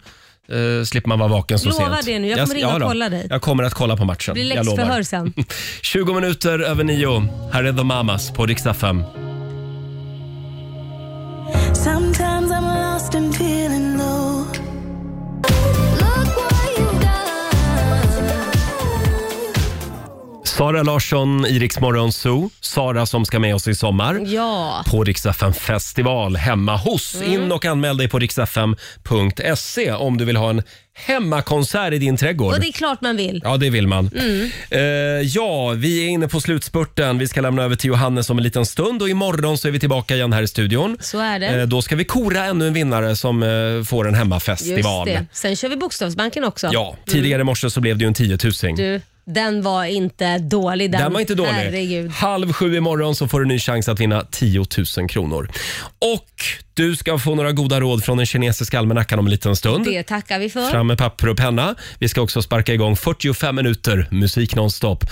Speaker 1: Uh, slipper man vara vaken så
Speaker 2: Lova
Speaker 1: sent.
Speaker 2: det nu, jag kommer ringa och
Speaker 1: då.
Speaker 2: kolla dig.
Speaker 1: Jag kommer att kolla på
Speaker 2: Det
Speaker 1: matchen.
Speaker 2: blir
Speaker 1: jag lovar.
Speaker 2: läxförhör sen.
Speaker 1: 20 minuter över nio. Här är The Mamas på riksdag 5.
Speaker 6: Sometimes I'm lost and feeling low.
Speaker 1: Sara Larsson i Rix Morgon Zoo. Sara som ska med oss i sommar.
Speaker 2: Ja. Mm.
Speaker 1: På Rix FM festival hemma hos. In och anmäl dig på riksfm.se om du vill ha en hemmakonsert i din trädgård.
Speaker 2: Och det är klart man vill.
Speaker 1: Ja, det vill man.
Speaker 2: Mm.
Speaker 1: Eh, ja, vi är inne på slutspurten. Vi ska lämna över till Johannes om en liten stund och imorgon så är vi tillbaka igen här i studion.
Speaker 2: Så är det.
Speaker 1: Eh, då ska vi kora ännu en vinnare som eh, får en
Speaker 2: Just
Speaker 1: hemmafestival.
Speaker 2: det. Sen kör vi Bokstavsbanken också.
Speaker 1: Ja, tidigare i morse så blev det ju en tiotusing.
Speaker 2: Du, den var inte dålig. Den,
Speaker 1: Den var inte dålig.
Speaker 2: Herregud.
Speaker 1: Halv sju imorgon så får du en ny chans att vinna 10 000 kronor. Och du ska få några goda råd från den kinesiska almanackan om en liten stund.
Speaker 2: Det tackar vi för.
Speaker 1: Fram med papper och penna. Vi ska också sparka igång 45 minuter musik nonstop.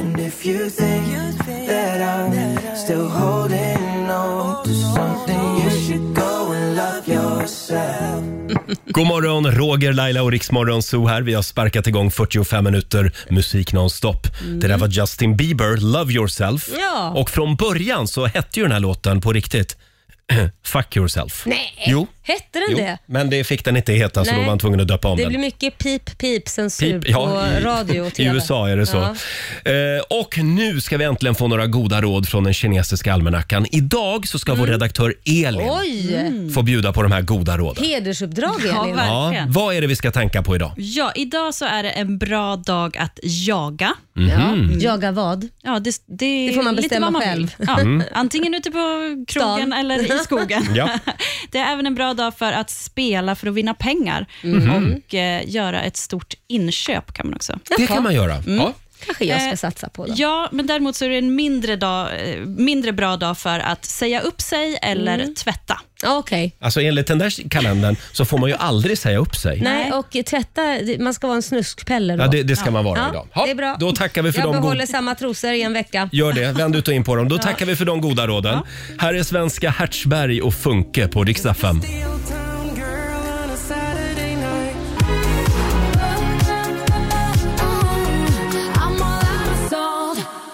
Speaker 6: And if you think that I'm still holding on to something, you should go and love yourself.
Speaker 1: God morgon, Roger, Laila och Riksmorgon Zoo här. Vi har sparkat igång 45 minuter musik nonstop. Det där var Justin Bieber, Love Yourself.
Speaker 2: Mm. Ja.
Speaker 1: Och från början så hette ju den här låten på riktigt Fuck Yourself.
Speaker 2: Nej.
Speaker 1: Jo,
Speaker 2: Hette den
Speaker 1: Jo,
Speaker 2: det?
Speaker 1: men det fick den inte heta så
Speaker 2: Nej.
Speaker 1: då var man tvungen att döpa om
Speaker 2: det
Speaker 1: den.
Speaker 2: blir mycket pip, pip, censur
Speaker 1: Pip, ja,
Speaker 2: på
Speaker 1: i,
Speaker 2: radio och
Speaker 1: I
Speaker 2: TV.
Speaker 1: USA är det så.
Speaker 2: Ja.
Speaker 1: Eh, och nu ska vi äntligen få några goda råd från den kinesiska almanackan. Idag så ska vår redaktör Elin
Speaker 2: Mm. Oj!
Speaker 1: få bjuda på de här goda råden.
Speaker 2: Hedersuppdrag,
Speaker 5: Ja,
Speaker 2: Elin.
Speaker 5: verkligen.
Speaker 1: vad är det vi ska tänka på idag?
Speaker 5: Ja, idag så är det en bra dag att jaga.
Speaker 1: Mhm.
Speaker 2: Mm.
Speaker 1: Ja,
Speaker 2: Jaga vad?
Speaker 5: Ja, det, det,
Speaker 2: Det får man
Speaker 5: lite
Speaker 2: bestämma
Speaker 5: vad
Speaker 2: själv.
Speaker 5: vill. Ja,
Speaker 1: Mm.
Speaker 5: Antingen ute på krogen
Speaker 2: Stan.
Speaker 5: eller i skogen.
Speaker 1: Ja.
Speaker 5: Det är även en bra dag för att spela för att vinna pengar
Speaker 1: Mhm.
Speaker 2: Mm-hmm.
Speaker 5: och eh, göra ett stort inköp kan man också.
Speaker 1: Det kan man göra.
Speaker 5: Mm.
Speaker 1: Ja.
Speaker 2: kanske jag ska
Speaker 5: Eh,
Speaker 2: satsa på då.
Speaker 5: Ja, men däremot så är det en mindre, dag, eh, mindre bra dag för att säga upp sig eller
Speaker 2: Mm.
Speaker 5: tvätta.
Speaker 2: Okej.
Speaker 1: Alltså enligt den där kalendern så får man ju aldrig säga upp sig.
Speaker 2: Nej, och tvätta, det- man ska vara en snuskpelle då.
Speaker 1: Ja, det- det ska man vara idag. Ja,
Speaker 2: det är bra.
Speaker 1: då tackar vi för
Speaker 2: jag
Speaker 1: de god-
Speaker 2: Jag behåller samma trosor i en vecka.
Speaker 1: Gör det, vänd ut och in på dem. Då
Speaker 2: Ja.
Speaker 1: tackar vi för de goda råden. Här är svenska Hertzberg och Funke på riksdag 5.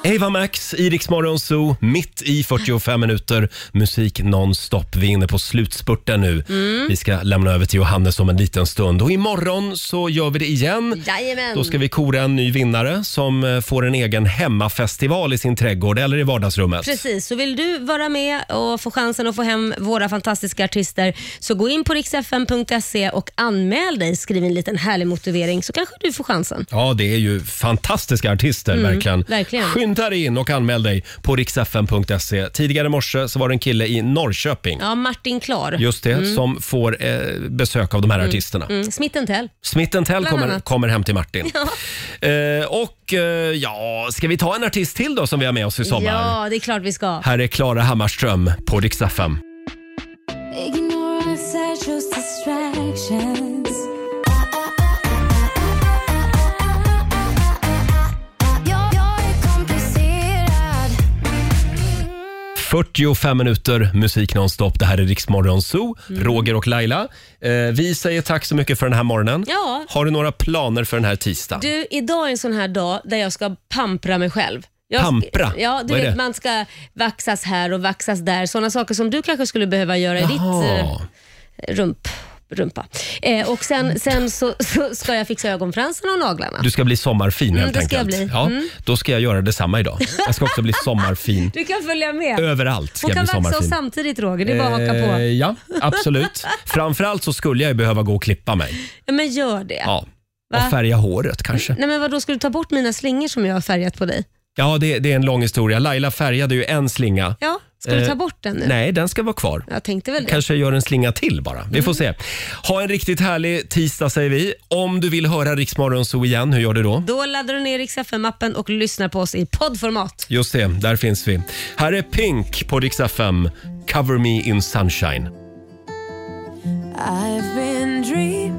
Speaker 1: Eva Max, Iriks Zoo, mitt i 45 minuter musik nonstop. Vi är inne på slutspurten nu.
Speaker 2: Mm.
Speaker 1: Vi ska lämna över till Johannes om en liten stund. Och imorgon så gör vi det igen.
Speaker 2: Jajamän.
Speaker 1: Då ska vi kora en ny vinnare som eh, får en egen hemmafestival i sin trädgård eller i vardagsrummet.
Speaker 2: Precis, så vill du vara med och få chansen att få hem våra fantastiska artister så gå in på riksfn.se och anmäl dig. Skriv en liten härlig motivering så kanske du får chansen.
Speaker 1: Ja, det är ju fantastiska artister
Speaker 2: Mm,
Speaker 1: verkligen.
Speaker 2: verkligen.
Speaker 1: Skynda dig in och anmäl dig på riksfn.se. Tidigare i morse så var det en kille i Norrköping,
Speaker 2: Ja, Martin Klar.
Speaker 1: just det,
Speaker 2: Mm.
Speaker 1: som får eh, besök av de här artisterna.
Speaker 2: Mm. Mm. Smith Tell.
Speaker 1: Smith Tell
Speaker 2: Bland
Speaker 1: kommer,
Speaker 2: annat.
Speaker 1: kommer hem till Martin.
Speaker 2: Ja.
Speaker 1: Eh, och eh, ja, ska vi ta en artist till då som vi har med oss i sommar?
Speaker 2: ja, det är klart vi ska.
Speaker 1: Här är Klara Hammarström på riksfn.
Speaker 6: Ignorance are just distractions. Jag- jag är komplicerad.
Speaker 1: 45 minuter musik nonstop. Det här är Riksmorgon Zoo,
Speaker 2: Mm.
Speaker 1: Roger och Laila. Eh, vi säger tack så mycket för den här morgonen.
Speaker 2: Ja.
Speaker 1: Har du några planer för den här tisdagen?
Speaker 2: Du, idag är en sån här dag där jag ska pampra mig själv. Jag,
Speaker 1: Pampra?
Speaker 2: Ja, du
Speaker 1: Vad är
Speaker 2: vet
Speaker 1: det?
Speaker 2: man ska vaxas här och vaxas där. Såna saker som du kanske skulle behöva göra i ditt eh,
Speaker 1: Jaha.
Speaker 2: rump, rumpa. Eh, och sen, sen så, så ska jag fixa ögonfransen och naglarna.
Speaker 1: Du ska bli sommarfin
Speaker 2: Mm,
Speaker 1: helt
Speaker 2: det ska jag
Speaker 1: enkelt.
Speaker 2: bli.
Speaker 1: Ja,
Speaker 2: Mm.
Speaker 1: Då ska jag göra detsamma idag. Jag ska också bli sommarfin.
Speaker 2: Du kan följa med.
Speaker 1: Överallt ska jag
Speaker 2: Hon kan
Speaker 1: bli
Speaker 2: vaxa oss
Speaker 1: sommarfin.
Speaker 2: samtidigt Roger, det är bara att haka på.
Speaker 1: Eh, ja, absolut. Framförallt så skulle jag ju behöva gå och klippa mig.
Speaker 2: Ja, men gör det.
Speaker 1: Ja.
Speaker 2: Va?
Speaker 1: Och färga håret kanske.
Speaker 2: Nej men vadå, ska du ta bort mina slingor som jag har färgat på dig?
Speaker 1: Ja, det, det är en lång historia. Laila färgade ju en slinga.
Speaker 2: Ja, ska du
Speaker 1: Eh,
Speaker 2: ta bort den nu?
Speaker 1: Nej, den ska vara kvar.
Speaker 2: Jag tänkte väl det.
Speaker 1: Kanske jag gör en slinga till bara. Vi får
Speaker 2: Mm.
Speaker 1: se. Ha en riktigt härlig tisdag säger vi. Om du vill höra Riksmorgon så igen, hur gör du då?
Speaker 2: Då laddar du ner Rix FM-appen och lyssnar på oss i poddformat.
Speaker 1: Just det, där finns vi. Här är Pink på Rix FM. Cover me in sunshine.
Speaker 6: I've been dreaming.